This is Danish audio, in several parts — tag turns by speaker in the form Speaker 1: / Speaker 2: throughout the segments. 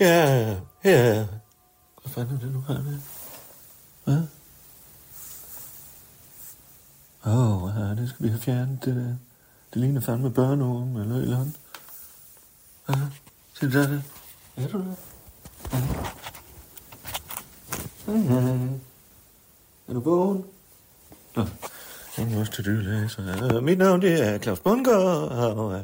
Speaker 1: Ja, ja. Hvad fanden er det nu her? med? Hvad? Åh, oh, ja, det skal vi have fjernet, det der. Det ligner fandme børneorm eller et eller andet. Ja, se der det. Er du det? Ja. Mhm. Er du vågen? Nå, jeg må også til dyrlæser. Uh, mit navn det er Claus Bundgaard, og uh,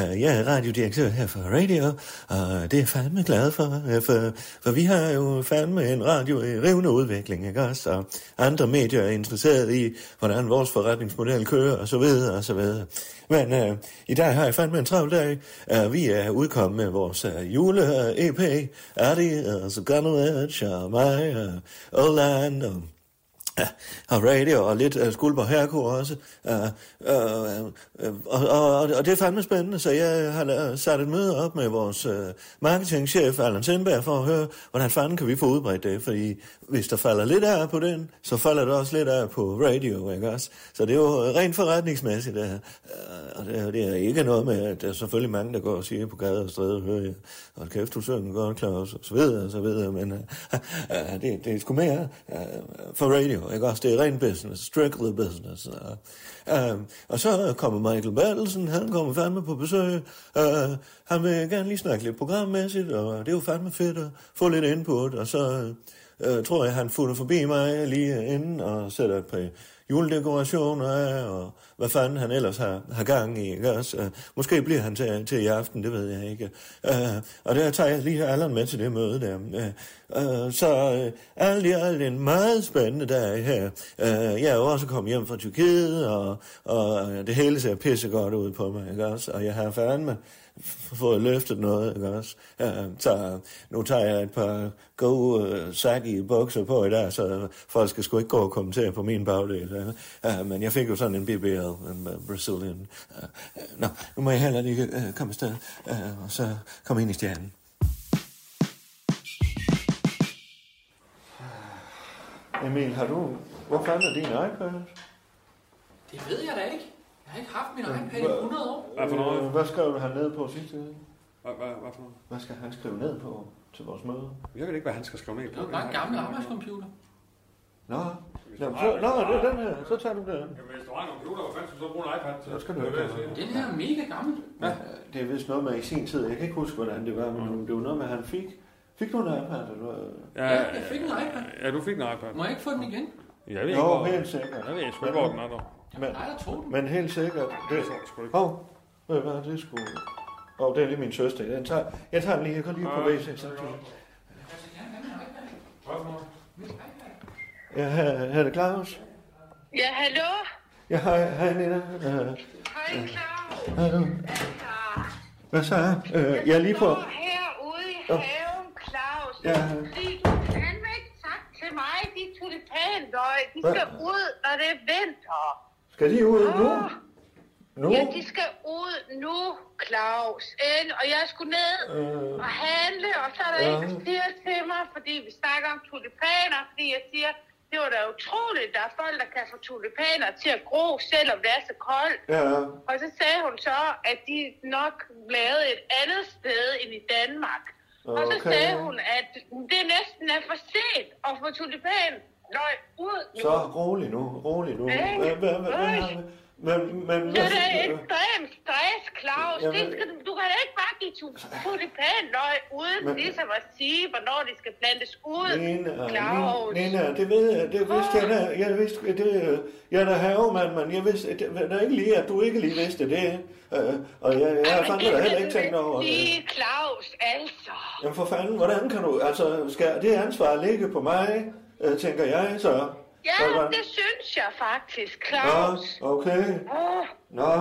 Speaker 1: uh, jeg er radiodirektør her for Radio, og det er jeg fandme glad for, uh, for, for vi har jo fandme en radio i rivende udvikling, ikke også? Og andre medier er interesseret i, hvordan vores forretningsmodel kører, og så videre, og så videre. Men uh, i dag har jeg fandme en travl dag. Uh, vi er udkommet med vores uh, jule-EP, Adi, og Suganovic, og mig, og Oland, og Ja, og radio og lidt uh, skulper herko også. Uh, uh, uh, og, og, og det er fandme spændende, så jeg har la- sat et møde op med vores uh, marketingchef, Allan Sindberg, for at høre, hvordan fanden kan vi få udbredt det, fordi hvis der falder lidt af på den, så falder der også lidt af på radio, ikke også? Så det er jo rent forretningsmæssigt, uh, og det, er- det er ikke noget med, at der er selvfølgelig mange, der går og siger på gader og stræder, hører jeg, og kæft, du synger godt, Claus, og så videre, og så videre, men uh, uh, det, det er sgu mere uh, for radio, ikke også? Det er ren business, strictly business. Uh, uh, og så kommer Michael Bertelsen, han kommer fandme på besøg, uh, han vil gerne lige snakke lidt programmæssigt, og det er jo fandme fedt at få lidt input, og så... øh, øh, tror jeg, han futter forbi mig lige inden og sætter et par juledekorationer af, og hvad fanden han ellers har, har gang i, ikke også? Øh, måske bliver han til, til i aften, det ved jeg ikke. Øh, og der tager jeg lige Allan med til det møde der. Øh, øh, så øh, alt i alt en meget spændende dag her. Øh, jeg er jo også kommet hjem fra Tyrkiet, og, og øh, det hele ser pissegodt ud på mig, ikke også? Og jeg har fandme fået løftet noget, ikke også? Ja, så nu tager jeg et par gode uh, saggy bukser på i dag, så folk skal sgu ikke gå og kommentere på min bagdel. Ja. Ja, men jeg fik jo sådan en BBL, en uh, Brazilian. Ja, nå, nu må jeg heller lige uh, komme afsted, uh, og så komme ind i stjernen. Emil, har du... Hvor fanden er din iPad?
Speaker 2: Det ved jeg da ikke. Jeg har ikke haft min iPad i 100 år.
Speaker 3: Hvad for noget?
Speaker 1: Øh, Hvad skrev han ned på sidste?
Speaker 3: Hvad, hvad, hvad for noget?
Speaker 1: Hvad skal han skrive ned på til vores møde?
Speaker 3: Jeg ved ikke, hvad han skal skrive ned
Speaker 2: Det
Speaker 3: på.
Speaker 2: er jo bare en gammel arbejdscomputer.
Speaker 1: Nå, Nå, så, nå, det er den her. Så tager du den.
Speaker 3: Jamen, hvis du har en computer, hvad fanden skal du så bruge en iPad til?
Speaker 1: Så skal du ikke have
Speaker 2: Den her er mega gammel.
Speaker 1: Ja. Det er vist noget med i sin tid. Jeg kan ikke huske, hvordan det var, men det var noget med, at han fik. Fik du en iPad? Eller?
Speaker 3: Ja,
Speaker 2: Ja, jeg fik en iPad.
Speaker 3: Ja, du fik en iPad.
Speaker 2: Må jeg ikke få den igen?
Speaker 3: Jeg ved ikke,
Speaker 1: Jo,
Speaker 3: hvor...
Speaker 1: helt
Speaker 3: Jeg
Speaker 1: sikkert.
Speaker 3: ved sgu ikke, hvor den er der.
Speaker 1: Men,
Speaker 2: Nej, der tog den.
Speaker 1: men helt sikkert. Det
Speaker 3: Det
Speaker 1: er
Speaker 3: er så sgu ikke.
Speaker 1: Hov, ved du hvad, det er sgu... Åh, oh, det er lige min søster. Jeg tager, jeg tager den lige. Jeg går lige på WC samtidig.
Speaker 2: Jeg vil altså gerne have min iPad.
Speaker 3: Hvad for noget?
Speaker 2: Min iPad.
Speaker 1: Ja, her, her er det Claus.
Speaker 4: Ja, hallo?
Speaker 1: Ja, hej, hej Nina. Øh,
Speaker 4: Hej, Claus.
Speaker 1: hej du. Hvad så? Øh, jeg er lige på...
Speaker 4: Jeg står herude i haven, Claus.
Speaker 1: Ja.
Speaker 4: Ja. Fordi du fandme ikke sagt til mig, de tulipanløg, de
Speaker 1: Hvad?
Speaker 4: skal ud, når det er vinter.
Speaker 1: Skal de ud nu?
Speaker 4: Åh,
Speaker 1: Nu?
Speaker 4: Ah. Ja, de skal ud nu, Claus. Ind, og jeg skulle ned
Speaker 1: Øh.
Speaker 4: og handle, og så er der
Speaker 1: Ja.
Speaker 4: ja. en, der siger til mig, fordi vi snakker om tulipaner, fordi jeg siger, det var da utroligt, der er folk, der kan få tulipaner til at gro, selvom det er så koldt.
Speaker 1: Ja,
Speaker 4: Og så sagde hun så, at de nok lavede et andet sted end i Danmark. Okay. Og så
Speaker 1: Okay.
Speaker 4: sagde hun, at det næsten er for sent at få tulipan løg ud nu.
Speaker 1: Så rolig nu, rolig nu.
Speaker 4: Ikke?
Speaker 1: Hvad- hvad- hvad- hvad-
Speaker 4: Øj.
Speaker 1: Men, men, Øh,
Speaker 4: Det er da ekstremt stress, Claus.
Speaker 1: Jamen-
Speaker 4: Det skal, du- du kan da ikke bare give tu- tulipanløg uden
Speaker 1: Men-
Speaker 4: ligesom at sige, hvornår de skal plantes ud,
Speaker 1: Nina,
Speaker 4: Claus.
Speaker 1: Nina, det ved jeg, det vidste jeg da, jeg vidste, det, øh, jeg er da havemand, men jeg vidste, det, det er ikke lige, at du ikke lige vidste det, øh, og jeg, jeg har
Speaker 4: Jamen,
Speaker 1: fandme da
Speaker 4: det
Speaker 1: heller
Speaker 4: kan
Speaker 1: ikke
Speaker 4: du
Speaker 1: tænkt
Speaker 4: vel
Speaker 1: over det.
Speaker 4: Sige, Claus, altså.
Speaker 1: Jamen for fanden, hvordan kan du, altså, skal det ansvar ligge på mig, øh, tænker jeg så?
Speaker 4: Ja,
Speaker 1: Hvordan-
Speaker 4: det synes jeg faktisk, Claus.
Speaker 1: Nå, okay,
Speaker 4: Åh.
Speaker 1: nå,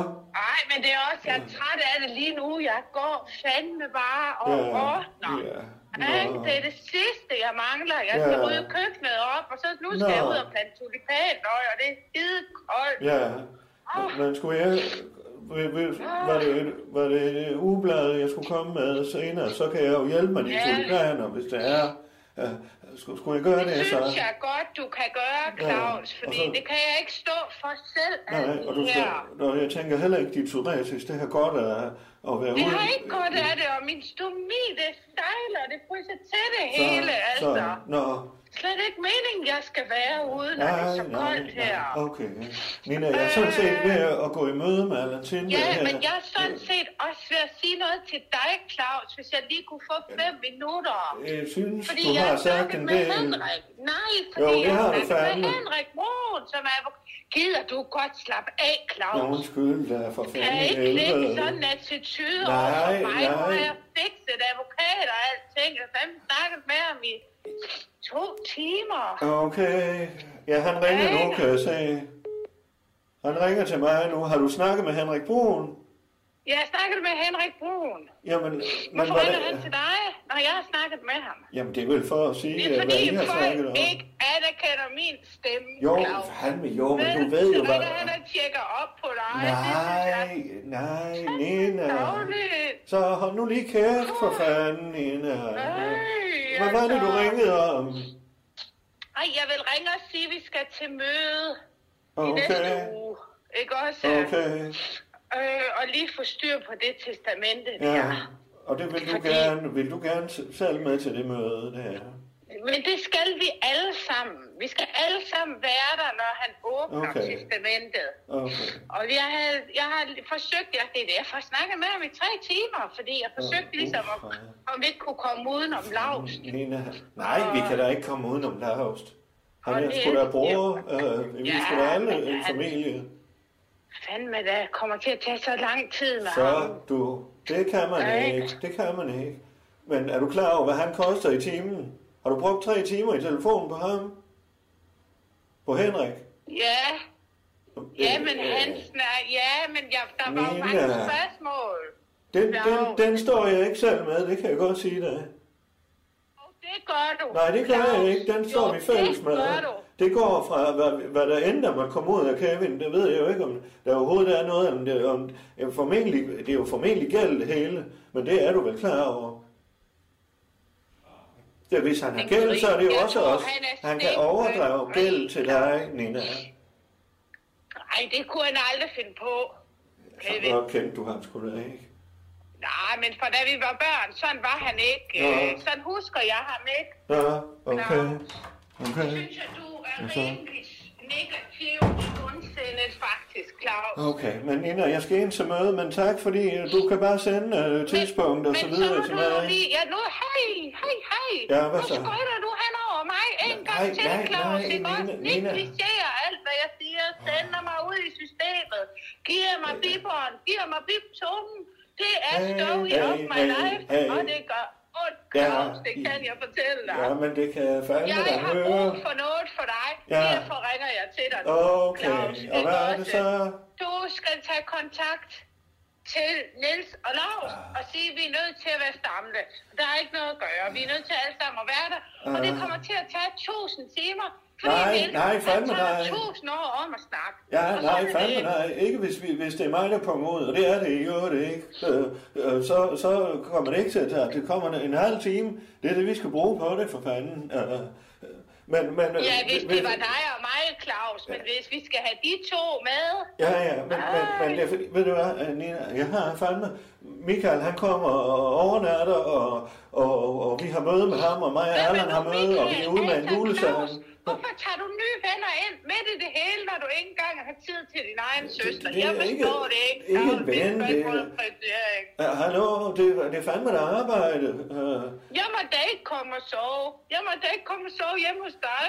Speaker 4: Nej, men det er også, jeg er træt af det lige nu. Jeg går fandme bare og
Speaker 1: ja,
Speaker 4: ordner.
Speaker 1: ja,
Speaker 4: Ikke?
Speaker 1: nå.
Speaker 4: Det er det sidste, jeg mangler. Jeg skal
Speaker 1: Ja.
Speaker 4: rydde køkkenet op, og så nu skal
Speaker 1: Nå.
Speaker 4: jeg ud og plante tulipanløg, og det er skide koldt.
Speaker 1: Ja, men skulle jeg... vil- vil- Var det, et, var det et øh, ugeblad, jeg skulle komme med senere, så kan jeg jo hjælpe mig de
Speaker 4: Ja.
Speaker 1: tulipaner, hvis det er. Ja, skulle, skulle jeg gøre det,
Speaker 4: Det
Speaker 1: så...
Speaker 4: synes jeg godt, du kan gøre, Claus,
Speaker 1: og
Speaker 4: fordi
Speaker 1: så-
Speaker 4: det kan jeg ikke stå for selv.
Speaker 1: Nej,
Speaker 4: alt
Speaker 1: og
Speaker 4: det
Speaker 1: du skal,
Speaker 4: her.
Speaker 1: og jeg tænker heller ikke, dit psoriasis, det har godt af at være
Speaker 4: Det
Speaker 1: ude.
Speaker 4: har ikke godt af det, og min stomi, det sejler, det fryser til det hele, altså.
Speaker 1: Så, nå,
Speaker 4: Slet ikke meningen, jeg skal være ude, når det
Speaker 1: nej,
Speaker 4: er så
Speaker 1: nej,
Speaker 4: koldt her. Øh.
Speaker 1: nej, okay. Nina, jeg er sådan set ved at gå i møde med Alantin.
Speaker 4: Ja, men jeg er sådan set også ved at sige noget til dig, Claus, hvis jeg lige kunne få fem minutter.
Speaker 1: Øh, Jeg synes,
Speaker 4: Fordi
Speaker 1: du
Speaker 4: jeg
Speaker 1: har
Speaker 4: har
Speaker 1: sagt
Speaker 4: snakket
Speaker 1: en
Speaker 4: med
Speaker 1: del...
Speaker 4: Henrik. Nej, fordi
Speaker 1: Jo,
Speaker 4: jo,
Speaker 1: det
Speaker 4: jeg
Speaker 1: har
Speaker 4: har
Speaker 1: du
Speaker 4: snakket
Speaker 1: fandme.
Speaker 4: med Henrik Brun, som er... Gider du godt slappe af,
Speaker 1: Nå,
Speaker 4: Claus?
Speaker 1: undskyld, der er for fanden
Speaker 4: Kan
Speaker 1: i
Speaker 4: ikke lægge
Speaker 1: helvede.
Speaker 4: sådan en attitude
Speaker 1: Nej,
Speaker 4: over for mig,
Speaker 1: nej.
Speaker 4: nu har jeg fikset advokat og alting. Jeg har fandme snakket med ham i to timer.
Speaker 1: Okay. Ja, han ringer nu, kan jeg se. Han ringer til mig nu. Har du snakket med Henrik Brun?
Speaker 4: Jeg snakkede med Henrik Brun.
Speaker 1: Jamen, men
Speaker 4: Hvorfor ringer han til dig, når jeg har snakket med ham?
Speaker 1: Jamen, det er vel for at
Speaker 4: Det
Speaker 1: sige,
Speaker 4: er
Speaker 1: at hvad
Speaker 4: fordi
Speaker 1: I har snakket om.
Speaker 4: folk ikke anerkender min stemme,
Speaker 1: Jo,
Speaker 4: Claus.
Speaker 1: fandme jo, men
Speaker 4: Vel,
Speaker 1: du ved jo,
Speaker 4: så
Speaker 1: hvad...
Speaker 4: når han er tjekker op på dig.
Speaker 1: Nej, nej, Nina.
Speaker 4: Dagligt.
Speaker 1: Så hold nu lige kæft for fanden, Nina. Hvad var det, du ringede om?
Speaker 4: altså. Ej, jeg vil ringe og sige, at vi skal til møde i
Speaker 1: Okay,
Speaker 4: næste uge. Ikke også?
Speaker 1: okay.
Speaker 4: Øh, og lige få styr på det testamente ja.
Speaker 1: Ja,
Speaker 4: der.
Speaker 1: og det vil du
Speaker 4: Fordi-
Speaker 1: gerne, vil du gerne s- selv med til det møde der.
Speaker 4: Men det skal vi alle sammen. Vi skal alle sammen være der, når han åbner
Speaker 1: Okay.
Speaker 4: okay. testamentet.
Speaker 1: Okay.
Speaker 4: Og jeg, havde, jeg har forsøgt, jeg, det er det, jeg har snakket med ham i tre timer, fordi jeg forsøgte
Speaker 1: Åh,
Speaker 4: ligesom, om,
Speaker 1: for helvede.
Speaker 4: om vi ikke kunne komme udenom Lars.
Speaker 1: Nina, nej, vi kan da ikke komme udenom Laust. Han
Speaker 4: Og
Speaker 1: er
Speaker 4: det-
Speaker 1: sgu da bror, øh, vi
Speaker 4: Ja,
Speaker 1: skal da alle
Speaker 4: men
Speaker 1: en
Speaker 4: han-
Speaker 1: familie.
Speaker 4: Fandme, det kommer til at tage så lang tid med ham.
Speaker 1: Så du, det kan man
Speaker 4: Nej.
Speaker 1: ikke, det kan man ikke. Men er du klar over, hvad han koster i timen? Har du brugt tre timer i telefonen på ham? På Henrik?
Speaker 4: Ja, ja, men
Speaker 1: Øh,
Speaker 4: han snak, ja, men jeg, der var jo
Speaker 1: Nina.
Speaker 4: mange spørgsmål.
Speaker 1: Den, den,
Speaker 4: Laust.
Speaker 1: den står jeg ikke selv med, det kan jeg godt sige dig.
Speaker 4: Og det gør du.
Speaker 1: Nej, det gør jeg
Speaker 4: Claus.
Speaker 1: ikke. Den står
Speaker 4: Jo,
Speaker 1: vi fælles med.
Speaker 4: Det gør du.
Speaker 1: Det går fra, hvad, hvad der ender med at komme ud af Kevin, det ved jeg jo ikke, om der overhovedet er noget, om det, om, ja, formentlig, det er jo formentlig gæld det hele, men det er du vel klar over? Ja, hvis han har
Speaker 4: Men
Speaker 1: gæld, så er det jo
Speaker 4: jeg
Speaker 1: også
Speaker 4: tror,
Speaker 1: os.
Speaker 4: han er
Speaker 1: Han kan
Speaker 4: stenrig.
Speaker 1: overdrage gæld til dig, Nina.
Speaker 4: Ej, det kunne han aldrig finde på.
Speaker 1: Så
Speaker 4: Kevin.
Speaker 1: godt kendte du ham sgu da ikke.
Speaker 4: Nej, men for da vi var børn, sådan var han ikke.
Speaker 1: Nå.
Speaker 4: Øh, Sådan husker jeg ham ikke.
Speaker 1: Nå, okay. Okay.
Speaker 4: Synes jeg, du er
Speaker 1: Og så-
Speaker 4: rimelig negativt ondsindet faktisk, Claus.
Speaker 1: Okay, men Nina, jeg skal ind til møde, men tak, fordi øh, du kan bare sende uh, tidspunkt og så videre
Speaker 4: men så
Speaker 1: til
Speaker 4: må du jo
Speaker 1: mig.
Speaker 4: lige, ja nu, hej, hej, hej.
Speaker 1: Ja, hvad så?
Speaker 4: Nu skøjter du hen over mig en
Speaker 1: Nej,
Speaker 4: gang til,
Speaker 1: nej,
Speaker 4: Claus.
Speaker 1: nej,
Speaker 4: Det er godt,
Speaker 1: Nina, Nina.
Speaker 4: negligerer alt, hvad jeg siger. Sender mig ud i systemet. Giver mig bibberen, giver mig bibtungen. Det er
Speaker 1: Hey,
Speaker 4: story
Speaker 1: hey,
Speaker 4: of my
Speaker 1: hey,
Speaker 4: life,
Speaker 1: hey.
Speaker 4: og det gør ondt,
Speaker 1: Ja,
Speaker 4: Claus. Det
Speaker 1: i-
Speaker 4: kan jeg fortælle dig.
Speaker 1: Ja, men det kan jeg fandme
Speaker 4: Jeg
Speaker 1: da
Speaker 4: har
Speaker 1: høre.
Speaker 4: brug for noget for dig.
Speaker 1: Ja.
Speaker 4: Derfor ringer jeg til dig nu, Claus.
Speaker 1: Okay, og
Speaker 4: Ikke
Speaker 1: hvad er det
Speaker 4: også?
Speaker 1: så?
Speaker 4: øh, Du skal tage kontakt til Niels og Lars
Speaker 1: Ah.
Speaker 4: og sige, at vi er nødt til at være samlet. Der er ikke noget at gøre. Vi er nødt til alle sammen at være der. Og det
Speaker 1: Ah.
Speaker 4: kommer til at tage tusind timer. Fordi
Speaker 1: Nej,
Speaker 4: Niels,
Speaker 1: nej, fandme
Speaker 4: han tager
Speaker 1: nej.
Speaker 4: tusind år om at snakke.
Speaker 1: Ja,
Speaker 4: Og så er
Speaker 1: nej,
Speaker 4: det
Speaker 1: fandme
Speaker 4: det.
Speaker 1: nej. Ikke hvis, vi, hvis det er mig, der kommer ud, og det er det i øvrigt ikke. Øh, øh, så, så kommer det ikke til at tage. Det kommer en halv time. Det er det, vi skal bruge på det, for fanden. Øh, øh, men, men, øh,
Speaker 4: Ja, hvis det var dig og mig, Claus. Men hvis vi skal have de to med...
Speaker 1: Ja, ja, men, men, men det er fordi, ved du hvad, øh, Nina, jeg har fandme, Michael han kommer og overnatter, og, og, og, og vi har møde med ham, og mig og
Speaker 4: Hvad med
Speaker 1: Allan
Speaker 4: nu,
Speaker 1: har møde, og vi er ude med en
Speaker 4: Michael? Altså, Claus,
Speaker 1: julesang.
Speaker 4: Hvorfor tager du nye venner ind midt i det hele, når du ikke engang har tid til din egen søster?
Speaker 1: det er
Speaker 4: jeg forstår
Speaker 1: ikke-
Speaker 4: det ikke.
Speaker 1: ikke
Speaker 4: Claus.
Speaker 1: en ven,
Speaker 4: Det er
Speaker 1: det er-
Speaker 4: spørgsmål om prioritering.
Speaker 1: Ja, hallo, det, det er fandme der arbejde. Øh,
Speaker 4: Jeg må da ikke komme og sove. Jeg må da ikke komme og sove hjemme hos dig.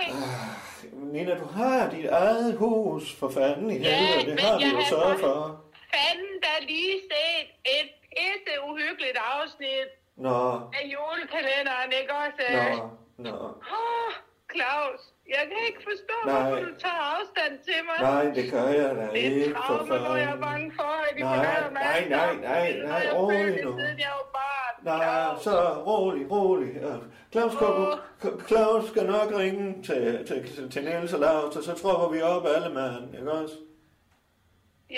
Speaker 1: Nina, du har dit eget hus, for fanden i
Speaker 4: Ja,
Speaker 1: helvede, det
Speaker 4: men
Speaker 1: har vi
Speaker 4: jeg
Speaker 1: jo
Speaker 4: har
Speaker 1: sørget
Speaker 4: fået-
Speaker 1: for.
Speaker 4: Fanden da lige set et pisse uhyggeligt afsnit
Speaker 1: Nå,
Speaker 4: af julekalenderen, ikke også?
Speaker 1: nå, nå.
Speaker 4: Åh, Claus, jeg kan ikke forstå,
Speaker 1: Nej.
Speaker 4: hvorfor du tager afstand til mig.
Speaker 1: Nej, det gør jeg da
Speaker 4: Det er
Speaker 1: ikke,
Speaker 4: et
Speaker 1: for
Speaker 4: traume, hvor jeg er
Speaker 1: fanden.
Speaker 4: bange for, at de
Speaker 1: Nej,
Speaker 4: forlader mig.
Speaker 1: nej, nej, nej,
Speaker 4: Det har
Speaker 1: nej,
Speaker 4: jeg
Speaker 1: rolig
Speaker 4: følt,
Speaker 1: nu.
Speaker 4: Siden jeg var barn.
Speaker 1: Nej,
Speaker 4: Claus.
Speaker 1: så rolig, rolig. Øh, Claus, kommer, K- Claus skal nok ringe til, til, til Niels og Lars, og så tropper vi op alle mand, ikke også?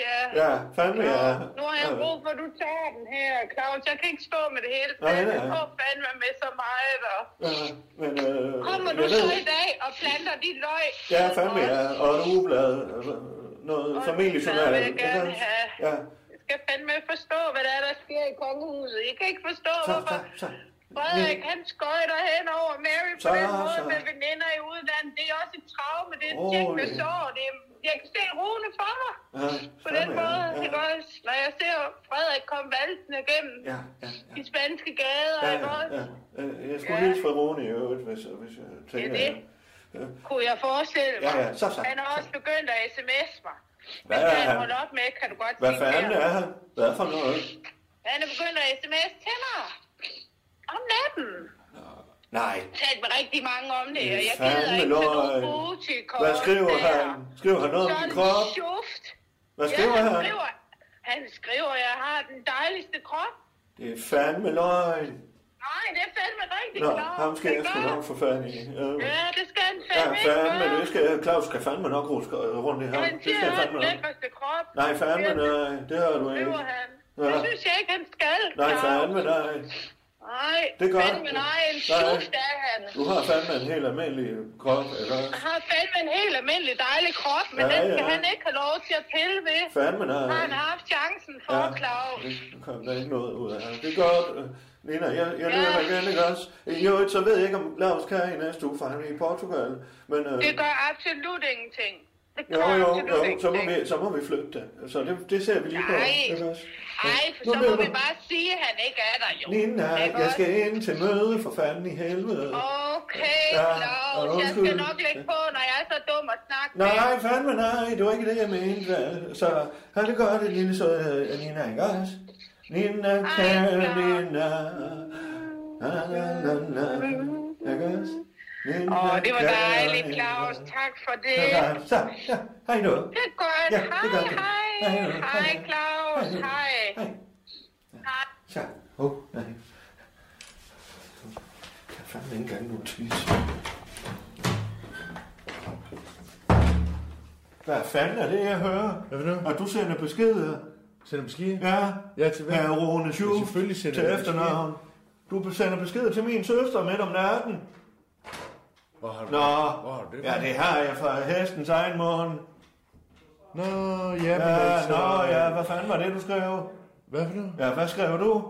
Speaker 4: Ja.
Speaker 1: Ja, fandme, ja.
Speaker 4: Nu har jeg brug for, at du tager den her, Claus. Jeg kan ikke stå med det hele.
Speaker 1: Nej, nej.
Speaker 4: Jeg får fandme med så meget. Og...
Speaker 1: Ja, men, øh,
Speaker 4: Kommer du
Speaker 1: jeg
Speaker 4: så
Speaker 1: ved-
Speaker 4: i dag og planter de løg?
Speaker 1: Ja, fandme, ja. Og et ugeblad. øh, Noget
Speaker 4: Og
Speaker 1: familie, som
Speaker 4: det
Speaker 1: er...
Speaker 4: vil jeg gerne have.
Speaker 1: Ja,
Speaker 4: Jeg skal fandme forstå, hvad der er, der sker i kongehuset. Jeg kan ikke forstå,
Speaker 1: så, så,
Speaker 4: hvorfor
Speaker 1: så.
Speaker 4: Frederik, han skøjter hen over Mary på
Speaker 1: Så-
Speaker 4: den måde
Speaker 1: så-
Speaker 4: med veninder i udlandet. Det er også et traume, det er et
Speaker 1: Rolig.
Speaker 4: tjekkende sår. Det er, jeg kan se Rune for mig.
Speaker 1: Ja,
Speaker 4: På den
Speaker 1: fandme,
Speaker 4: måde,
Speaker 1: ja.
Speaker 4: ikke også? Når jeg ser Frederik komme valsende igennem
Speaker 1: Ja, ja, ja.
Speaker 4: de spanske gader,
Speaker 1: Ja,
Speaker 4: ikke
Speaker 1: ja,
Speaker 4: også?
Speaker 1: ja. Øh, Jeg skulle
Speaker 4: Ja.
Speaker 1: hilse fra Rune i øvrigt, hvis, hvis jeg tænker...
Speaker 4: det. Kunne jeg forestille mig.
Speaker 1: Ja, ja, så- så-
Speaker 4: Han er også begyndt at sms mig.
Speaker 1: Hvad er
Speaker 4: Hvis han
Speaker 1: han?
Speaker 4: holder op med, kan du godt
Speaker 1: Hvad
Speaker 4: sige
Speaker 1: fanden
Speaker 4: mere.
Speaker 1: er han? Hvad for noget?
Speaker 4: Han er begyndt at sms til mig. Om natten.
Speaker 1: Nej.
Speaker 4: Jeg har talt med rigtig mange om det, og jeg
Speaker 1: Fandme
Speaker 4: gider ikke tage
Speaker 1: løgn.
Speaker 4: nogen butikort.
Speaker 1: Hvad skriver han? Skriver han noget om
Speaker 4: Sådan
Speaker 1: din krop?
Speaker 4: sjuft.
Speaker 1: Hvad
Speaker 4: Ja,
Speaker 1: skriver
Speaker 4: han
Speaker 1: han?
Speaker 4: skriver, han skriver, jeg har den dejligste krop.
Speaker 1: Det er fandme løgn.
Speaker 4: Nej, det er fandme rigtig
Speaker 1: Nå,
Speaker 4: klart.
Speaker 1: ham skal
Speaker 4: Det
Speaker 1: jeg sgu
Speaker 4: gør-
Speaker 1: nok få fat i. Øh,
Speaker 4: Ja, det skal han
Speaker 1: Ja,
Speaker 4: fandme ikke
Speaker 1: fandme,
Speaker 4: gøre.
Speaker 1: det skal, Claus skal fandme nok ruske øh, rundt i ham.
Speaker 4: Han
Speaker 1: Det
Speaker 4: siger,
Speaker 1: skal jeg
Speaker 4: han har
Speaker 1: fandme
Speaker 4: den
Speaker 1: nok.
Speaker 4: lækreste krop.
Speaker 1: Nej, fandme,
Speaker 4: Det
Speaker 1: nej. Det har du ikke.
Speaker 4: skriver han.
Speaker 1: Ja.
Speaker 4: Det synes jeg ikke, han skal.
Speaker 1: Nej,
Speaker 4: Claus.
Speaker 1: fandme, nej.
Speaker 4: Nej,
Speaker 1: Det gør
Speaker 4: fandme
Speaker 1: han.
Speaker 4: nej, en
Speaker 1: Nej.
Speaker 4: sjuft er han.
Speaker 1: Du har fandme en helt almindelig krop, eller?
Speaker 4: har fandme en helt almindelig dejlig krop, men
Speaker 1: Ja,
Speaker 4: ja, den skal
Speaker 1: ja.
Speaker 4: ja. han ikke have lov til at pille ved.
Speaker 1: Fandme, nej.
Speaker 4: Har han haft chancen for, ja. Claus?
Speaker 1: det kom der ikke noget ud af. Det er godt, øh, Nina. Jeg, jeg
Speaker 4: Ja.
Speaker 1: løber igen, ikke også? I øvrigt, så ved jeg ikke, om Claus kan i næste uge, for han er i Portugal. Men, øh,
Speaker 4: Det gør absolut ingenting. Det
Speaker 1: Jo,
Speaker 4: gør
Speaker 1: jo,
Speaker 4: absolut
Speaker 1: jo, så må
Speaker 4: ingenting.
Speaker 1: vi, så må vi flytte det. Så det, det ser vi lige på.
Speaker 4: Nej.
Speaker 1: ikke også?
Speaker 4: Ej, for
Speaker 1: Nu
Speaker 4: så må
Speaker 1: løber-
Speaker 4: vi bare sige, at han ikke er der, jo.
Speaker 1: Nina,
Speaker 4: Ikke
Speaker 1: jeg
Speaker 4: også?
Speaker 1: skal ind til møde for fanden i helvede.
Speaker 4: Okay,
Speaker 1: Ja,
Speaker 4: Claus,
Speaker 1: og
Speaker 4: jeg
Speaker 1: undskyld.
Speaker 4: skal nok lægge på, når jeg er så dum at snakke med.
Speaker 1: Nej, fandme nej, det var ikke det, jeg mente. vel? Så har det godt, det lille søde øh, Nina, ikke også? Nina, kære
Speaker 4: Claus.
Speaker 1: Nina. Na, na, na, na. Ikke også? Nina,
Speaker 4: Åh, det var
Speaker 1: kære
Speaker 4: dejligt,
Speaker 1: Nina.
Speaker 4: Claus. Tak for det.
Speaker 1: Ja, nej, Så, ja, hej nu.
Speaker 4: Det er godt.
Speaker 1: Ja,
Speaker 4: Ja,
Speaker 1: det
Speaker 4: hej,
Speaker 1: gør
Speaker 4: hej,
Speaker 1: vi. Hej,
Speaker 4: hej.
Speaker 1: hej.
Speaker 4: Hej, Claus.
Speaker 1: Hej.
Speaker 4: Hej.
Speaker 1: Hej.
Speaker 4: Hej.
Speaker 1: Så, åh, oh, nej. Jeg kan fandme ikke engang nogen tis. Hvad fanden er det, jeg hører?
Speaker 5: Hvad for noget?
Speaker 1: Og du sender beskeder?
Speaker 5: Sender besked?
Speaker 1: Ja,
Speaker 5: Ja, til hvem?
Speaker 1: Herre Rune Schuf,
Speaker 5: Ja, selvfølgelig sender
Speaker 1: til
Speaker 5: jeg altså
Speaker 1: efternavn. Du sender beskeder til min søster midt om natten.
Speaker 5: Hvor har du
Speaker 1: Nå,
Speaker 5: Hvor har du det?
Speaker 1: ja, det har jeg fra hestens egen morgen.
Speaker 5: Nå, ja, men
Speaker 1: Ja,
Speaker 5: altså...
Speaker 1: nå, ja, hvad fanden var det, du skrev?
Speaker 5: Hvad for noget?
Speaker 1: Ja, hvad skrev du?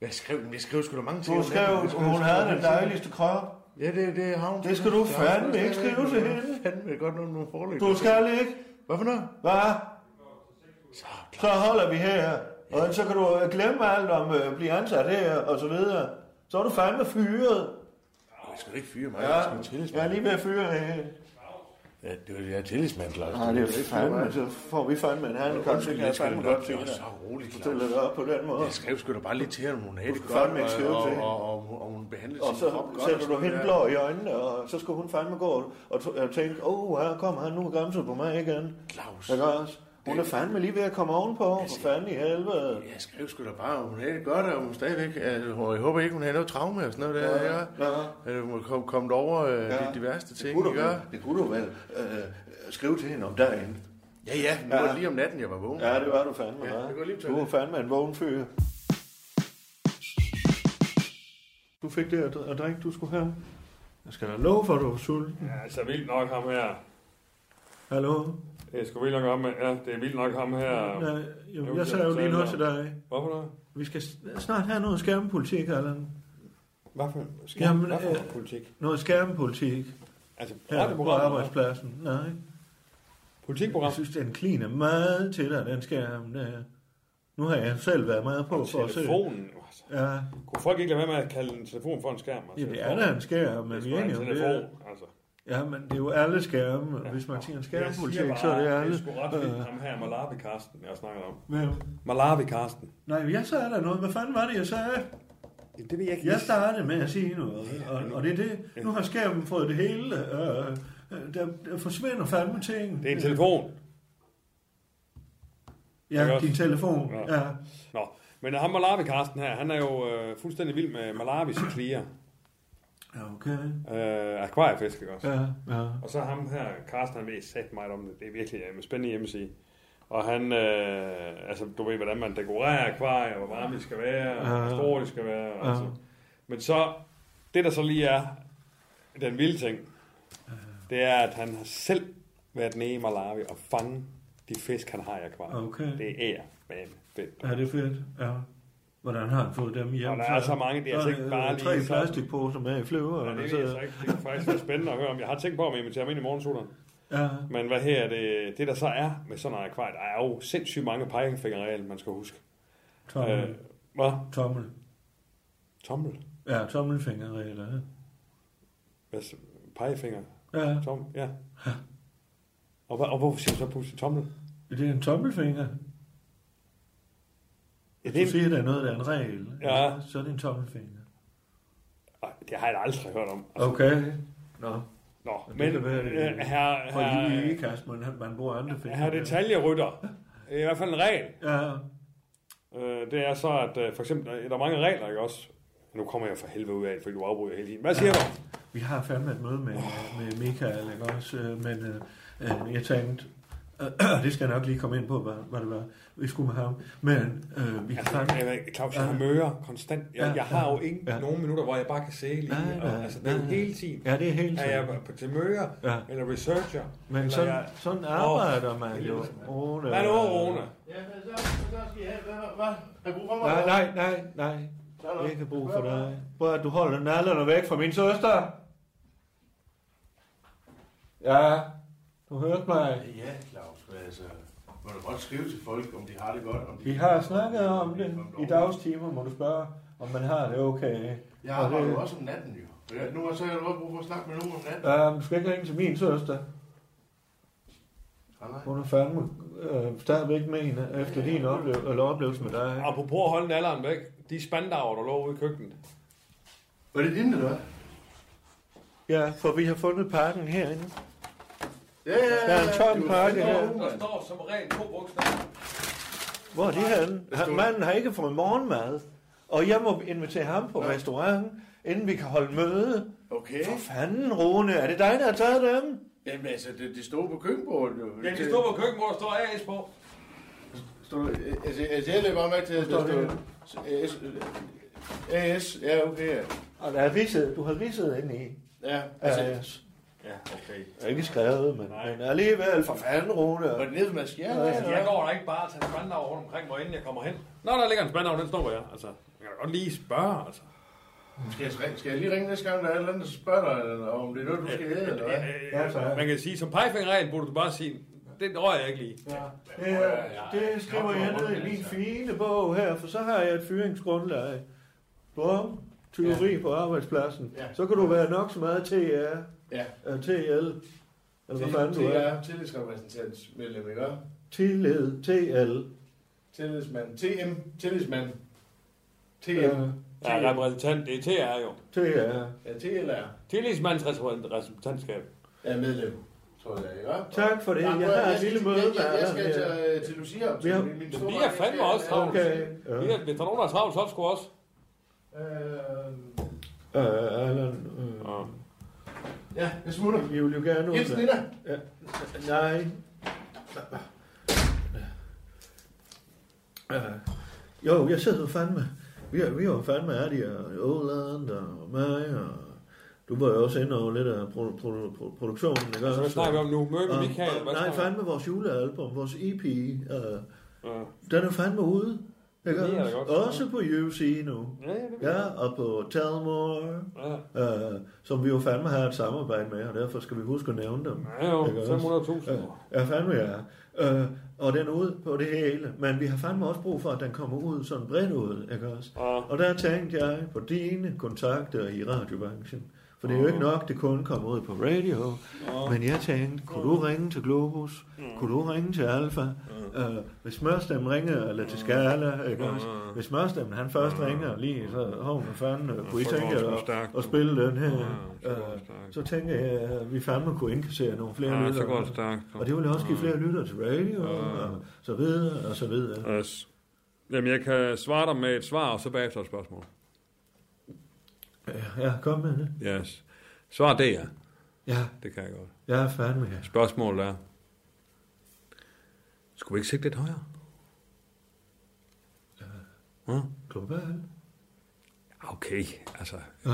Speaker 5: Jeg skrev, jeg skrev sgu da mange ting.
Speaker 1: Du
Speaker 5: om natten. Jeg
Speaker 1: skrev,
Speaker 5: skrev
Speaker 1: hun
Speaker 5: sgu da
Speaker 1: havde den
Speaker 5: mange ting.
Speaker 1: dejligste krop.
Speaker 5: Ja, det, det har hun.
Speaker 1: Det skal du
Speaker 5: har hun
Speaker 1: fandme
Speaker 5: sgu da
Speaker 1: ikke skrive
Speaker 5: stadigvæk.
Speaker 1: til
Speaker 5: Hun har
Speaker 1: hende.
Speaker 5: Fandme godt nok nogle forlæg.
Speaker 1: Du skal ikke.
Speaker 5: Hvad for noget?
Speaker 1: Hvad?
Speaker 5: Så,
Speaker 1: Så holder vi her. Og så kan du øh, glemme alt om øh, at blive ansat her og så videre. Så er du fandme fyret.
Speaker 5: jeg skal da ikke fyre mig.
Speaker 1: Ja,
Speaker 5: Jeg skal være tillidsmand.
Speaker 1: jeg er lige ved at fyre her.
Speaker 5: Ja, det er, jeg er tillidsmand, Lars.
Speaker 1: Nej, det er jo fandme, så får vi fandme en handicap, så
Speaker 5: Undskyld,
Speaker 1: kan jeg
Speaker 5: jeg skal
Speaker 1: fandme
Speaker 5: nok
Speaker 1: godt
Speaker 5: blive
Speaker 1: se
Speaker 5: så
Speaker 1: dig.
Speaker 5: rolig, Claus.
Speaker 1: Stille dig op på den måde.
Speaker 5: Jeg skrev sgu da bare lige til hende, om hun havde
Speaker 1: Du
Speaker 5: det
Speaker 1: skal
Speaker 5: godt,
Speaker 1: fandme ikke skrive
Speaker 5: og,
Speaker 1: til
Speaker 5: og,
Speaker 1: hende.
Speaker 5: og, og, og hun behandlede
Speaker 1: Og
Speaker 5: sin
Speaker 1: så
Speaker 5: krop godt.
Speaker 1: sætter
Speaker 5: og
Speaker 1: du
Speaker 5: sådan
Speaker 1: hende
Speaker 5: der.
Speaker 1: blå i øjnene, og så skulle hun fandme gå og t- og tænke, åh, oh, her kommer han nu og gamser på mig igen.
Speaker 5: Claus.
Speaker 1: Ikke også? Hun er fandme lige ved at komme ovenpå, for fanden i helvede.
Speaker 5: Jeg skrev sgu da bare, at hun havde det godt, og hun stadigvæk, altså, og jeg håber ikke, hun havde noget traume og sådan noget der, ja.
Speaker 1: ja.
Speaker 5: ja. Hun er kom, kommet over øh,
Speaker 1: Ja.
Speaker 5: de, de værste
Speaker 1: Det
Speaker 5: ting,
Speaker 1: kunne du
Speaker 5: ikke?
Speaker 1: vel, det kunne du vel øh, skrive til hende om dagen.
Speaker 5: Ja, ja, nu
Speaker 1: Ja.
Speaker 5: var det lige om natten, jeg var vågen.
Speaker 1: Ja, det var du fandme,
Speaker 5: Ja, det går lige på
Speaker 1: hva'? Du var
Speaker 5: toilettet.
Speaker 1: fandme en vågen fyr. Du fik det at, at drikke, du skulle have. Jeg skal da love for, at du var sulten.
Speaker 3: Ja, altså vildt nok ham her.
Speaker 1: Hallo?
Speaker 3: Det er sgu vildt nok ham her. Ja, det er vildt nok ham her.
Speaker 1: Nej,
Speaker 3: Jo,
Speaker 1: jo, jeg sagde jo lige noget til dig.
Speaker 3: Hvorfor da?
Speaker 1: Vi skal snart have noget skærmpolitik, Allan.
Speaker 3: Hvad for, skærm,
Speaker 1: Jamen,
Speaker 3: hvad for
Speaker 1: øh,
Speaker 3: noget politik?
Speaker 1: Noget skærmpolitik
Speaker 3: Altså,
Speaker 1: her på
Speaker 3: radioprogrammer?
Speaker 1: arbejdspladsen. Nej,
Speaker 3: Politikprogram?
Speaker 1: jeg synes, den kliner meget til dig, den skærm der. Nu har jeg selv været meget på for at se.
Speaker 3: Telefonen. jo, Altså.
Speaker 1: Ja,
Speaker 3: Kunne folk ikke lade være med at kalde en telefon for en skærm? Altså,
Speaker 1: jamen, det er da en skærm,
Speaker 3: Det er
Speaker 1: men vi
Speaker 3: sgu
Speaker 1: er
Speaker 3: da en
Speaker 1: enige om det.
Speaker 3: telefon, altså.
Speaker 1: Ja, men det er jo alle skærme. Ja. Hvis man siger en
Speaker 3: Jeg
Speaker 1: skærmpolitik,
Speaker 3: siger bare,
Speaker 1: så er det
Speaker 3: det
Speaker 1: alle.
Speaker 3: er sgu ret
Speaker 1: Øh,
Speaker 3: vildt, ham her Malawi-Karsten, jeg snakker om.
Speaker 1: men,
Speaker 3: Malawi-Karsten.
Speaker 1: nej, jeg sagde da noget. Hvad fanden var det, jeg sagde?
Speaker 3: Det ved jeg ikke.
Speaker 1: Jeg startede med at sige noget, og, og det er det. Nu har skærmen fået det hele. Øh, øh, der, der forsvinder fandme ting.
Speaker 3: Det er en telefon.
Speaker 1: Ja,
Speaker 3: Ikke
Speaker 1: din
Speaker 3: også?
Speaker 1: telefon.
Speaker 3: Ja.
Speaker 1: Ja.
Speaker 3: Nå, men øh, ham Malawi-Karsten her, han er jo øh, fuldstændig vild med Malawis clear.
Speaker 1: Ja, okay.
Speaker 3: Øh, akvariefisk, ikke også?
Speaker 1: Ja, ja.
Speaker 3: Og så ham her, Karsten, han ved sæt meget om det. Det er virkelig en øh, spændende hjemmeside. Og han, øh, altså du ved, hvordan man dekorerer akvarier, hvor varme de skal være, og hvor store de skal være. Og altså. Men så, det der så lige er den vilde ting, det er, at han har selv været nede i Malawi og fange de fisk, han har i akvariet.
Speaker 1: Okay.
Speaker 3: Det er man fedt.
Speaker 1: Ja, det er fedt. Ja. Hvordan har han fået dem hjem? øh,
Speaker 3: Og der er så mange, det er altså ikke bare lige
Speaker 1: Tre
Speaker 3: sådan.
Speaker 1: plastikposer med i flyver.
Speaker 3: Ja,
Speaker 1: og
Speaker 3: det,
Speaker 1: så-
Speaker 3: ved jeg så ikke. det kan faktisk være spændende at høre om. Jeg har tænkt på, om jeg inviterer ham ind i morgensutteren.
Speaker 1: Ja.
Speaker 3: Men hvad her er det, det der så er med sådan en akvariet, der er jo sindssygt mange pegefingerregler, man skal huske.
Speaker 1: Tommel.
Speaker 3: Øh, hvad?
Speaker 1: Tommel.
Speaker 3: Tommel?
Speaker 1: Ja, tommelfingerregler. ja.
Speaker 3: Hvad, s- pegefinger?
Speaker 1: Ja,
Speaker 3: Tommel, ja. Og, hvad, og hvorfor siger du så pludselig tommel?
Speaker 1: det er en tommelfinger.
Speaker 3: Ja,
Speaker 1: Hvis
Speaker 3: det,
Speaker 1: du
Speaker 3: er,
Speaker 1: siger, der er noget, der er en regel,
Speaker 3: Ja.
Speaker 1: så er det en tommelfinger.
Speaker 3: Ej, det har jeg da aldrig hørt om. Altså,
Speaker 1: Okay. Nå,
Speaker 3: Nå,
Speaker 1: det
Speaker 3: men
Speaker 1: kan være, det er-
Speaker 3: øh, her,
Speaker 1: og i
Speaker 3: her,
Speaker 1: ikke, man, man bruger andre fingre.
Speaker 3: her detaljerytter. Det er i hvert fald en regel.
Speaker 1: Ja,
Speaker 3: Øh, det er så, at øh, for eksempel, der er mange regler, ikke også? Nu kommer jeg for helvede ud af det, fordi du afbryder hele tiden. Hvad siger du?
Speaker 1: vi har fandme et møde med, med Michael, ikke også? Øh, Men øh, øh, jeg tænkte, øh, det skal jeg nok lige komme ind på, hvad, hvad det var, vi skulle med ham. Men øh, vi har
Speaker 3: Altså,
Speaker 1: fandme...
Speaker 3: jeg ved ikke, Claus, jeg har møger konstant. Jeg,
Speaker 1: Ja,
Speaker 3: jeg har jo ikke
Speaker 1: ja.
Speaker 3: nogen minutter, hvor jeg bare kan se lige.
Speaker 1: Nej, nej,
Speaker 3: og, altså, det er jo
Speaker 1: nej.
Speaker 3: hele tiden.
Speaker 1: Ja, det er helt
Speaker 3: Er
Speaker 1: sikkert.
Speaker 3: jeg på- til møger,
Speaker 1: Ja.
Speaker 3: eller researcher?
Speaker 1: Men
Speaker 3: eller
Speaker 1: sådan,
Speaker 3: jeg-
Speaker 1: sådan arbejder man jo. Rune.
Speaker 3: Hvad er det, Rune?
Speaker 5: Ja, men så, så skal jeg have, hvad, hvad? Er du for mig?
Speaker 1: Nej, nej, nej, nej.
Speaker 5: Nå, nå.
Speaker 1: Jeg kan bruge for dig. Prøv at du holder nallerne væk fra min søster. Ja, du hørte mig.
Speaker 5: Ja, Claus, hvad altså, må du godt skrive til folk, om de har det godt. Om de
Speaker 1: Vi har snakket om det. I dagstimer må du spørge, om man har det okay.
Speaker 5: Jeg
Speaker 1: Og
Speaker 5: arbejder
Speaker 1: det-
Speaker 5: jo også om natten, jo. Ja, nu har så jeg jo også brug for at snakke med nogen om natten.
Speaker 1: Ja, men du skal ikke ringe til min søster.
Speaker 5: Ah, nej.
Speaker 1: Hun er fandme øh, stadigvæk med hende efter din oplevelse, eller oplevelse med dig. ikke?
Speaker 3: Apropos at holde alderen væk, de spandauer, der lå ude i køkkenet.
Speaker 5: Var det din, eller hvad?
Speaker 1: Ja, for vi har fundet pakken herinde.
Speaker 5: Ja, ja, ja.
Speaker 1: Der er en tom pakke her.
Speaker 2: Der står som regel to bogstaver.
Speaker 1: Hvor er de henne? Han, manden har ikke fået morgenmad. Og jeg må invitere ham på restaurant, inden vi kan holde møde.
Speaker 5: Okay.
Speaker 1: For fanden, Rune, er det dig, der har taget dem?
Speaker 5: Jamen altså, det, det stod på køkkenbordet, jo.
Speaker 2: Ja, de står på køkkenet, hvor der står AS på.
Speaker 5: Stod, altså, altså, jeg lægger bare mærke til, at
Speaker 1: Hvor
Speaker 5: der
Speaker 1: står
Speaker 5: stod...
Speaker 1: det
Speaker 5: AS, AS, ja, okay, ja.
Speaker 1: Og der er ridset, du har ridset ind i.
Speaker 5: Ja, altså,
Speaker 1: Altså,
Speaker 3: Ja, okay.
Speaker 1: det er ikke skrevet, men, men alligevel, for fanden, Rune.
Speaker 5: var det nede med skjern?
Speaker 1: Ja, ja.
Speaker 5: Ja,
Speaker 2: Jeg går da ikke bare til spandauer rundt omkring, hvor inden jeg kommer hen.
Speaker 3: Nå, der ligger en spandauer, den står på jer. Altså, jeg kan da godt lige spørge, altså.
Speaker 5: Skal jeg, ringe- skal jeg lige ringe næste gang, der er et eller andet, der spørger dig, eller om det er noget, du skal have, eller hvad?
Speaker 1: Ja, tak.
Speaker 3: Øh, Man kan sige, som pegefingerregel burde du bare sige, det rører jeg ikke lige.
Speaker 1: Ja, det, det skriver jeg ned i min
Speaker 5: altså.
Speaker 1: fine bog her, for så har jeg et fyringsgrundlag. Bum, tyveri på arbejdspladsen.
Speaker 5: Ja.
Speaker 1: Så kan du være nok så meget TR,
Speaker 5: Ja.
Speaker 1: øh, TL, eller hvad fanden
Speaker 5: Til,
Speaker 1: du
Speaker 5: til,
Speaker 1: er.
Speaker 5: jeg er tillidsrepræsentantsmedlem, ikke? også?
Speaker 1: Tillid, TL.
Speaker 5: Tillidsmand. TM. Tillidsmand. TM.
Speaker 1: øh,
Speaker 3: Ja, repræsentant, det er TR jo.
Speaker 1: TR.
Speaker 5: Ja, TL er,
Speaker 3: Tillidsmandsrepræsentantskab.
Speaker 5: er medlem, tror jeg, ikke? også?
Speaker 1: Tak for det.
Speaker 5: Nå,
Speaker 1: Jeg
Speaker 5: prøv at-
Speaker 1: har et
Speaker 5: skal-
Speaker 1: lille
Speaker 5: jeg-
Speaker 1: møde med
Speaker 5: Jeg, jeg
Speaker 1: Allan
Speaker 5: skal
Speaker 1: her.
Speaker 5: til, øh, til Lucia. til
Speaker 1: Vi har-
Speaker 5: min- min
Speaker 3: Men
Speaker 5: store-
Speaker 3: vi er fandme også travlt.
Speaker 1: Okay.
Speaker 3: Ja. Hvis der er nogen, der er travlt, så er det sgu også.
Speaker 5: Øh,
Speaker 1: Øh, Allan. øh,
Speaker 5: Ja, jeg smutter.
Speaker 1: Vi vil jo gerne
Speaker 5: Hils
Speaker 1: ud.
Speaker 5: Nina.
Speaker 1: Nej. Øh, Jo, jeg sidder jo fandme. Vi er, vi er jo fandme ærlige, og Åland og mig, og du var jo også inde over lidt af pro, pro, pro, produktionen, ikke
Speaker 3: Så hvad snakker vi om nu? Møde med
Speaker 1: Øh,
Speaker 3: Michael?
Speaker 1: nej,
Speaker 3: Hvad snakker vi om?
Speaker 1: fandme vores julealbum, vores EP, øh,
Speaker 3: Øh,
Speaker 1: den er fandme ude. Ikke?
Speaker 3: Det er da godt.
Speaker 1: Også på UC nu.
Speaker 3: Ja, ja, det ved
Speaker 1: Ja, og på Telmore,
Speaker 3: jeg. Ja.
Speaker 1: øh, som vi jo fandme har et samarbejde med, og derfor skal vi huske at nævne dem.
Speaker 3: Ja, jo,
Speaker 1: Ikke også?
Speaker 3: 500.000.
Speaker 1: Øh, ja, fandme ja. Øh, og den er ude på det hele. Men vi har fandme også brug for, at den kommer ud sådan bredt ud, ikke også?
Speaker 3: Ja.
Speaker 1: Og der tænkte jeg på dine kontakter i radiobranchen. For det er jo ikke nok, det kun kommer ud på radio. Men jeg tænkte, kunne du ringe til Globus?
Speaker 3: Mm.
Speaker 1: Kunne du ringe til Alfa? Øh, hvis Mørstem ringer, eller
Speaker 3: Mm.
Speaker 1: til Skala, ikke også? Hvis Mørstem, han først ringer lige, så hov, hvad fanden, øh, kunne I
Speaker 3: Mm. Så går
Speaker 1: tænke
Speaker 3: det sgu
Speaker 1: jer at-
Speaker 3: stærkt,
Speaker 1: at
Speaker 3: du.
Speaker 1: spille den her?
Speaker 3: Ja, Mm. så går
Speaker 1: Øh,
Speaker 3: det stærkt.
Speaker 1: Så tænker jeg, at vi fandme kunne indkassere nogle flere
Speaker 3: Ja,
Speaker 1: lyttere.
Speaker 3: så går det stærkt, du.
Speaker 1: Og det vil også give flere lyttere til radio,
Speaker 3: Ah.
Speaker 1: og så videre, og så videre.
Speaker 3: Yes. Jamen, jeg kan svare dig med et svar, og så bagefter et spørgsmål.
Speaker 1: Ja, kom med det.
Speaker 3: Yes. Svar det, ja.
Speaker 1: Ja,
Speaker 3: Det kan jeg godt.
Speaker 1: jeg er fandme her.
Speaker 3: Spørgsmålet er, Skulle vi ikke sigte lidt højere? Ja.
Speaker 1: Global.
Speaker 3: Hm? Okay, altså.
Speaker 1: Ja,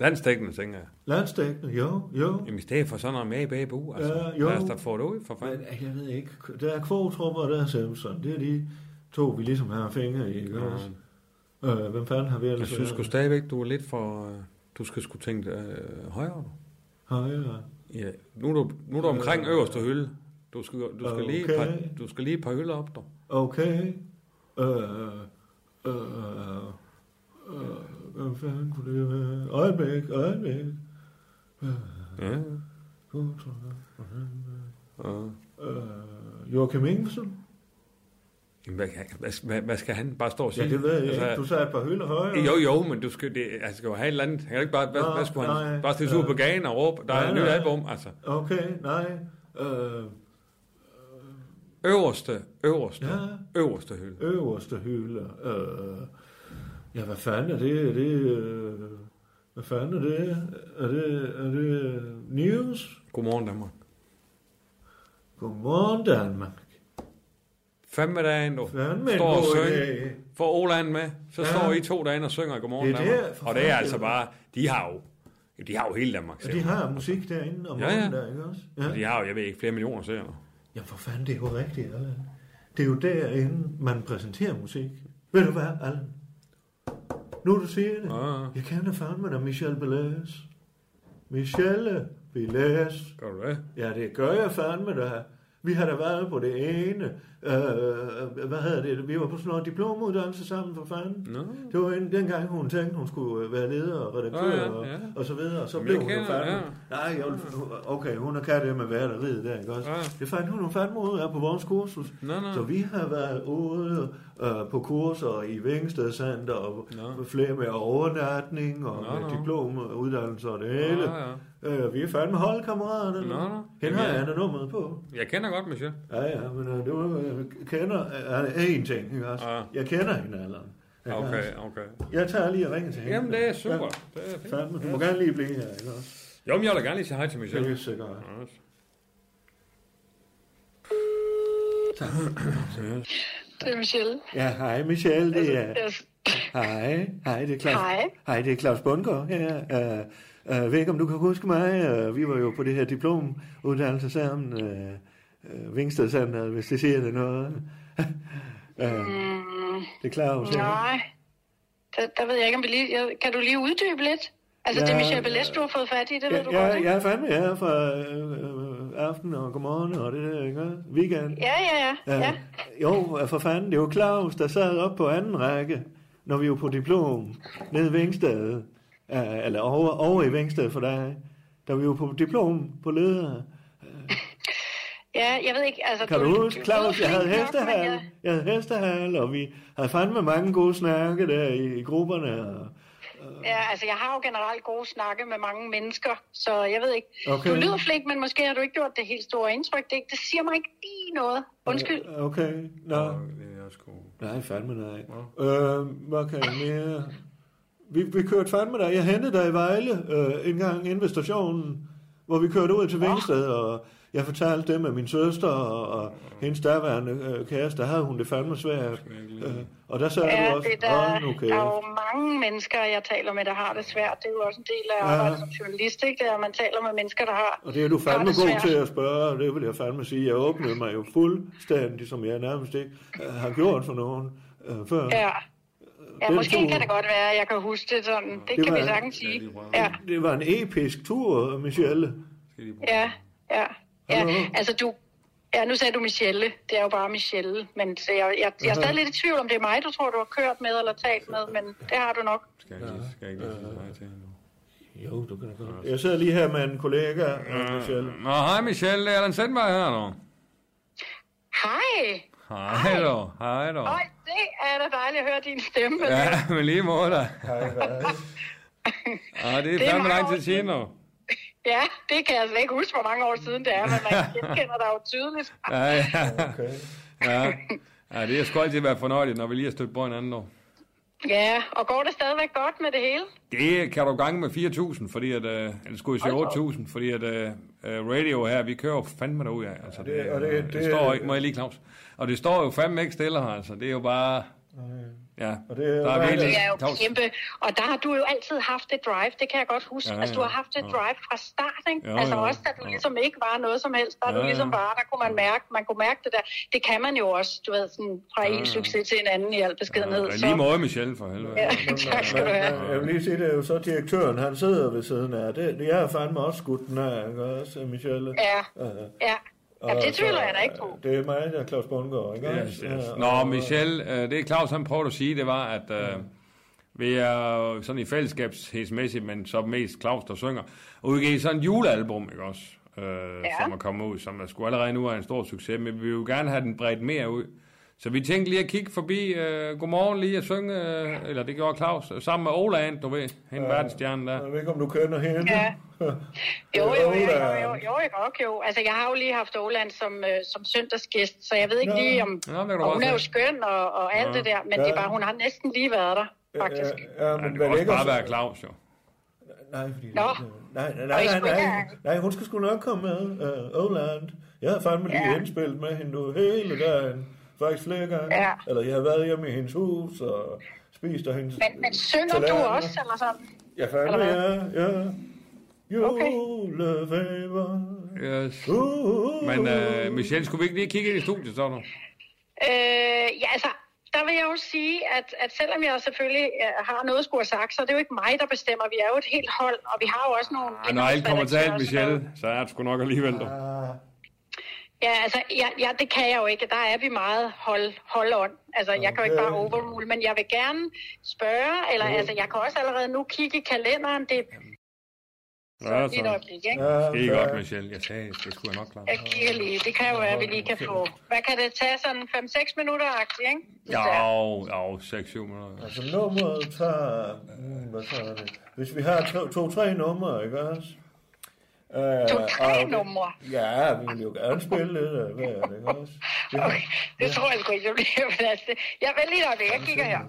Speaker 3: Landstækkende, tænker jeg.
Speaker 1: landstækkende, jo, jo.
Speaker 3: Jamen, i stedet for sådan noget med i bagbu, altså.
Speaker 1: Ja, jo.
Speaker 3: Lad os da få det ud, for
Speaker 1: Men
Speaker 3: fanden.
Speaker 1: øh, jeg ved ikke, der er Kvotrupper og der er Simpson. Det er de to, vi ligesom har fingre i, ikke også? Øh, hvem fanden har vi ellers?
Speaker 3: Ah. Jeg synes sgu
Speaker 1: været?
Speaker 3: stadigvæk, du er lidt for... øh, Du skal sgu tænke øh, højere.
Speaker 1: Højre.
Speaker 3: Ja, nu er du, nu er du omkring øverste hylde. Du skal, du skal, lige, et
Speaker 1: Øh, Okay.
Speaker 3: par, du skal lige et par hylder op, du.
Speaker 1: Okay. Øh, øh, øh, hvem fanden kunne det være? Øjeblik, øjeblik.
Speaker 3: Ja.
Speaker 1: Kvotrupper.
Speaker 3: ja.
Speaker 1: Øh, Joachim Ingelsen?
Speaker 3: Jamen, hvad, kan- hvad, hvad, hvad, skal han bare stå og sige? Altså,
Speaker 1: Ja, det ved jeg ikke. Du sagde et par hylder højere.
Speaker 3: Jo, jo, men du skal, det, han skal jo have et eller andet. Han kan jo ikke bare, hvad,
Speaker 1: Nå,
Speaker 3: hvad skulle han?
Speaker 1: nej,
Speaker 3: bare stille sig ud
Speaker 1: øh.
Speaker 3: på gaden og råbe, der
Speaker 1: Nej,
Speaker 3: er et nyt
Speaker 1: nej.
Speaker 3: album, altså.
Speaker 1: Okay, nej. Øh,
Speaker 3: Øverste, øverste,
Speaker 1: Ja.
Speaker 3: øverste hylde.
Speaker 1: øverste hylde. Øh, ja, hvad fanden er det? Er det øh, hvad fanden er det? Er det, er det øh, news?
Speaker 3: Godmorgen, Danmark.
Speaker 1: Godmorgen, Danmark.
Speaker 3: Fem dagen, du
Speaker 1: Fandme en
Speaker 3: står og
Speaker 1: god
Speaker 3: synger.
Speaker 1: idé.
Speaker 3: Får Åland med, så
Speaker 1: Ja.
Speaker 3: står I to derinde og synger Godmorgen,
Speaker 1: Det er det,
Speaker 3: Danmark.
Speaker 1: for
Speaker 3: Og det er
Speaker 1: fanden.
Speaker 3: altså bare, de har jo, de har jo hele Danmark.
Speaker 1: Ja, de har musik derinde om
Speaker 3: Ja, ja.
Speaker 1: morgenen, der, ikke også? Ja.
Speaker 3: de har jo, jeg ved ikke, flere millioner seere.
Speaker 1: ja, for fanden, det er jo rigtigt, Allan. Det er jo derinde, man præsenterer musik. Ved du hvad, Allan? Nu du siger det.
Speaker 3: Ja.
Speaker 1: Jeg kender fandme dig, Michel Belæs. Michelle Belæs.
Speaker 3: Gør du det?
Speaker 1: Ja, det gør jeg fandme da. Vi har da været på det ene. Øh, hvad hedder det? Vi var på sådan noget diplomuddannelse sammen for fanden.
Speaker 3: Nå.
Speaker 1: Det var en, dengang, hun tænkte, hun skulle øh, være leder og redaktør
Speaker 3: Nå, ja, ja.
Speaker 1: Og, og, så videre. Og så
Speaker 3: Jamen,
Speaker 1: blev
Speaker 3: jeg
Speaker 1: hun jo
Speaker 3: kender,
Speaker 1: fandme.
Speaker 3: ja.
Speaker 1: Nej, jeg, vil- okay, hun er kan det med værteriet der, ikke også?
Speaker 3: Ja.
Speaker 1: Det fandt hun jo fandme ud af på vores kursus.
Speaker 3: Nå, nå.
Speaker 1: Så vi har været ude øh, på kurser i Vingsted Center og flere med overnatning og
Speaker 3: Nå,
Speaker 1: med
Speaker 3: nå.
Speaker 1: diplomuddannelser og det hele.
Speaker 3: Ja, ja.
Speaker 1: Øh, vi er fandme holdkammeraterne.
Speaker 3: Nå, nå.
Speaker 1: Hende har
Speaker 3: Jamen, ja.
Speaker 1: Anna nummeret på.
Speaker 3: Jeg kender godt, Michel.
Speaker 1: Ja, ja, men øh, det var, jeg kender øh, en ting, ikke også?
Speaker 3: Ja.
Speaker 1: Jeg kender hende alderen.
Speaker 3: Ah, Okay, okay.
Speaker 1: Jeg tager lige og ringer til hende.
Speaker 3: Jamen, det er super. Det er
Speaker 1: Ja,
Speaker 3: fint.
Speaker 1: fandme, du må gerne lige blive her, ikke også?
Speaker 3: Jo, men jeg vil da gerne lige sige hej til
Speaker 1: Det er
Speaker 3: Michel.
Speaker 1: helt sikkert.
Speaker 6: Det er Michelle.
Speaker 1: Ja, hej Michelle,
Speaker 4: Altså,
Speaker 1: det er...
Speaker 4: øh.
Speaker 6: Jeg,
Speaker 1: Hej, hej, det er Claus.
Speaker 6: Hej.
Speaker 1: Hej, det er Claus Bundgaard her. Uh, uh, ved ikke, om du kan huske mig. Uh, vi var jo på det her diplomuddannelse sammen. Uh, uh, Vingsted Center, hvis det siger det noget. uh, det er Claus. ikke?
Speaker 6: Mm, nej, der, der ved jeg ikke, om vi lige... Jeg, kan du lige uddybe lidt? Altså,
Speaker 1: Ja,
Speaker 6: det er Michelle
Speaker 1: ja.
Speaker 6: Bellest, du har fået fat i, det ved du
Speaker 1: Ja,
Speaker 6: godt,
Speaker 1: ja,
Speaker 6: ikke?
Speaker 1: jeg er fandme her fra øh, øh, aften og godmorgen og det der, ikke? Weekend.
Speaker 6: Ja, ja, ja. ja. ja.
Speaker 1: Øh, jo, for fanden, det var Claus, der sad op på anden række, når vi var på diplom, nede i Vingsted, øh, eller over, over i Vingsted for dig, da vi var på diplom på leder.
Speaker 6: Ja, jeg ved ikke, altså...
Speaker 1: Kan du huske, Claus, jeg
Speaker 6: lyder
Speaker 1: havde
Speaker 6: fint nok, men
Speaker 1: hestehal,
Speaker 6: jeg-
Speaker 1: jeg havde hestehal, og vi havde fandme mange gode snakke der i, i grupperne. Og,
Speaker 6: Ja, altså, jeg har jo generelt gode snakke med mange mennesker, så jeg ved ikke...
Speaker 1: Okay.
Speaker 6: Du lyder flink, men måske har du ikke gjort det helt store indtryk. Det, det siger mig ikke lige noget. Undskyld.
Speaker 1: Okay, nå.
Speaker 3: Det er sgu...
Speaker 1: Nej, fandme nej. Øh, hvad kan jeg mere? Vi, vi kørte fandme dig. Jeg hentede dig i Vejle øh, en gang inde ved stationen, hvor vi kørte ud til Vingsted, og jeg fortalte dem, at min søster og, og hendes daværende øh, kæreste, der havde hun det fandme svært. Øh, og der sagde
Speaker 6: Ja,
Speaker 1: du også,
Speaker 6: det er der,
Speaker 1: "Åh, nu
Speaker 6: der
Speaker 1: kæft."
Speaker 6: er jo mange mennesker, jeg taler med, der har det svært. Det er jo også en del af
Speaker 1: Ja.
Speaker 6: arbejdet som journalist, ikke? Det er, at man taler med mennesker, der har
Speaker 1: Og det er du
Speaker 6: har
Speaker 1: fandme
Speaker 6: det
Speaker 1: god
Speaker 6: svært.
Speaker 1: til at spørge, og det vil jeg fandme sige. Jeg åbnede mig jo fuldstændig, som jeg nærmest ikke øh, har gjort for nogen øh, før.
Speaker 6: Ja. Ja,
Speaker 1: Den
Speaker 6: måske
Speaker 1: tur-
Speaker 6: kan det godt være, at jeg kan huske det sådan. Det,
Speaker 1: Det
Speaker 6: kan
Speaker 1: var-
Speaker 6: vi sagtens sige. Ja,
Speaker 1: Det var en episk tur, Michelle.
Speaker 6: ja, ja. ja.
Speaker 1: Hallo?
Speaker 6: Altså, du... Ja, nu sagde du Michelle. Det er jo bare Michelle. Men så jeg, jeg, jeg er stadig lidt i tvivl, om det er mig, du tror, du har kørt med eller talt med, men det har du nok.
Speaker 3: Skal jeg ikke, skal jeg ikke lige sige hej til hende?
Speaker 1: Jo, du kan da godt. Jeg sidder lige her med en kollega, øh, Michelle.
Speaker 3: Nå, hej Michelle, det er Allan Sandberg her, dog.
Speaker 6: Hej!
Speaker 3: Hej dog, hej dog.
Speaker 6: Øj, det er da dejligt at høre din stemme. Ja.
Speaker 3: Ja, men lige måde da. Ja, det
Speaker 6: Det
Speaker 3: er
Speaker 6: er
Speaker 3: fandme
Speaker 6: mange
Speaker 3: lang
Speaker 6: år
Speaker 3: tid siden,
Speaker 6: siden.
Speaker 3: dog.
Speaker 6: ja, det kan jeg slet ikke huske, hvor mange år siden det er, men man genkender dig jo tydeligt.
Speaker 3: Ja, ja. ja. Ja, det har sgu altid været fornøjeligt, når vi lige har stødt på hinanden, dog.
Speaker 6: Ja, og går det stadigvæk godt med det hele?
Speaker 3: Det kan du gange med 4.000, fordi at, øh, eller skulle jeg sige 8.000, fordi at øh, øh, radio her, vi kører jo fandme derud af. Altså, det,
Speaker 1: og
Speaker 3: og
Speaker 1: det-
Speaker 3: det,
Speaker 1: det-
Speaker 3: det, det, står ikke, må jeg lige Claus. Og det står jo fandme ikke stille her, altså, det er jo bare, ja,
Speaker 1: Og det er jo
Speaker 3: der
Speaker 1: bare-
Speaker 3: er virkelig
Speaker 6: Det er jo
Speaker 3: tavs.
Speaker 6: kæmpe, og der har du jo altid haft et drive, det kan jeg godt huske.
Speaker 3: Ja,
Speaker 6: Ja,
Speaker 3: ja,
Speaker 6: ja, altså, du har haft et
Speaker 3: ja.
Speaker 6: drive fra start, ikke?
Speaker 3: Jo,
Speaker 6: Jo, altså
Speaker 3: jo,
Speaker 6: også, da du
Speaker 3: jo.
Speaker 6: ligesom ikke var noget som helst, der, ja,
Speaker 3: Ja,
Speaker 6: du
Speaker 3: ja.
Speaker 6: ligesom var, der kunne man mærke, man kunne mærke det der. Det kan man jo også, du ved, sådan fra
Speaker 3: Ja,
Speaker 6: ja, en
Speaker 3: ja.
Speaker 6: succes til en anden i al beskedenhed.
Speaker 3: Ja,
Speaker 6: Ja,
Speaker 3: lige måde, Michelle, for helvede.
Speaker 6: Ja, tak skal du
Speaker 1: Men,
Speaker 6: have.
Speaker 1: men, jeg vil lige sige, det er jo så direktøren, han sidder ved siden af. Det, jeg har fandme også skudt den af, ikke også, Michelle?
Speaker 6: Ja,
Speaker 1: Øh,
Speaker 6: ja. ja det tvivler jeg da ikke på.
Speaker 1: Det er mig, der er Claus Bundgaard, ikke
Speaker 3: Yes, yes. Nå, Michelle, øh, det Claus han prøvede at sige, det var, at øh, vi er jo sådan i fællesskabshæsmæssigt, men så mest Claus, der synger, udgivet sådan en julealbum, ikke også? Øh, ja. Som er kommet ud, som er sgu allerede nu er en stor succes, men vi vil jo gerne have den bredt mere ud. Så vi tænkte lige at kigge forbi, øh, godmorgen lige at synge, øh, eller det gjorde Claus, øh, sammen med Olaen, du ved, hende ja. verdensstjerne der.
Speaker 1: Jeg ved ikke, om du kender hende.
Speaker 6: Ja. Jo, jo, jo, jo,
Speaker 1: Åland.
Speaker 6: jo, jo, jo, nok jo. Altså, jeg har jo lige haft Åland som, øh, som søndagsgæst, så jeg ved ikke
Speaker 1: Nå.
Speaker 6: lige om...
Speaker 3: Nå, det kan du
Speaker 6: og hun
Speaker 3: godt
Speaker 6: er jo
Speaker 3: se.
Speaker 6: skøn og, og alt
Speaker 3: Ja.
Speaker 6: det der, men
Speaker 1: Ja.
Speaker 6: det er bare, hun har næsten lige været der, faktisk.
Speaker 1: Ja, ja,
Speaker 3: Ja, det
Speaker 1: men
Speaker 3: kan
Speaker 1: vel
Speaker 3: også
Speaker 1: ikke
Speaker 3: bare
Speaker 1: også-
Speaker 3: være Claus, jo.
Speaker 1: Nej, fordi...
Speaker 6: Nå.
Speaker 1: Nej, nej, nej,
Speaker 6: I
Speaker 1: nej,
Speaker 6: skulle ikke
Speaker 1: nej,
Speaker 6: have-
Speaker 1: nej, hun skal sgu nok komme med. Uh, Åland. Jeg har fandme lige
Speaker 6: Ja.
Speaker 1: indspillet med hende nu hele dagen. Faktisk flere gange.
Speaker 6: Ja.
Speaker 1: Eller jeg har været hjemme i hendes hus og spist af hendes...
Speaker 6: Men, men synger du
Speaker 1: tallerkener.
Speaker 6: også, eller sådan?
Speaker 1: Ja, fandme,
Speaker 6: Eller
Speaker 1: ja, ja. Julefaber.
Speaker 3: Yes.
Speaker 1: Uh,
Speaker 3: Men øh, Michelle, skulle vi ikke lige kigge ind i studiet, så nu?
Speaker 6: Øh, ja, altså, der vil jeg jo sige, at, at selvom jeg selvfølgelig øh, har noget at skulle have sagt, så er det jo ikke mig, der bestemmer. Vi er jo et helt hold, og vi har jo også nogle...
Speaker 3: Ah, når alt kommer til alt,
Speaker 6: indholdsredaktører og sådan noget.
Speaker 3: Michelle, så er det sgu nok alligevel, du.
Speaker 1: Ah,
Speaker 6: Ja, altså, ja, ja, det kan jeg jo ikke. Der er vi meget hold, hold on. Altså, jeg kan jo ikke bare overrule, men jeg vil gerne spørge, eller altså, jeg kan også allerede nu kigge i kalenderen. Det er
Speaker 3: Ja,
Speaker 6: lige et
Speaker 3: så.
Speaker 6: øjeblik, ikke?
Speaker 3: Det er godt, Michelle. Jeg sagde, det skulle jeg nok klare.
Speaker 6: Jeg kigger lige. Det kan jo være, at vi lige kan få... Hvad kan det tage? Sådan 5-6 minutter, ikke? Der.
Speaker 3: Jo, jo, 6-7 minutter.
Speaker 1: Altså nummeret tager... Hmm, hvad så er det? Hvis vi har to-tre to, tre numre, ikke også? Uh,
Speaker 6: To-tre numre?
Speaker 1: Ja, vi vil jo gerne spille lidt af hvert, ikke også? Vi har-
Speaker 6: Okay, det tror jeg sgu ikke, jeg bliver plads til. Jeg vil lige op, jeg kigger her.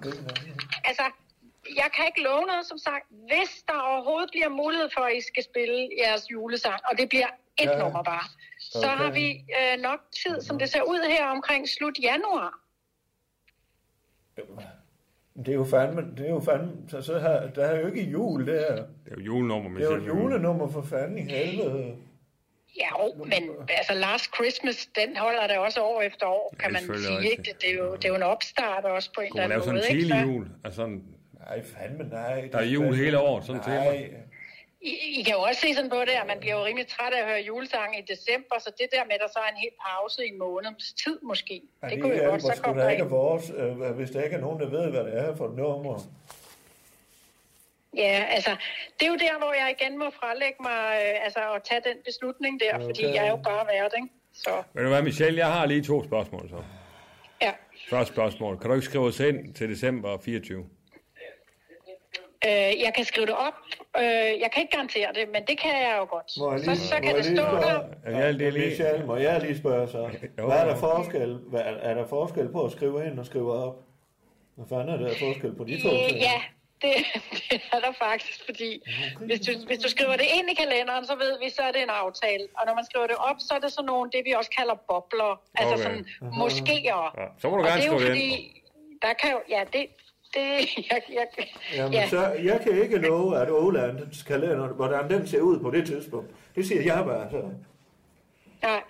Speaker 6: Altså, jeg kan ikke love noget, som sagt. Hvis der overhovedet bliver mulighed for, at I skal spille jeres julesang, og det bliver et
Speaker 1: Ja.
Speaker 6: ja. nummer bare,
Speaker 1: Okay.
Speaker 6: så har vi øh, nok tid, som det ser ud her omkring slut januar.
Speaker 1: Det er jo fandme... Det er jo fandme... Så, så her, der er jo ikke jul, der.
Speaker 3: Det er jo julenummer,
Speaker 1: Det er jo et
Speaker 3: Michelle.
Speaker 1: julenummer for fanden i helvede.
Speaker 6: Ja, jo, men altså Last Christmas, den holder der også år efter år, kan man
Speaker 3: selvfølgelig
Speaker 6: sige.
Speaker 3: rigtigt.
Speaker 6: Ikke? Det, er jo, det er jo en opstart også på en
Speaker 3: Kunne
Speaker 6: eller
Speaker 3: man
Speaker 6: anden
Speaker 3: lave sådan en
Speaker 6: måde.
Speaker 3: tidlig
Speaker 6: ikke? Så-
Speaker 3: jul? Altså, sådan-
Speaker 1: Nej, fandme nej.
Speaker 3: Der er jul hele året, sådan et
Speaker 1: Nej.
Speaker 6: I, I kan jo også se sådan på det, at man bliver jo rimelig træt af at høre julesange i december, så det der med, at der så er en helt pause i en måneds tid måske,
Speaker 1: Ja,
Speaker 6: det,
Speaker 1: det,
Speaker 6: kunne jo godt
Speaker 1: hjælper
Speaker 6: så
Speaker 1: sgu
Speaker 6: komme
Speaker 1: da ikke
Speaker 6: ind.
Speaker 1: vores, øh, hvis der ikke er nogen, der ved, hvad det er for et nummer.
Speaker 6: Ja, altså, det er jo der, hvor jeg igen må frelægge mig øh, altså, og tage den beslutning der, okay. fordi
Speaker 1: Okay.
Speaker 6: jeg er jo bare vært, ikke? Så,
Speaker 3: Ved du hvad, Michelle, jeg har lige to spørgsmål så.
Speaker 6: ja.
Speaker 3: Første spørgsmål. Kan du ikke skrive os ind til december 24?
Speaker 6: Øh, jeg kan skrive det op. Øh, jeg kan ikke garantere det, men det kan jeg jo godt.
Speaker 1: Må jeg
Speaker 6: Så,
Speaker 1: lige,
Speaker 6: så
Speaker 1: må
Speaker 6: kan
Speaker 1: jeg
Speaker 6: det
Speaker 1: lige
Speaker 6: stå der.
Speaker 1: spørge-
Speaker 3: Er jeg lige-
Speaker 1: Michelle, må jeg lige spørge så?
Speaker 3: Jo,
Speaker 1: Hvad er der
Speaker 3: jo.
Speaker 1: forskel, hvad, er der forskel på at skrive ind og skrive op? Hvad fanden er der forskel på de to ting?
Speaker 6: Øh, ja, det, det er der faktisk, fordi hvis du, hvis du skriver det ind i kalenderen, så ved vi, så er det en aftale. Og når man skriver det op, så er det sådan nogle, det vi også kalder bobler. Altså
Speaker 3: Okay.
Speaker 6: okay. sådan moskéer.
Speaker 3: Ja, så må du
Speaker 6: Og
Speaker 3: gerne
Speaker 6: det er jo
Speaker 3: skrive det
Speaker 6: fordi,
Speaker 3: ind.
Speaker 6: der kan jo, ja, det, det, jeg, jeg,
Speaker 1: Jamen,
Speaker 6: ja.
Speaker 1: så, jeg kan ikke love, at Ålandens kalender, hvordan den ser ud på det tidspunkt. Det siger jeg bare så.
Speaker 6: Nej,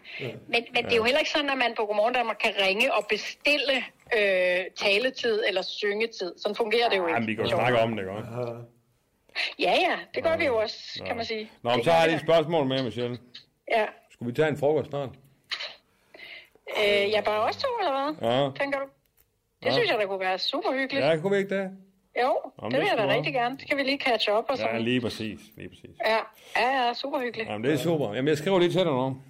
Speaker 6: men, men det er jo heller ikke sådan, at man på Godmorgen Danmark kan ringe og bestille øh, taletid eller syngetid. Sådan fungerer det jo
Speaker 3: Jamen,
Speaker 6: ikke.
Speaker 3: vi kan jo snakke om det, ikke? også?
Speaker 6: Ja, ja, det gør vi jo også, kan man sige.
Speaker 3: Nå, men
Speaker 6: Det
Speaker 3: så
Speaker 6: gør
Speaker 3: har
Speaker 6: vi
Speaker 3: jeg lige
Speaker 6: da.
Speaker 3: et spørgsmål med, Michelle.
Speaker 6: Ja.
Speaker 3: Skulle vi tage en frokost snart?
Speaker 6: Øh, jeg bare også to, eller hvad?
Speaker 3: Ja.
Speaker 6: Tænker du? Det synes jeg, der kunne være super hyggeligt. Ja.
Speaker 3: Ja, kunne vi ikke det?
Speaker 6: Jo,
Speaker 3: Jamen,
Speaker 6: det vil
Speaker 3: det
Speaker 6: jeg da
Speaker 3: skulle
Speaker 6: rigtig gerne. Så kan vi lige catch up og sådan.
Speaker 3: Ja, lige præcis. Lige præcis.
Speaker 6: ja, ja, ja, super hyggeligt. Ja.
Speaker 3: Jamen, det er super. Jamen, jeg skriver lige til dig nu.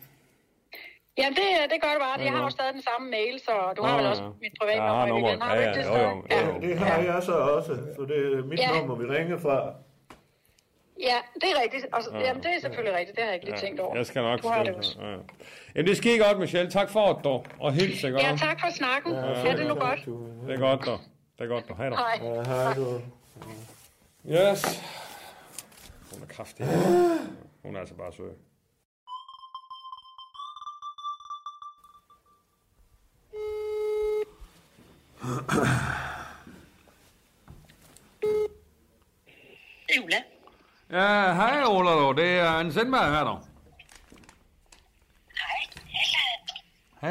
Speaker 6: Jamen, det, det gør det bare. Jeg har jo stadig den samme mail, så du har vel
Speaker 3: ja,
Speaker 6: også
Speaker 3: ja.
Speaker 6: mit private
Speaker 3: Ja, jeg har
Speaker 6: nummer. igen,
Speaker 3: nummeret.
Speaker 6: har du
Speaker 3: Ja,
Speaker 6: ikke det
Speaker 3: ja, jo, jo,
Speaker 6: stadig? ja.
Speaker 3: jo.
Speaker 1: Det har jeg så også, så det er mit
Speaker 6: Ja.
Speaker 1: nummer, vi ringer fra.
Speaker 6: ja, det er rigtigt. Og, så- jamen, det er selvfølgelig rigtigt. Det har jeg ikke lige tænkt over.
Speaker 3: Ah, Jeg skal nok
Speaker 6: du har det
Speaker 3: skrive
Speaker 6: også.
Speaker 3: det. Ja. Jamen, det sker godt, Michelle. Tak for det, dog. Og hils, ikke?
Speaker 6: Ja,
Speaker 3: også?
Speaker 6: tak for snakken. Ja, det er nu godt.
Speaker 3: Det er godt, dog. Det er godt, du har dig.
Speaker 6: Nej.
Speaker 1: Ja, hej du.
Speaker 7: Yes. Hun er kraftig. Hun er altså bare sød.
Speaker 8: Ulla.
Speaker 3: Ja, hej Ola, det er en Sindberg her dog.
Speaker 8: Hej, Ulla.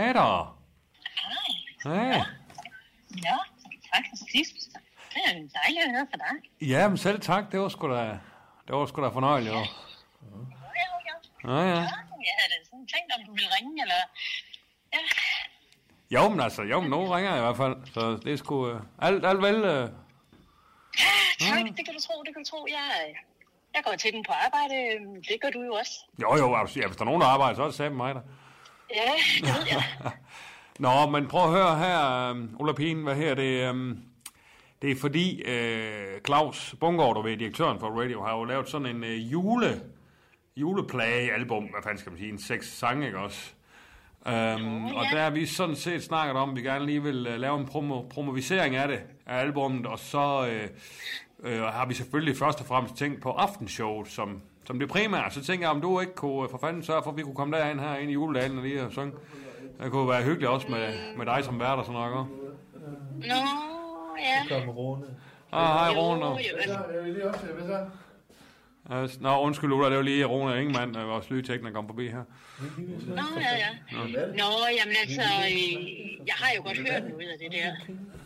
Speaker 3: Hej da. Hej.
Speaker 8: Nå, faktisk sidst. Det er en dejlig at høre fra dig.
Speaker 3: Ja, men selv tak, det var sgu da, det var sgu da fornøjeligt. jo.
Speaker 8: Jo, jo, jo.
Speaker 3: Ja, ja.
Speaker 8: Jeg havde da sådan tænkt, om du ville ringe, eller... Ja,
Speaker 3: Jo, men altså, jo, men nu ringer jeg i hvert fald, så det er sgu... Øh, alt, alt vel... Øh,
Speaker 8: tak, det kan du tro, det kan du tro. Jeg, jeg går til den på arbejde. øhm, Det gør du jo også.
Speaker 3: jo, jo, altså, ja, hvis der er nogen, der arbejder, så er det sammen mig der.
Speaker 8: Ja, det ved jeg.
Speaker 3: Nå, men prøv at høre her, øh, Ulla Pien, hvad her det... Øh, det er fordi øh, Claus Bungård, du ved, direktøren for Radio, har jo lavet sådan en øh, jule, juleplage-album, hvad fanden skal man sige, en seks sange, ikke også? Øhm, og der har vi sådan set snakket om, at vi gerne lige vil øh, lave en promo- promovisering af det, af albummet, og så øh, øh, har vi selvfølgelig først og fremmest tænkt på aftenshowet som, som det primære. Så tænker jeg, om du ikke kunne øh, for fanden sørge for, at vi kunne komme derind her ind i juledagen og lige og synge. Det kunne være hyggeligt også med, med dig som vært og sådan noget. ikke?
Speaker 8: Nå, ja.
Speaker 1: Kamerone.
Speaker 3: Ah, hej Rune.
Speaker 8: Jo, jo.
Speaker 5: Jeg vil lige optage, hvad så?
Speaker 3: Øh, s- Nå, undskyld Ulla, det var lige Rune Ingemann, øh, vores lydtekniker, kom forbi her.
Speaker 8: Nå, ja, ja. Nå, jamen altså, øh, jeg har jo godt hørt noget af det der.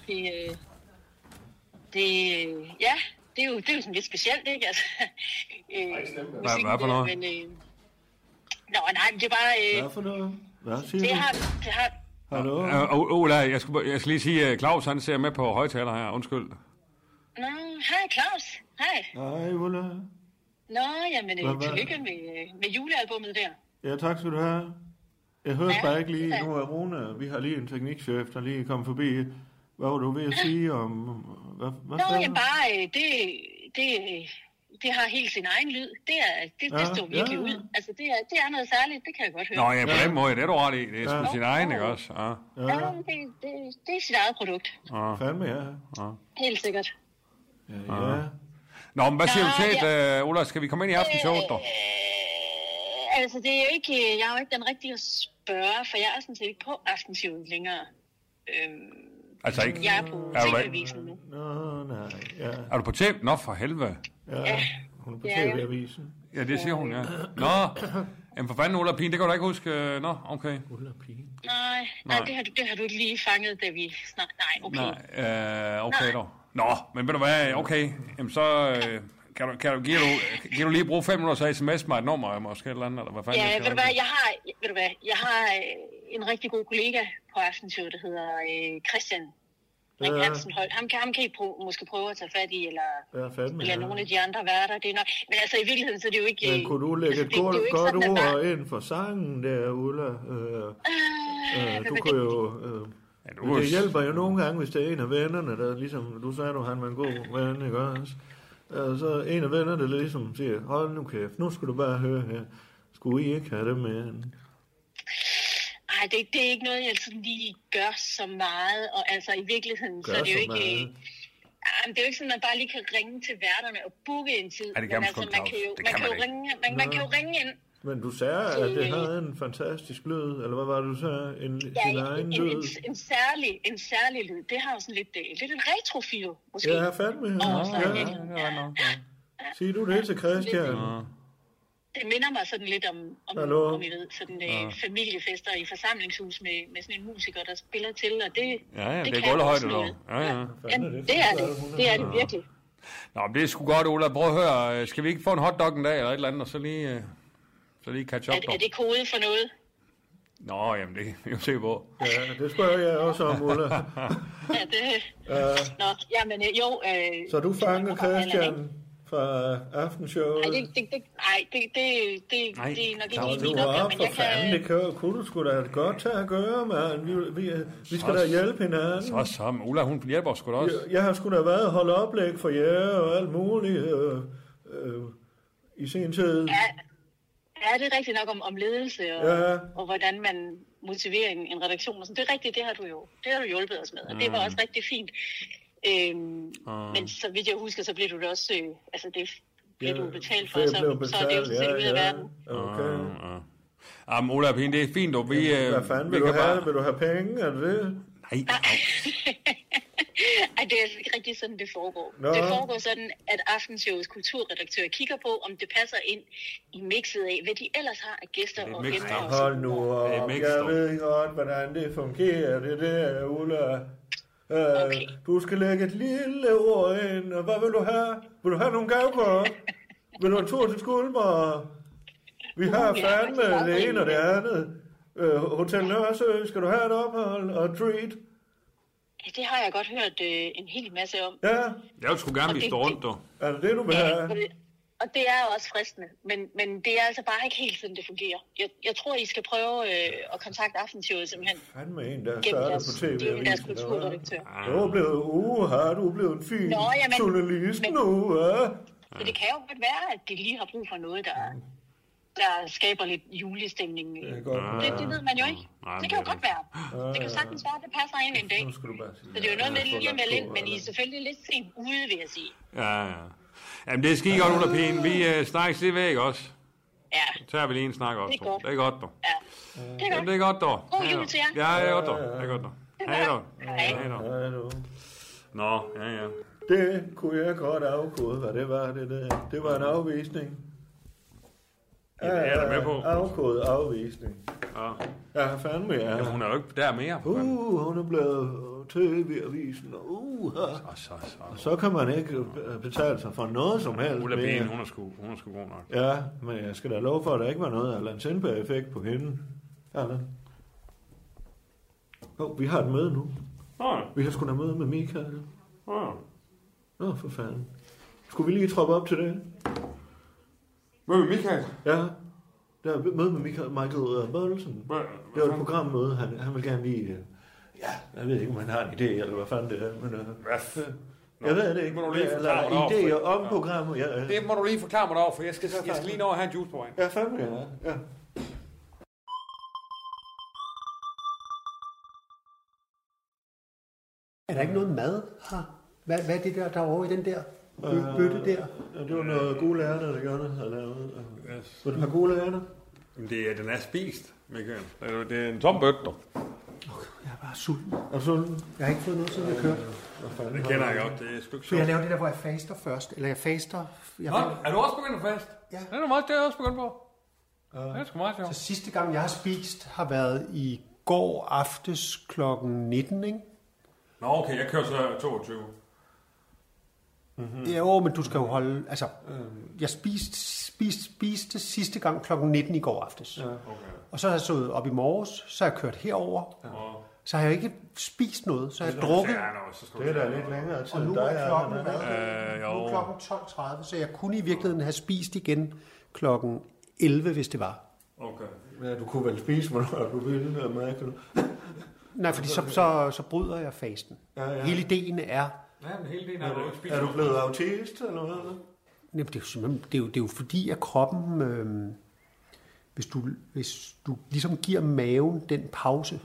Speaker 8: Det, øh, det, øh, ja, det er, jo, det er jo sådan lidt specielt, ikke? Altså, øh, musikken
Speaker 3: hvad for
Speaker 8: der,
Speaker 3: noget?
Speaker 8: Men, øh, nå, nej, men det er bare, øh,
Speaker 1: Hvad for noget?
Speaker 9: Hvad siger
Speaker 8: det
Speaker 9: du?
Speaker 8: har, det har,
Speaker 1: Hallo?
Speaker 3: Øh, U- Ulla, jeg skal, jeg skal lige sige, at Claus han ser med på højtaler her, undskyld.
Speaker 8: nå, hej Claus, hej.
Speaker 1: Hej, Ulla.
Speaker 8: Nå, jamen, øh,
Speaker 1: Hvad var det?
Speaker 8: tillykke med, øh, med julealbummet der.
Speaker 1: Ja, tak skal du have. Jeg hørte
Speaker 8: Ja,
Speaker 1: bare ikke lige,
Speaker 8: ja.
Speaker 1: nu er Rune, vi har lige en teknikchef, der lige kom forbi. Hvad var du ved at sige om, hvad, hvad
Speaker 8: Nå,
Speaker 1: sagde du?
Speaker 8: jamen bare, øh, det, det, øh, det har helt sin egen lyd. Det, er, det, det
Speaker 1: Ja,
Speaker 8: står virkelig
Speaker 1: ja, ja.
Speaker 8: ud. Altså, det er, det er noget særligt, det kan jeg godt høre.
Speaker 3: Nå ja, på den måde, det er du ret i. Det er
Speaker 1: Ja.
Speaker 3: sgu sin egen, ikke også? Ja,
Speaker 8: Ja,
Speaker 1: Ja,
Speaker 8: det, det, det er sit eget produkt.
Speaker 3: ja.
Speaker 1: fandme ja.
Speaker 8: Helt sikkert.
Speaker 1: Ja, ja.
Speaker 3: Nå, men hvad siger du
Speaker 8: Nå,
Speaker 3: til, at, øh, Ulla, skal vi komme ind i aftenshowet, dog?
Speaker 8: Øh, altså, det er jo ikke, jeg er jo ikke den rigtige at spørge, for jeg er sådan set ikke på aftenshowet længere. Øhm,
Speaker 3: Altså ikke?
Speaker 8: jeg er på
Speaker 3: Er du ikke?
Speaker 8: TV-avisen nu.
Speaker 1: Nå, nej, ja.
Speaker 3: Er du på tv? Nå, for helvede.
Speaker 1: ja. Hun er på
Speaker 8: Ja, ja.
Speaker 1: TV-avisen.
Speaker 3: Ja, det siger hun, ja. Nå, jamen for fanden, Ulla Pien, det kan du da ikke huske. øh, Nå, okay.
Speaker 8: Nej, nej, det har, du, det har du ikke lige fanget, da vi snak... Nej, okay.
Speaker 3: Nej, øh, okay dog. Nå, men ved du hvad, okay, jamen så øh, kan du, kan du, giver, du, giver du lige bruge fem minutter, så sms mig et nummer, måske et eller andet, eller hvad fanden
Speaker 8: Ja,
Speaker 3: jeg skal
Speaker 8: ved du hvad,
Speaker 3: ringe til?
Speaker 8: jeg har, ved du hvad, jeg har øh, en rigtig god kollega på Aftenshowet, der hedder øh, Christian Rik
Speaker 1: Ja.
Speaker 8: Hansen Holt. Ham, kan- ham kan I prøve, måske prøve at tage fat i, eller,
Speaker 1: Ja, fandme
Speaker 8: eller
Speaker 1: ja.
Speaker 8: nogle af de andre værter. Det er nok, men altså i virkeligheden, så er det jo ikke... øh,
Speaker 1: Men kunne du lægge et
Speaker 8: det- det er jo
Speaker 1: godt,
Speaker 8: ikke
Speaker 1: godt
Speaker 8: sådan, at
Speaker 1: ord
Speaker 8: bare-
Speaker 1: ind for sangen der, Ulla? Øh,
Speaker 8: Øh,
Speaker 1: øh,
Speaker 8: hvad
Speaker 1: du
Speaker 8: ved
Speaker 1: kunne
Speaker 8: jeg?
Speaker 1: jo... Øh,
Speaker 3: Ja, du
Speaker 1: Men
Speaker 3: er
Speaker 1: det
Speaker 3: s-
Speaker 1: hjælper jo nogle gange, hvis det er en af vennerne, der ligesom, du sagde, du han var en god ven, ikke også? Øh, Så en af vennerne, der ligesom siger, hold nu kæft, nu skal du bare høre her. Skulle I ikke have det med? en?"
Speaker 8: Ej, det, er ikke- det er ikke noget, jeg sådan lige gør så meget, og altså i virkeligheden,
Speaker 1: Gør
Speaker 8: så er det jo
Speaker 1: så
Speaker 8: ikke...
Speaker 1: meget.
Speaker 8: øh, ej, men det er jo ikke sådan, at man bare lige kan ringe til værterne og booke en tid.
Speaker 3: Ej, det kan man
Speaker 8: men
Speaker 3: sgu
Speaker 8: altså,
Speaker 3: ikke,
Speaker 8: man kan
Speaker 3: Claus.
Speaker 8: jo,
Speaker 3: Det
Speaker 8: man
Speaker 3: kan
Speaker 8: kan jo
Speaker 3: man ikke.
Speaker 8: ringe, man, man kan jo ringe ind.
Speaker 1: Men du sagde, at det havde en fantastisk lyd, eller hvad var det, du sagde? En,
Speaker 8: Øh. Ja,
Speaker 1: sin egen
Speaker 8: en, en,
Speaker 1: lyd?
Speaker 8: en, en, særlig, en særlig lyd. Det har jo sådan lidt, øh, lidt en retrofil, måske.
Speaker 1: Ja, fandme.
Speaker 8: Åh, så er
Speaker 1: Ja.
Speaker 8: det.
Speaker 1: Ja.
Speaker 3: Ja, ja, nå, ja.
Speaker 1: Sig du det til Christian?
Speaker 8: Det minder mig sådan lidt om, om,
Speaker 1: Hallo?
Speaker 8: om I ved, sådan øh,
Speaker 3: Ah.
Speaker 8: familiefester i forsamlingshus med, med sådan en musiker, der spiller til, og det,
Speaker 3: Ja, ja, det,
Speaker 8: kan
Speaker 3: er gulvhøjde,
Speaker 8: også noget.
Speaker 3: dog. Ja, ja.
Speaker 8: Ja, det er det. Det er det virkelig.
Speaker 3: Nå, men det er sgu godt, Ola. Prøv at høre, øh, skal vi ikke få en hotdog en dag, eller et eller andet, og så lige, øh, så lige catch up,
Speaker 8: Er, er
Speaker 3: dog?
Speaker 8: det kode for noget?
Speaker 3: Nå, jamen, det kan vi jo se på.
Speaker 1: Ja, det spørger jeg også om, Ulla.
Speaker 8: Ja, det... øh, Nå, jamen øh, jo... Øh,
Speaker 1: Så du fanger
Speaker 8: kommer heller ikke.
Speaker 1: Christian fra aftenshowet?
Speaker 8: Nej, det, det, det, nej, det, det, det,
Speaker 3: Nej,
Speaker 8: det er nok ikke
Speaker 3: Claus,
Speaker 8: helt
Speaker 1: Du
Speaker 8: min
Speaker 1: er
Speaker 8: opgave,
Speaker 1: op
Speaker 8: men
Speaker 1: for
Speaker 8: jeg
Speaker 1: fanden,
Speaker 8: kan...
Speaker 1: det kan, kunne du sgu da godt tage at gøre, mand. Vi, vi, vi skal da hjælpe hinanden.
Speaker 3: Og så, men Ulla, hun hjælper os sgu da også.
Speaker 1: Jeg, jeg har sgu da været og holde oplæg for jer og alt muligt øh, øh, i sen tid.
Speaker 8: Ja, ja, det er rigtigt nok om, om ledelse og,
Speaker 1: Ja.
Speaker 8: og hvordan man motiverer en, en redaktion. Og sådan. Det er rigtigt, det har du jo det har du hjulpet os med, og det var også rigtig fint. Øhm, uh. Men så vidt jeg husker, så blev du da også, øh, altså det blev du betalt for,
Speaker 1: ferie
Speaker 8: så,
Speaker 1: blev
Speaker 8: så er det jo sådan set ude af verden.
Speaker 1: Okay.
Speaker 3: Ja. Ah, Jamen, Ola Pind, det er fint, og vi... øh,
Speaker 1: Hvad fanden
Speaker 3: vi
Speaker 1: vil du
Speaker 3: kan
Speaker 1: have?
Speaker 3: bare-
Speaker 1: Vil du have penge? Er det det?
Speaker 3: Nej,
Speaker 8: Ej, det er altså ikke rigtig sådan, det foregår.
Speaker 1: Nå.
Speaker 8: Nå. Det foregår sådan, at aftenshowets kulturredaktør kigger på, om det passer ind i mixet af, hvad de ellers har af gæster
Speaker 3: Det er
Speaker 8: og
Speaker 3: mixet.
Speaker 8: gæster.
Speaker 3: Ej,
Speaker 1: Hold nu op.
Speaker 3: Det er mixed
Speaker 1: Jeg
Speaker 3: up.
Speaker 1: ved godt, hvordan det fungerer. Det der, Ulla. Øh, okay.
Speaker 8: Okay.
Speaker 1: Du skal lægge et lille ord ind. Og hvad vil du have? Vil du have nogle gavekort? vil du have en tur til Skulmer? Vi har
Speaker 8: Uh, ja,
Speaker 1: fandme
Speaker 8: faktisk
Speaker 1: det ene og det andet. Øh, Hotel Nørresø, skal du have et ophold og et treat?
Speaker 8: Ja, det har jeg godt hørt øh, en hel masse om.
Speaker 1: Ja,
Speaker 3: jeg skulle gerne blive
Speaker 8: Og det-
Speaker 3: stå rundt, dog.
Speaker 1: er det det, du vil
Speaker 8: Ja, og
Speaker 1: have?
Speaker 8: det- Og det er jo også fristende, men, men det er altså bare ikke helt sådan, det fungerer. Jeg, jeg tror, I skal prøve øh, at kontakte aftenshowet simpelthen
Speaker 1: Fandme en, der
Speaker 8: gennem
Speaker 1: starter
Speaker 8: deres,
Speaker 1: på tv.
Speaker 8: gennem deres kulturredaktør.
Speaker 3: Ah.
Speaker 1: Ah. Du er blevet, uh, har du er blevet en fin
Speaker 8: Nå, jamen,
Speaker 1: journalist
Speaker 8: men-
Speaker 1: nu, ja?
Speaker 8: Så det kan jo godt være, at de lige har brug for noget, der,
Speaker 1: Mm.
Speaker 8: der skaber lidt julestemning.
Speaker 1: Det
Speaker 8: Det,
Speaker 1: er godt.
Speaker 3: Ah.
Speaker 8: det ved man jo ikke.
Speaker 1: Mm.
Speaker 3: Nej, men
Speaker 8: Det kan jo
Speaker 3: det er
Speaker 8: godt være. Det kan jo sagtens være, at det passer ind en dag.
Speaker 1: Nu skal du bare sige,
Speaker 8: Så det er jo noget med
Speaker 1: ja,
Speaker 8: lige at melde ind, men I er
Speaker 1: eller-
Speaker 8: selvfølgelig lidt sent ude, vil jeg sige.
Speaker 3: Ja, ja. Jamen, det er skide godt, Ulla Pind. Vi øh, snakkes lige væk også.
Speaker 8: Ja,
Speaker 3: Så tager vi lige en snak også.
Speaker 8: Det er
Speaker 3: dog.
Speaker 8: godt.
Speaker 3: Det er godt, dog.
Speaker 8: ja. Det er
Speaker 3: Jamen, det
Speaker 8: godt.
Speaker 3: er godt, dog.
Speaker 8: God
Speaker 3: Ja,
Speaker 8: jul
Speaker 3: dog.
Speaker 8: til jer.
Speaker 3: Ja, det er godt, dog. Det er godt, dog. Hej, dog.
Speaker 8: Hej.
Speaker 3: Hej, dog.
Speaker 1: Ja, du.
Speaker 3: Nå, ja, ja.
Speaker 1: Det kunne jeg godt afkode, hvad det var, det der. Det var en afvisning.
Speaker 3: Ja, det er jeg da med på.
Speaker 1: Afkode afvisning.
Speaker 3: ja.
Speaker 1: Ja, fandme
Speaker 3: Jamen,
Speaker 1: ja.
Speaker 3: hun er jo ikke der mere. for fanden.
Speaker 1: Uh, hun er blevet tv-avisen. Uh,
Speaker 3: Og så, så.
Speaker 1: så kan man ikke øh, betale sig for noget som helst.
Speaker 3: Ulla Pind,
Speaker 1: mere.
Speaker 3: hun er sgu, hun er sgu god nok.
Speaker 1: Ja, men jeg skal da love for, at der ikke var noget Allan Sindberg-effekt på hende. Allan. Oh, vi har et møde nu.
Speaker 10: Nå, ja.
Speaker 1: Vi har sgu da møde med Michael.
Speaker 10: Nå, ja.
Speaker 1: Nå, for fanden. Skulle vi lige troppe op til det?
Speaker 10: Mød med Michael.
Speaker 1: Ja. Der er møde med Michael, Michael øh, Bødelsen.
Speaker 10: Hvad-
Speaker 1: Det var et
Speaker 10: hvad-
Speaker 1: programmøde. Han, han vil gerne lige... øh, Ja, jeg ved ikke, om han har en idé, eller hvad fanden det er. Men, øh,
Speaker 10: Hvad? f-
Speaker 1: jeg ved det ikke.
Speaker 10: må du lige
Speaker 1: eller
Speaker 10: forklare mig
Speaker 1: idéer
Speaker 10: deroppe.
Speaker 1: om programmet. Ja, ja.
Speaker 10: Det må du lige forklare mig derovre, for jeg skal, jeg skal lige nå at have en juice på vejen.
Speaker 1: ja fandme, ja. ja.
Speaker 11: Er der ikke noget mad her? Hvad, hvad er det der, der er over i den der bø- bøtte der?
Speaker 1: Og Øh, Det var noget gode lærerne, der gjorde det. Har lavet. øh. Vil du have gode lærerne?
Speaker 3: Jamen, det er, den er spist, Michael. Det er, det er en tom bøtte, dog.
Speaker 11: Jeg er bare sulten.
Speaker 1: Og så...
Speaker 11: Jeg har ikke fået noget, siden jeg kørte.
Speaker 1: Hvad fanden
Speaker 3: Det
Speaker 1: har
Speaker 3: kender
Speaker 1: han?
Speaker 3: jeg godt. Det er sgu ikke
Speaker 11: Så jeg
Speaker 3: sjovt.
Speaker 11: laver det der, hvor jeg faster først. Eller jeg faster... Jeg,
Speaker 3: Nå, er du også begyndt at fast?
Speaker 11: Ja.
Speaker 3: Det er du meget, det er jeg også begyndt på.
Speaker 1: Øh.
Speaker 3: Det er sgu meget sjovt.
Speaker 11: Så sidste gang, jeg har spist, har været i går aftes kl. 19, ikke?
Speaker 3: Nå, okay, jeg kører så 22.
Speaker 11: Mm. Jo, men du skal jo holde... Altså, jeg spiste, spiste, spiste sidste gang kl. 19 i går aftes. Ja.
Speaker 3: Okay.
Speaker 11: Og så har jeg stået op i morges, så har jeg kørt herover.
Speaker 3: Og
Speaker 11: Så har jeg ikke spist noget, så har jeg
Speaker 3: drukket.
Speaker 11: drukket.
Speaker 3: Ja, nå, så skal
Speaker 1: Det er
Speaker 3: du
Speaker 1: da lidt længere tid
Speaker 11: Og nu
Speaker 1: end dig,
Speaker 11: er klokken
Speaker 1: Allan.
Speaker 11: hvad?
Speaker 3: Øh, jo.
Speaker 11: Nu er klokken 12.30, så jeg kunne i virkeligheden have spist igen klokken 11, hvis det var.
Speaker 3: Okay.
Speaker 1: Ja, du kunne vel spise, hvornår du ville, øh, og mærke du.
Speaker 11: Nej, fordi så, så, så bryder jeg fasten.
Speaker 1: Ja, ja.
Speaker 11: Hele ideen er,
Speaker 3: Ja, men hele tiden har du ikke spist.
Speaker 1: Er du blevet autist, eller hvad?
Speaker 11: Jamen, det, er jo simpelthen, det, er jo, det er jo fordi, at kroppen, øh, hvis, du, hvis du ligesom giver maven den pause,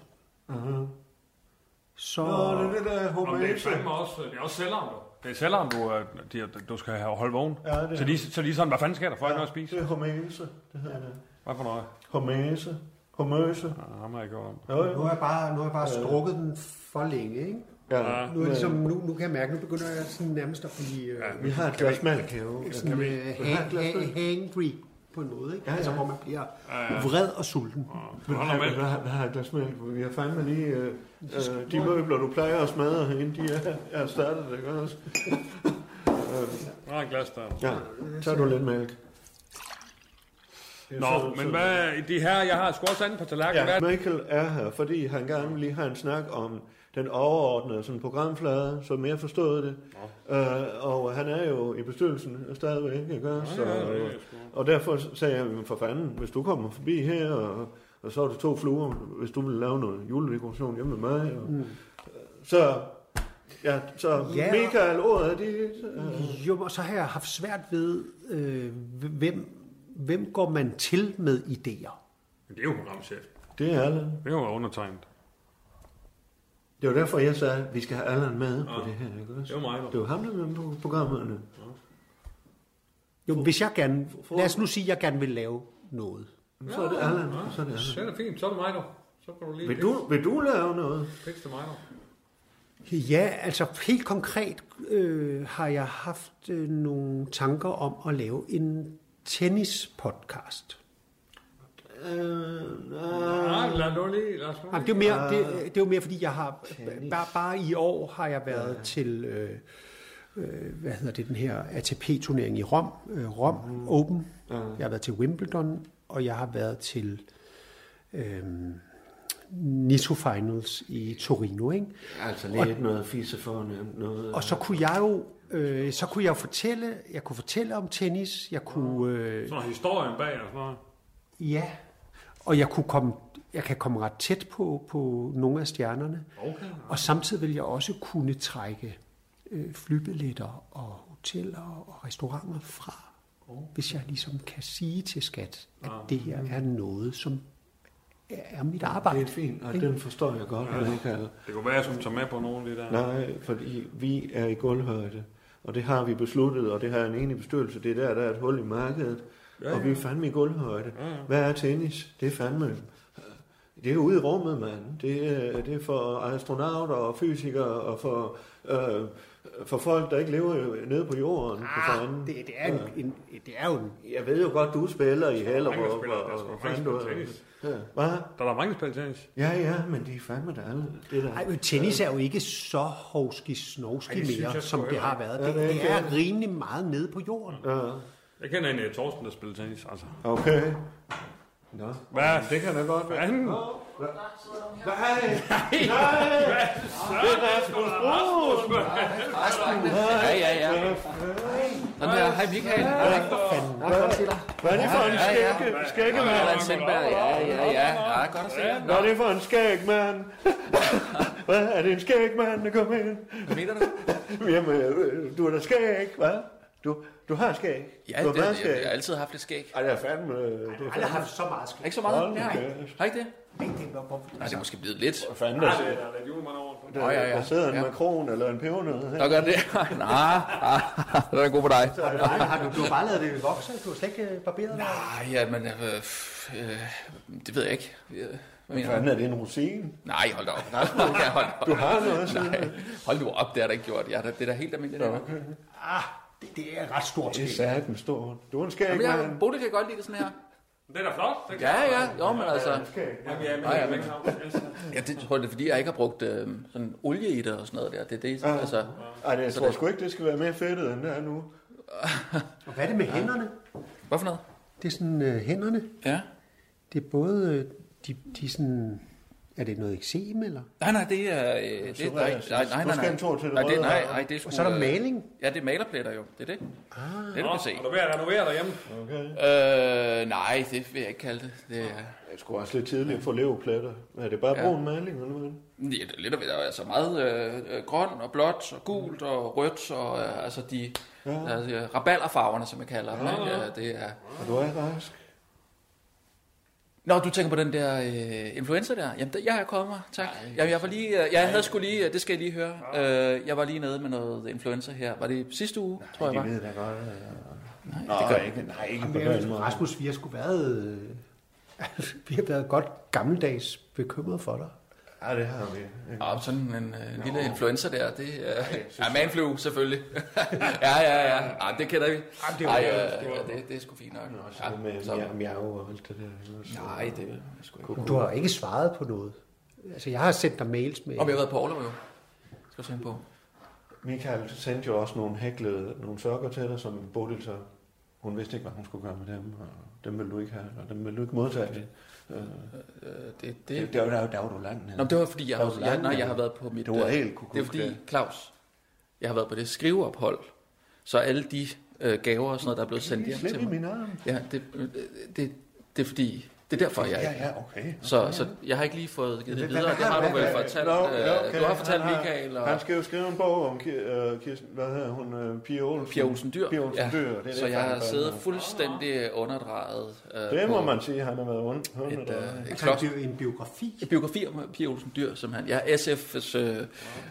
Speaker 11: uh-huh. så...
Speaker 1: Nå, det er det der
Speaker 3: Nå, men det er
Speaker 1: homage.
Speaker 3: fandme også, øh, det er også sælgeren, du. Det er sælgeren, du, øh, de, du skal have holde vågen.
Speaker 1: Ja, det er-
Speaker 3: så, de, så de er sådan, hvad fanden sker der? Får jeg ikke noget at spise?
Speaker 1: Det er homage, det hedder det.
Speaker 3: Hvad for noget?
Speaker 1: Homage. Homøse.
Speaker 3: Ja, ham har jeg gjort om.
Speaker 1: Jo, jo.
Speaker 11: Nu har jeg bare, nu har jeg bare strukket den for længe, ikke?
Speaker 1: Ja.
Speaker 11: Nu, er det ligesom, nu, nu kan jeg mærke, nu begynder jeg sådan nærmest at blive øh,
Speaker 1: Vi har et glas mælk her. jo.
Speaker 11: sådan, øh,
Speaker 1: Vil du have
Speaker 11: ha-
Speaker 1: et glas
Speaker 11: ha-
Speaker 1: mælk?
Speaker 11: hangry på en måde, ikke? Ja, ja. Altså, hvor man bliver vred og sulten.
Speaker 1: Vil du have- vil du have- vil du have et glas mælk? Vi har fandme lige... øh, øh, de møbler, du plejer at smadre herinde, de er, er startet, ikke også?
Speaker 3: Nå, en glas der.
Speaker 1: Ja, tager du lidt mælk. Det er
Speaker 3: Nå,
Speaker 1: sådan,
Speaker 3: men
Speaker 1: sådan.
Speaker 3: hvad, de her, jeg har sgu også andet på tallerkenen.
Speaker 1: Ja,
Speaker 3: Hvad?
Speaker 1: Michael er her, fordi han gerne vil lige have en snak om den overordnede sådan programflade, som jeg forstod det. Øh, og han er jo i bestyrelsen stadigvæk, ikke? Ja, så,
Speaker 3: ja, det er
Speaker 1: øh,
Speaker 3: sgu.
Speaker 1: og derfor sagde jeg, "Men for fanden, hvis du kommer forbi her, og, og så er det to fluer, hvis du vil lave noget juledekoration hjemme med mig. Og, mm. Så, ja, så
Speaker 11: Ja,
Speaker 1: ja.
Speaker 11: og-
Speaker 1: Michael, ordet er dit. Øh,
Speaker 11: Jo, og så har jeg haft svært ved, øh, hvem, hvem går man til med idéer?
Speaker 3: Det er jo programchef.
Speaker 1: det er alle.
Speaker 3: Det er jo undertegnet.
Speaker 1: Det var derfor, jeg sagde, at vi skal have Allan med på det her, ikke også?
Speaker 3: Det var mig, der-
Speaker 1: Det var ham, der var med på programmerne.
Speaker 11: Jo, men hvis jeg gerne... Lad os nu sige, at jeg gerne vil lave noget.
Speaker 1: Så er det Allan, så er det
Speaker 2: Så
Speaker 1: Allan.
Speaker 2: er det fint, så er det mig dog. Så kan du lige
Speaker 1: Vil du, vil du lave noget?
Speaker 2: Piks til mig dog.
Speaker 11: Ja, altså helt konkret øh, har jeg haft øh, nogle tanker om at lave en tennis-podcast.
Speaker 1: Øh,
Speaker 2: Nej, lad nu lige, lad os nu
Speaker 11: Jamen,
Speaker 2: lige.
Speaker 11: det, er jo mere, det, det er jo mere, fordi jeg har... Bare, bare i år har jeg været ja. til... Øh, øh, hvad hedder det, den her ATP-turnering i Rom, øh, Rom mm. Open. Ja. Jeg har været til Wimbledon, og jeg har været til øh, Nitto Finals i Torino, ikke?
Speaker 1: altså lidt noget fisse fornemt noget.
Speaker 11: Og så kunne jeg jo øh, så kunne jeg jo fortælle, jeg kunne fortælle om tennis, jeg kunne øh,
Speaker 3: Sådan historien bag og sådan noget.
Speaker 11: ja, og jeg kunne komme jeg kan komme ret tæt på på nogle af stjernerne.
Speaker 3: Okay.
Speaker 11: Og samtidig vil jeg også kunne trække øh, flybilletter og hoteller og restauranter fra, hvis jeg ligesom kan sige til skat, at det her er noget som er er mit
Speaker 1: Det er
Speaker 11: arbejde.
Speaker 1: fint, og den forstår jeg godt, ja. Michael.
Speaker 3: Det kunne være, at jeg skulle tage med på nogen lige der.
Speaker 1: Nej, fordi vi er i gulvhøjde, og det har vi besluttet, og det har en enig bestyrelse, det er der, der er et hul i markedet, ja, ja. og vi er fandme i gulvhøjde. Ja, ja. Hvad er tennis? Det er fandme... øh, Det er ude i rummet, mand. Det er, det er for astronauter og fysikere og for, øh, for folk, der ikke lever nede på jorden. for fanden.
Speaker 11: Ah, det, det, er en, en, det er jo en
Speaker 1: Jeg ved jo godt, du spiller i Hellerup.
Speaker 3: mange, der spiller.
Speaker 1: og-
Speaker 3: Der er
Speaker 1: og
Speaker 3: sgu mange, der
Speaker 1: fanden,
Speaker 3: spiller
Speaker 1: du-
Speaker 3: tennis.
Speaker 1: Ja. Hvad?
Speaker 3: Der er der mange, der spiller tennis.
Speaker 1: Ja, ja, men de er fandme der alle. Det der.
Speaker 11: Ej, men tennis er jo ikke så hovski-snovski
Speaker 3: Ej, det synes
Speaker 11: mere,
Speaker 3: jeg sgu
Speaker 11: som det
Speaker 3: heller
Speaker 11: har
Speaker 3: ikke.
Speaker 11: været. Det, det er rimelig meget nede på jorden.
Speaker 1: Ja,
Speaker 3: Jeg kender en uh, Torsten, der spiller tennis. Altså.
Speaker 1: okay. Nå.
Speaker 3: Hvad? Det kan da godt være. Fanden.
Speaker 2: Ja, ja, ja. Sådan der. Hej Michael. Hej, for fanden. Hej, godt at se dig.
Speaker 1: Hvad er det for en skægge, skægge
Speaker 2: Allan Sindberg. Ja, ja, ja. Ja, godt at se dig.
Speaker 1: Hvad er det for en skæg, mand? Hvad er det en skæg, mand, der kommer ind?
Speaker 2: Hvad mener du?
Speaker 1: Jamen, øh, du er da skæg, hvad? Du, du har skæg.
Speaker 2: Ja,
Speaker 1: du
Speaker 2: det,
Speaker 1: meget
Speaker 2: jeg, jeg har
Speaker 1: skæg.
Speaker 2: altid haft lidt skæg.
Speaker 1: Ej, det er fandme... øh, Det er
Speaker 11: Jeg
Speaker 1: fandme,
Speaker 11: har haft så meget skæg.
Speaker 2: Ikke så meget?
Speaker 1: Hold
Speaker 2: Det har jeg ikke. Har jeg ikke det? Nej, det er måske blevet lidt.
Speaker 1: fandme der,
Speaker 3: Ja, der er lidt julemand over.
Speaker 2: Nå, ja,
Speaker 1: der,
Speaker 2: ja.
Speaker 1: der sidder en
Speaker 2: Ja.
Speaker 1: makron eller en pebernød her.
Speaker 2: Nå, gør det. Nej, det er god på dig.
Speaker 11: Nej, har du, du har bare lavet det vokse. Du har slet ikke øh, barberet dig.
Speaker 2: Nej, ja, men øh, f- øh, det ved jeg ikke. Øh, Hvad mener du?
Speaker 1: Fanden er det en rosin?
Speaker 2: Nej, hold da op. Ja, hold da op.
Speaker 1: Du har noget sådan.
Speaker 2: Nej, hold nu op, det har der ikke gjort. Jeg er da, det er da helt almindeligt. Ja, okay.
Speaker 11: Ah, det, det er et ret stort
Speaker 1: Det er
Speaker 11: skæg.
Speaker 1: satan stor. Du er en skæg,
Speaker 2: Jamen, jeg,
Speaker 1: mand.
Speaker 2: Bodil kan godt lide det sådan her.
Speaker 3: Det er da flot. Det kan
Speaker 2: Ja, ja, jo, men altså...
Speaker 1: Skæg.
Speaker 3: jeg.
Speaker 2: Nej, ja, men,
Speaker 3: Yes.
Speaker 2: jeg det, tror, det er, fordi jeg ikke har brugt øh, sådan olie i det og sådan noget der. Det er det, altså...
Speaker 1: Ej, det, jeg tror sgu ikke, det skal være mere fedtet end det er nu.
Speaker 11: Og hvad er det med hænderne?
Speaker 2: Hvad for noget?
Speaker 11: Det er sådan øh, hænderne.
Speaker 2: Ja.
Speaker 11: Det er både... Øh, de, de er sådan... Er det noget eksem, eller?
Speaker 2: Nej, nej, det er... Øh, det, nej,
Speaker 1: psoriasis.
Speaker 2: nej, nej,
Speaker 1: Du
Speaker 2: nej,
Speaker 1: skal
Speaker 2: nej.
Speaker 1: en tur til det
Speaker 2: nej, det,
Speaker 1: røde
Speaker 2: nej,
Speaker 1: her.
Speaker 2: nej, det er sgu,
Speaker 11: Og så er der
Speaker 2: øh,
Speaker 11: maling.
Speaker 2: Ja, det er malerpletter jo. Det er det. Ah. Det er det, du kan se.
Speaker 3: Er du ved at renovere derhjemme?
Speaker 2: Øh, nej, det vil jeg ikke kalde det. Det er...
Speaker 1: Jeg skulle også lidt tidligt få leverpletter. Er det bare
Speaker 2: Ja.
Speaker 1: brun maling, eller hvad?
Speaker 2: Ja, det er lidt af hvert. Der er altså meget øh, øh, grøn og blåt og gult og rødt og øh, altså de ja. altså, rabalderfarverne, som jeg kalder dem. Ja. Ja, det er...
Speaker 1: Og du er rask.
Speaker 2: Nå, du tænker på den der øh, influencer der? Jamen, der, jeg har kommet mig, tak. Jamen, jeg var lige, øh, jeg havde sgu lige, øh, det skal jeg lige høre. Øh, jeg var lige nede med noget influencer her. Var det sidste uge, nej, tror jeg var?
Speaker 1: ved da godt.
Speaker 2: Nej, det gør jeg ikke.
Speaker 1: Nej, ikke på den måde.
Speaker 11: Rasmus, vi har sgu været... Øh, vi har været godt gammeldags bekymret for dig.
Speaker 1: Ja, det har vi.
Speaker 2: Og sådan en, øh, en lille influencer der, det øh, er manflu selvfølgelig. ja, ja, ja. Ej, det kender vi.
Speaker 11: det er jo-
Speaker 2: Ej, øh, ja, det, det er sgu fint nok.
Speaker 1: Ja, med
Speaker 2: så-
Speaker 1: mjau- mjau og alt det der.
Speaker 2: Nej, det er sgu ikke.
Speaker 11: Du har ikke svaret på noget. Altså, jeg har sendt dig mails med...
Speaker 2: Om jeg har været på Orlov, jo. Skal du se på.
Speaker 1: Michael sendte jo også nogle hæklede, nogle sokker til dig, som Bodil så... Hun vidste ikke, hvad hun skulle gøre med dem, og dem ville du ikke have, og dem ville du ikke modtage. Det,
Speaker 2: Øh, det,
Speaker 1: det,
Speaker 2: det.
Speaker 1: det, var, der, der var du langt nede.
Speaker 2: Nå, men det var fordi, jeg,
Speaker 1: Der var
Speaker 2: har,
Speaker 1: du
Speaker 2: jeg,
Speaker 1: langt
Speaker 2: nej, jeg
Speaker 1: nede.
Speaker 2: har været på mit...
Speaker 1: Det var
Speaker 2: øh,
Speaker 1: helt kukuk,
Speaker 2: Det er fordi,
Speaker 1: det.
Speaker 2: Claus, jeg har været på det skriveophold. Så alle de øh, gaver og sådan noget, der er blevet sendt hjem
Speaker 1: Slip
Speaker 2: til
Speaker 1: i
Speaker 2: mig.
Speaker 1: min arm.
Speaker 2: Ja, det, øh, det, det er fordi, det Det er derfor, jeg ikke...
Speaker 1: Ja, okay.
Speaker 2: Så, så jeg har ikke lige fået givet det
Speaker 1: Hvad-
Speaker 2: videre. Det
Speaker 1: hvad-
Speaker 2: har du
Speaker 1: hvad-
Speaker 2: vel
Speaker 1: hvad-
Speaker 2: fortalt.
Speaker 1: Nå,
Speaker 2: øh,
Speaker 1: ja, okay.
Speaker 2: Du har fortalt
Speaker 1: Han
Speaker 2: Michael og
Speaker 1: Han skal jo skrive en bog om Ki- øh, Kirsten, hvad hedder hun, øh, Pia Olsen.
Speaker 2: Pia Olsen Dyr.
Speaker 1: Pia Olsen Dyr. Det er det,
Speaker 2: så jeg
Speaker 1: han
Speaker 2: har
Speaker 1: gør.
Speaker 2: siddet fuldstændig underdrejet. Øh,
Speaker 1: Det må
Speaker 2: på
Speaker 1: man sige, han har været rundt.
Speaker 2: Et, øh, et
Speaker 11: Altså,
Speaker 2: klok,
Speaker 11: det er jo en biografi.
Speaker 2: en biografi om Pia Olsen Dyr, som han... Jeg er SF's øh,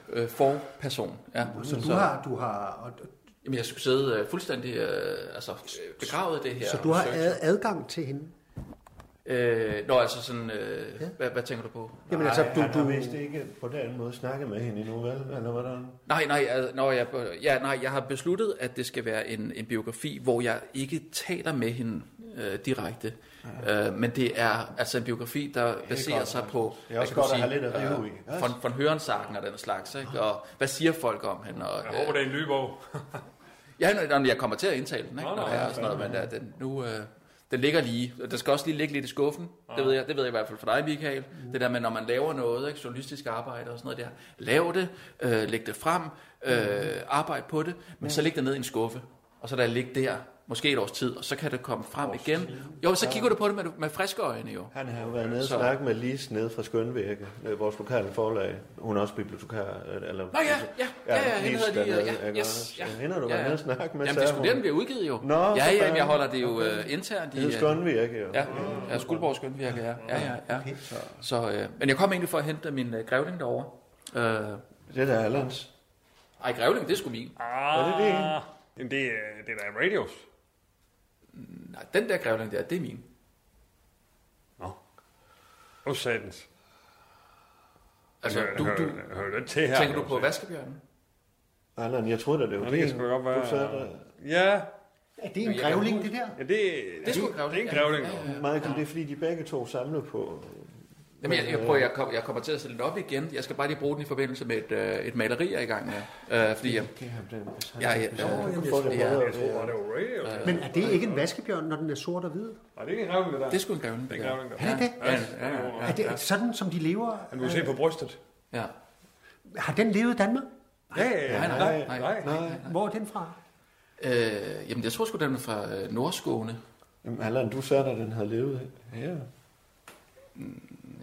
Speaker 2: øh, forperson. Ja.
Speaker 11: Så du har, du har, og-
Speaker 2: Jamen, jeg skulle sidde øh, fuldstændig øh, altså, øh, begravet i det her.
Speaker 11: så du har
Speaker 2: Søgt.
Speaker 11: ad- adgang til hende.
Speaker 2: Øh, nå, altså sådan... Øh, hvad, hvad tænker du på?
Speaker 11: Jamen altså,
Speaker 1: Du,
Speaker 11: du,
Speaker 1: han har
Speaker 11: du,
Speaker 1: vist ikke på den måde snakket med hende endnu, vel? Eller hvordan?
Speaker 2: Nej, nej, altså, når jeg, ja, nej, jeg har besluttet, at det skal være en, en biografi, hvor jeg ikke taler med hende øh, direkte. Øh, men det er altså en biografi, der baserer sig på...
Speaker 1: Det er også godt at have lidt at rive i, ikke?
Speaker 2: øh, Von, von Hørensagen og den slags, ikke? Og hvad siger folk om hende? Og,
Speaker 3: Jeg håber, det er en lybog.
Speaker 2: Ja, når- når jeg kommer til at indtale den, ikke?
Speaker 3: Nå,
Speaker 2: Nå,
Speaker 3: nå,
Speaker 2: når jeg er sådan noget, men der, den, nu, øh, den ligger lige. Den skal også lige ligge lidt i skuffen. Det ved jeg, det ved jeg i hvert fald for dig, Michael.
Speaker 1: Mm.
Speaker 2: Det der med, når man laver noget, ikke? journalistisk arbejde og sådan noget der. Lav det, øh, læg det frem, øh,
Speaker 1: Mm.
Speaker 2: arbejde på det, men så læg det ned i en skuffe. Og så der ligge der, måske et års tid, og så kan det komme frem igen. Jo, så kigger du på det med, med friske øjne jo.
Speaker 1: Han har jo været nede og
Speaker 2: Så-
Speaker 1: snakket med Lis nede fra Skønvække, øh, vores lokale forlag. Hun er også bibliotekar. øh, Eller,
Speaker 2: Nå ja, ja, ja, ja, hende
Speaker 1: Lis
Speaker 2: hedder de, øh,
Speaker 1: dernede,
Speaker 2: ja,
Speaker 1: ikke
Speaker 2: yes,
Speaker 1: også?
Speaker 2: ja,
Speaker 1: Ja, hende har du
Speaker 2: ja,
Speaker 1: været
Speaker 2: ja.
Speaker 1: nede og snakket med,
Speaker 2: Jamen, det
Speaker 1: sagde
Speaker 2: skulle den
Speaker 1: hun.
Speaker 2: bliver udgivet jo.
Speaker 1: Nå,
Speaker 2: ja,
Speaker 1: så
Speaker 2: ja, jeg
Speaker 1: fanden.
Speaker 2: holder det jo
Speaker 1: Okay.
Speaker 2: øh, internt i...
Speaker 1: Det hedder
Speaker 2: øh,
Speaker 1: Skønvække, jo.
Speaker 2: Ja, ja Skuldborg Skønvirke, ja. ja, ja, ja. Så, øh, men jeg kom egentlig for at hente min øh, grævling derovre. Øh,
Speaker 1: Det er da Allans.
Speaker 2: ej, grævling, det er sgu min.
Speaker 3: Ah,
Speaker 1: det det?
Speaker 3: Jamen, det er, det er da radios.
Speaker 2: Nej, den der grævling der, det er min.
Speaker 3: Åh, satans.
Speaker 2: Altså,
Speaker 3: hører,
Speaker 2: du, du,
Speaker 3: hører, hører den til her?
Speaker 2: tænker du
Speaker 3: kan
Speaker 2: på
Speaker 3: sige.
Speaker 2: vaskebjørnen?
Speaker 1: Allan, jeg troede da, det var
Speaker 3: Nå, det kan
Speaker 1: din.
Speaker 3: sgu da godt
Speaker 1: Du sagde da-
Speaker 3: være. Ja,
Speaker 11: er det en grævling, det der?
Speaker 3: ja det, det,
Speaker 2: sgu
Speaker 3: det, det er en
Speaker 2: grævling, ja.
Speaker 3: grævling.
Speaker 2: Ja, ja, ja.
Speaker 1: Michael, det er fordi, de begge to samler på... øh,
Speaker 2: Jamen, jeg, jeg, prøver, jeg, kom, jeg kommer til at sætte den op igen. Jeg skal bare lige bruge den i forbindelse med et, øh, et maleri, jeg er i gang med. Øh, fordi jeg,
Speaker 1: Ja, det er
Speaker 2: jeg, jeg, øh,
Speaker 1: Få det
Speaker 2: ja.
Speaker 1: bedre.
Speaker 3: Jeg tror bare, det var radios.
Speaker 11: Men er det ikke en vaskebjørn, når den er sort og hvid?
Speaker 3: Nej, det er en grævling, det der.
Speaker 2: det er sgu en grævling.
Speaker 3: Det er
Speaker 2: Det
Speaker 3: en
Speaker 2: der.
Speaker 3: grævling, der.
Speaker 11: Er det?
Speaker 2: Ja, ja, ja, ja,
Speaker 11: Er det sådan, som de lever?
Speaker 3: Men du kan se på brystet.
Speaker 2: ja.
Speaker 11: Har den levet i Danmark?
Speaker 3: Ja, ja, ja.
Speaker 2: nej, nej,
Speaker 3: nej.
Speaker 11: Hvor er den fra?
Speaker 2: Øh, jamen, jeg tror sgu, den er fra øh, Nordskåne.
Speaker 1: Jamen, Allan, du sagde da, den havde levet. Ja.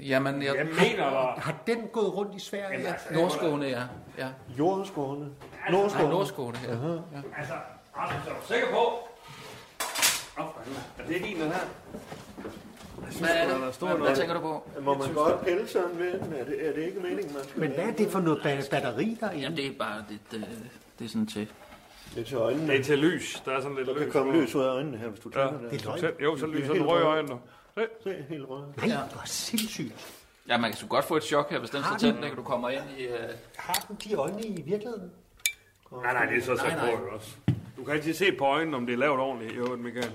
Speaker 2: Jamen, jeg,
Speaker 3: Jeg mener altså, bare...
Speaker 11: Har den gået rundt i Sverige?
Speaker 2: Nordskåne, ja. ja.
Speaker 1: Jordskårene.
Speaker 2: Nej,
Speaker 1: Nordskårene.
Speaker 2: Nordskåne, ja.
Speaker 3: Altså, Rasmus, er du sikker på? Åh, for helvede. Er det din, den her?
Speaker 2: Hvad er det? Hvad, hvad tænker du på?
Speaker 1: Må man godt pille sådan ved den? Er det, er det ikke meningen, man skal
Speaker 11: Men hvad er det for noget ba- batteri, der er inde?
Speaker 2: Jamen, det er bare lidt... Øh, det er sådan til.
Speaker 1: Det er til øjnene.
Speaker 3: Det er til lys. Der er sådan lidt
Speaker 1: Der
Speaker 3: lys.
Speaker 1: kan komme lys ud af øjnene her, hvis du tænder
Speaker 3: Ja.
Speaker 1: det.
Speaker 11: Det er løgn.
Speaker 3: Selv- Jo, så lyser den
Speaker 1: helt
Speaker 3: røde
Speaker 1: rød.
Speaker 3: øjne nu.
Speaker 1: Se, helt rødt.
Speaker 11: Nej, det er sindssygt.
Speaker 2: Ja, man kan sgu godt få et chok her, hvis den
Speaker 11: Har
Speaker 2: står
Speaker 11: den?
Speaker 2: tændt, ikke? Du kommer ind i... Øh...
Speaker 11: Har den de øjne i virkeligheden?
Speaker 3: Nej, nej, det er så sat
Speaker 2: nej.
Speaker 3: på jo også. Du kan altid se på øjnene, om det er lavet ordentligt, jo, Michael.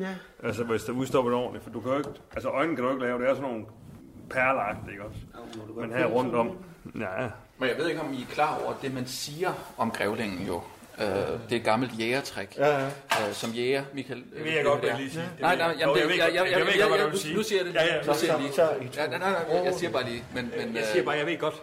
Speaker 11: Ja.
Speaker 3: Altså, hvis der udstopper det ordentligt, for du kan jo ikke... Altså, øjnene kan du ikke lave, det er sådan nogle perler, ikke også? Men her rundt om... Ja, ja.
Speaker 2: Men jeg ved ikke, om I er klar over det, man siger om grævlingen jo. Øh, det er et gammelt jægertræk. Ja, ja. Øh, som jæger, Michael... øh,
Speaker 3: Det ved jeg godt,
Speaker 2: det
Speaker 3: hvad
Speaker 2: er.
Speaker 3: jeg lige sige. Det
Speaker 2: Nej,
Speaker 3: ved jeg.
Speaker 2: nej, jamen,
Speaker 3: Jo,
Speaker 2: det, jeg,
Speaker 3: ved
Speaker 2: jeg,
Speaker 3: godt-
Speaker 2: jeg, jeg,
Speaker 3: ved
Speaker 2: jeg,
Speaker 3: godt, hvad
Speaker 2: jeg,
Speaker 3: du vil sige.
Speaker 2: nu siger jeg det.
Speaker 3: Ja, ja.
Speaker 2: Så siger jeg lige.
Speaker 1: Så- så- I to.
Speaker 2: Ja, nej, nej, nej, jeg siger bare lige. Men, men,
Speaker 3: Jeg
Speaker 2: øh,
Speaker 3: siger bare, jeg ved godt.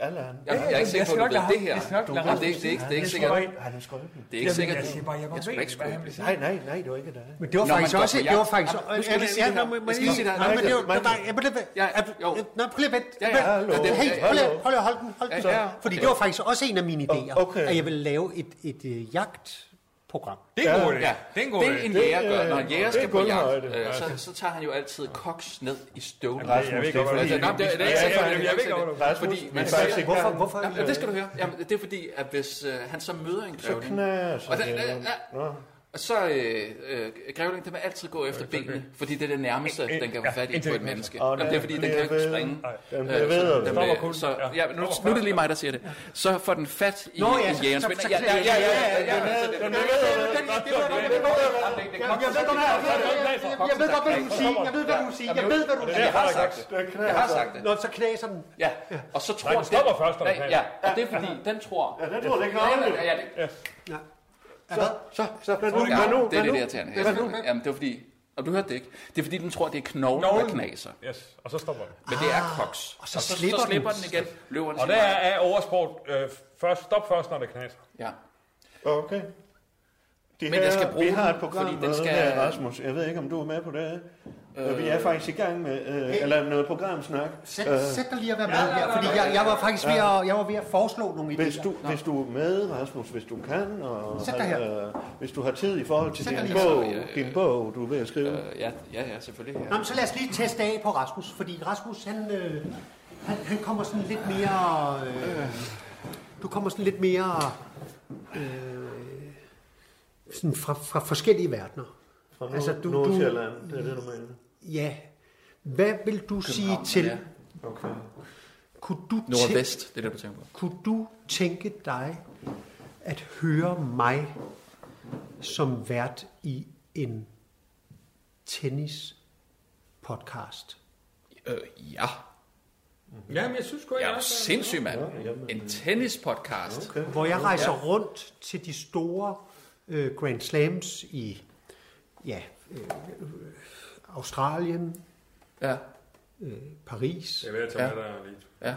Speaker 1: Allan.
Speaker 2: Jeg, jeg er ikke sikker på, at du ved det her. Jamen, det, er- det, er ikke- det er ikke sikkert.
Speaker 1: Ej, det er sgu ikke.
Speaker 2: Det er ikke sikkert.
Speaker 3: Jeg siger bare, jeg
Speaker 2: Jeg
Speaker 3: godt
Speaker 2: skulle ikke
Speaker 3: ved, hvad
Speaker 2: skyde
Speaker 3: han vil sige.
Speaker 1: Nej, nej, nej, det var ikke dig.
Speaker 11: Men det var
Speaker 2: Nå,
Speaker 11: faktisk
Speaker 2: men
Speaker 11: også...
Speaker 2: godt,
Speaker 11: Det var
Speaker 2: jeg-
Speaker 11: faktisk...
Speaker 2: Jamen, nu skal jeg lige sige
Speaker 11: Ja,
Speaker 2: det
Speaker 11: nå,
Speaker 2: her.
Speaker 11: må- må
Speaker 2: Jeg skal
Speaker 11: lige-
Speaker 2: lige sige det her.
Speaker 11: Nej, men det var-
Speaker 1: Michael,
Speaker 11: det var... Ja, men det-
Speaker 2: Ja,
Speaker 11: ja,
Speaker 2: jo.
Speaker 11: Nå, prøv lige at vente.
Speaker 2: Ja, ja, hallo.
Speaker 11: Hey,
Speaker 2: Ja, ja.
Speaker 11: prøv lige at- prøv lige at holde den. Hold den.
Speaker 2: Ja, ja, Oh,
Speaker 11: Fordi
Speaker 2: okay.
Speaker 11: det var faktisk også en af mine idéer,
Speaker 1: okay.
Speaker 11: at jeg ville lave et, et, øh, jagtprogram.
Speaker 3: Det er en god idé.
Speaker 2: Ja,
Speaker 3: Det er en god idé.
Speaker 2: det en jæger gør. Når en jæger
Speaker 1: det er
Speaker 2: skal på jagt,
Speaker 1: guldhøjde.
Speaker 2: øh, så, så tager han jo altid koks ned i støvlen.
Speaker 3: Jeg ved godt, hvad du
Speaker 2: Altså,
Speaker 3: siger.
Speaker 2: nej, det, det er ikke
Speaker 3: Ja, ja,
Speaker 2: sikkert.
Speaker 3: ja,
Speaker 2: det er
Speaker 3: jeg
Speaker 2: ikke
Speaker 3: ved godt,
Speaker 2: sikkert.
Speaker 3: hvad
Speaker 2: Fordi man
Speaker 1: faktisk ikke-
Speaker 2: siger,
Speaker 11: Altså, Hvorfor? hvorfor
Speaker 2: Jamen, det skal du høre. Jamen, det er fordi, at hvis øh, han så møder en
Speaker 1: Så
Speaker 2: grævling,
Speaker 1: knas.
Speaker 2: og, den, øh, øh, og så øh, øh, grævling, den vil altid gå efter benene, fordi det er det nærmeste, den kan få fat i på et menneske.
Speaker 1: Og
Speaker 2: Jamen, det er fordi, den kan
Speaker 1: bliver
Speaker 2: ikke
Speaker 1: ved.
Speaker 2: springe.
Speaker 1: Den
Speaker 2: Øh,
Speaker 1: bliver ved.
Speaker 2: så
Speaker 1: og ved.
Speaker 2: den vil- Så, ja, men nu, nu er det lige mig, der siger det. Så får den fat i
Speaker 11: Nå, ja,
Speaker 2: en
Speaker 11: så-
Speaker 2: jægerens
Speaker 11: så-
Speaker 2: ben.
Speaker 11: så-
Speaker 2: Ja, ja, ja, ja, ja, ja. så det-
Speaker 11: Jeg ved godt, hvad du vil sige. Jeg ved, hvad du vil sige. Jeg ved, hvad du vil sige.
Speaker 2: Jeg har sagt det. Jeg
Speaker 1: altså.
Speaker 2: har sagt det.
Speaker 11: Nå, så knaser den.
Speaker 2: Ja, og så tror
Speaker 3: den stopper først, når den
Speaker 2: Nej, ja, og det er fordi, den tror...
Speaker 1: Ja, den tror det ikke
Speaker 2: Ja,
Speaker 1: noget.
Speaker 2: ja, ja, det,
Speaker 1: Så, så, så. Hvad nu?
Speaker 2: ja,
Speaker 1: Hvad nu?
Speaker 2: det er
Speaker 1: Hvad
Speaker 2: lidt
Speaker 1: nu?
Speaker 2: irriterende. her. Jamen, det er fordi... Og du hørte det ikke. Det er fordi, den tror, det er knoglen, der knaser.
Speaker 3: Yes, og så stopper det.
Speaker 2: Men det er koks. Og
Speaker 11: så slipper
Speaker 2: så slipper
Speaker 11: den.
Speaker 2: den igen. Løber den
Speaker 3: Og
Speaker 2: sin
Speaker 3: der
Speaker 2: vej.
Speaker 3: er oversport. Øh, først, stop først, når det knaser.
Speaker 2: Ja.
Speaker 1: Okay. Det
Speaker 2: Men jeg skal bruge
Speaker 1: vi har
Speaker 2: den,
Speaker 1: et program
Speaker 2: fordi den
Speaker 1: med
Speaker 2: skal-
Speaker 1: her, Rasmus. Jeg ved ikke, om du er med på det. Øh, vi er faktisk i gang med, øh, eller noget programsnak.
Speaker 11: Sæt,
Speaker 1: Øh,
Speaker 11: sæt dig lige at være med her, fordi jeg, jeg var faktisk ved at, jeg var ved at foreslå nogle
Speaker 1: Hvis
Speaker 11: idéer.
Speaker 1: du, hvis du er med, Rasmus, hvis du kan, og
Speaker 11: Sæt dig her.
Speaker 1: øh, hvis du har tid i forhold til
Speaker 11: Sæt dig
Speaker 1: din
Speaker 11: lige her.
Speaker 1: bog, din bog, du er ved at skrive.
Speaker 2: Øh, ja, ja, ja, selvfølgelig. Ja.
Speaker 11: Nå, men så lad os lige teste af på Rasmus, fordi Rasmus, han, øh, han, han kommer sådan lidt mere... Øh, du kommer sådan lidt mere... Øh, sådan fra, fra forskellige verdener.
Speaker 1: Fra
Speaker 11: altså,
Speaker 1: altså,
Speaker 11: du-
Speaker 1: Nordsjælland, det er det, du mener.
Speaker 11: Ja. Hvad vil du sige til...
Speaker 2: ja.
Speaker 1: Okay.
Speaker 11: Kunne du, tænke,
Speaker 2: Nordvest, det er det, du tænker på.
Speaker 11: kunne du tænke dig at høre mig som vært i en tennis podcast?
Speaker 2: Øh, ja.
Speaker 3: Jamen, jeg synes godt,
Speaker 2: Jeg er jo sindssyg, mand. En tennispodcast.
Speaker 1: Okay.
Speaker 11: hvor jeg rejser rundt til de store øh, Grand Slams i ja, øh, Australien,
Speaker 2: Ja,
Speaker 11: Paris,
Speaker 12: Jeg vil tage
Speaker 2: Ja.
Speaker 12: med dig lige.
Speaker 2: ja,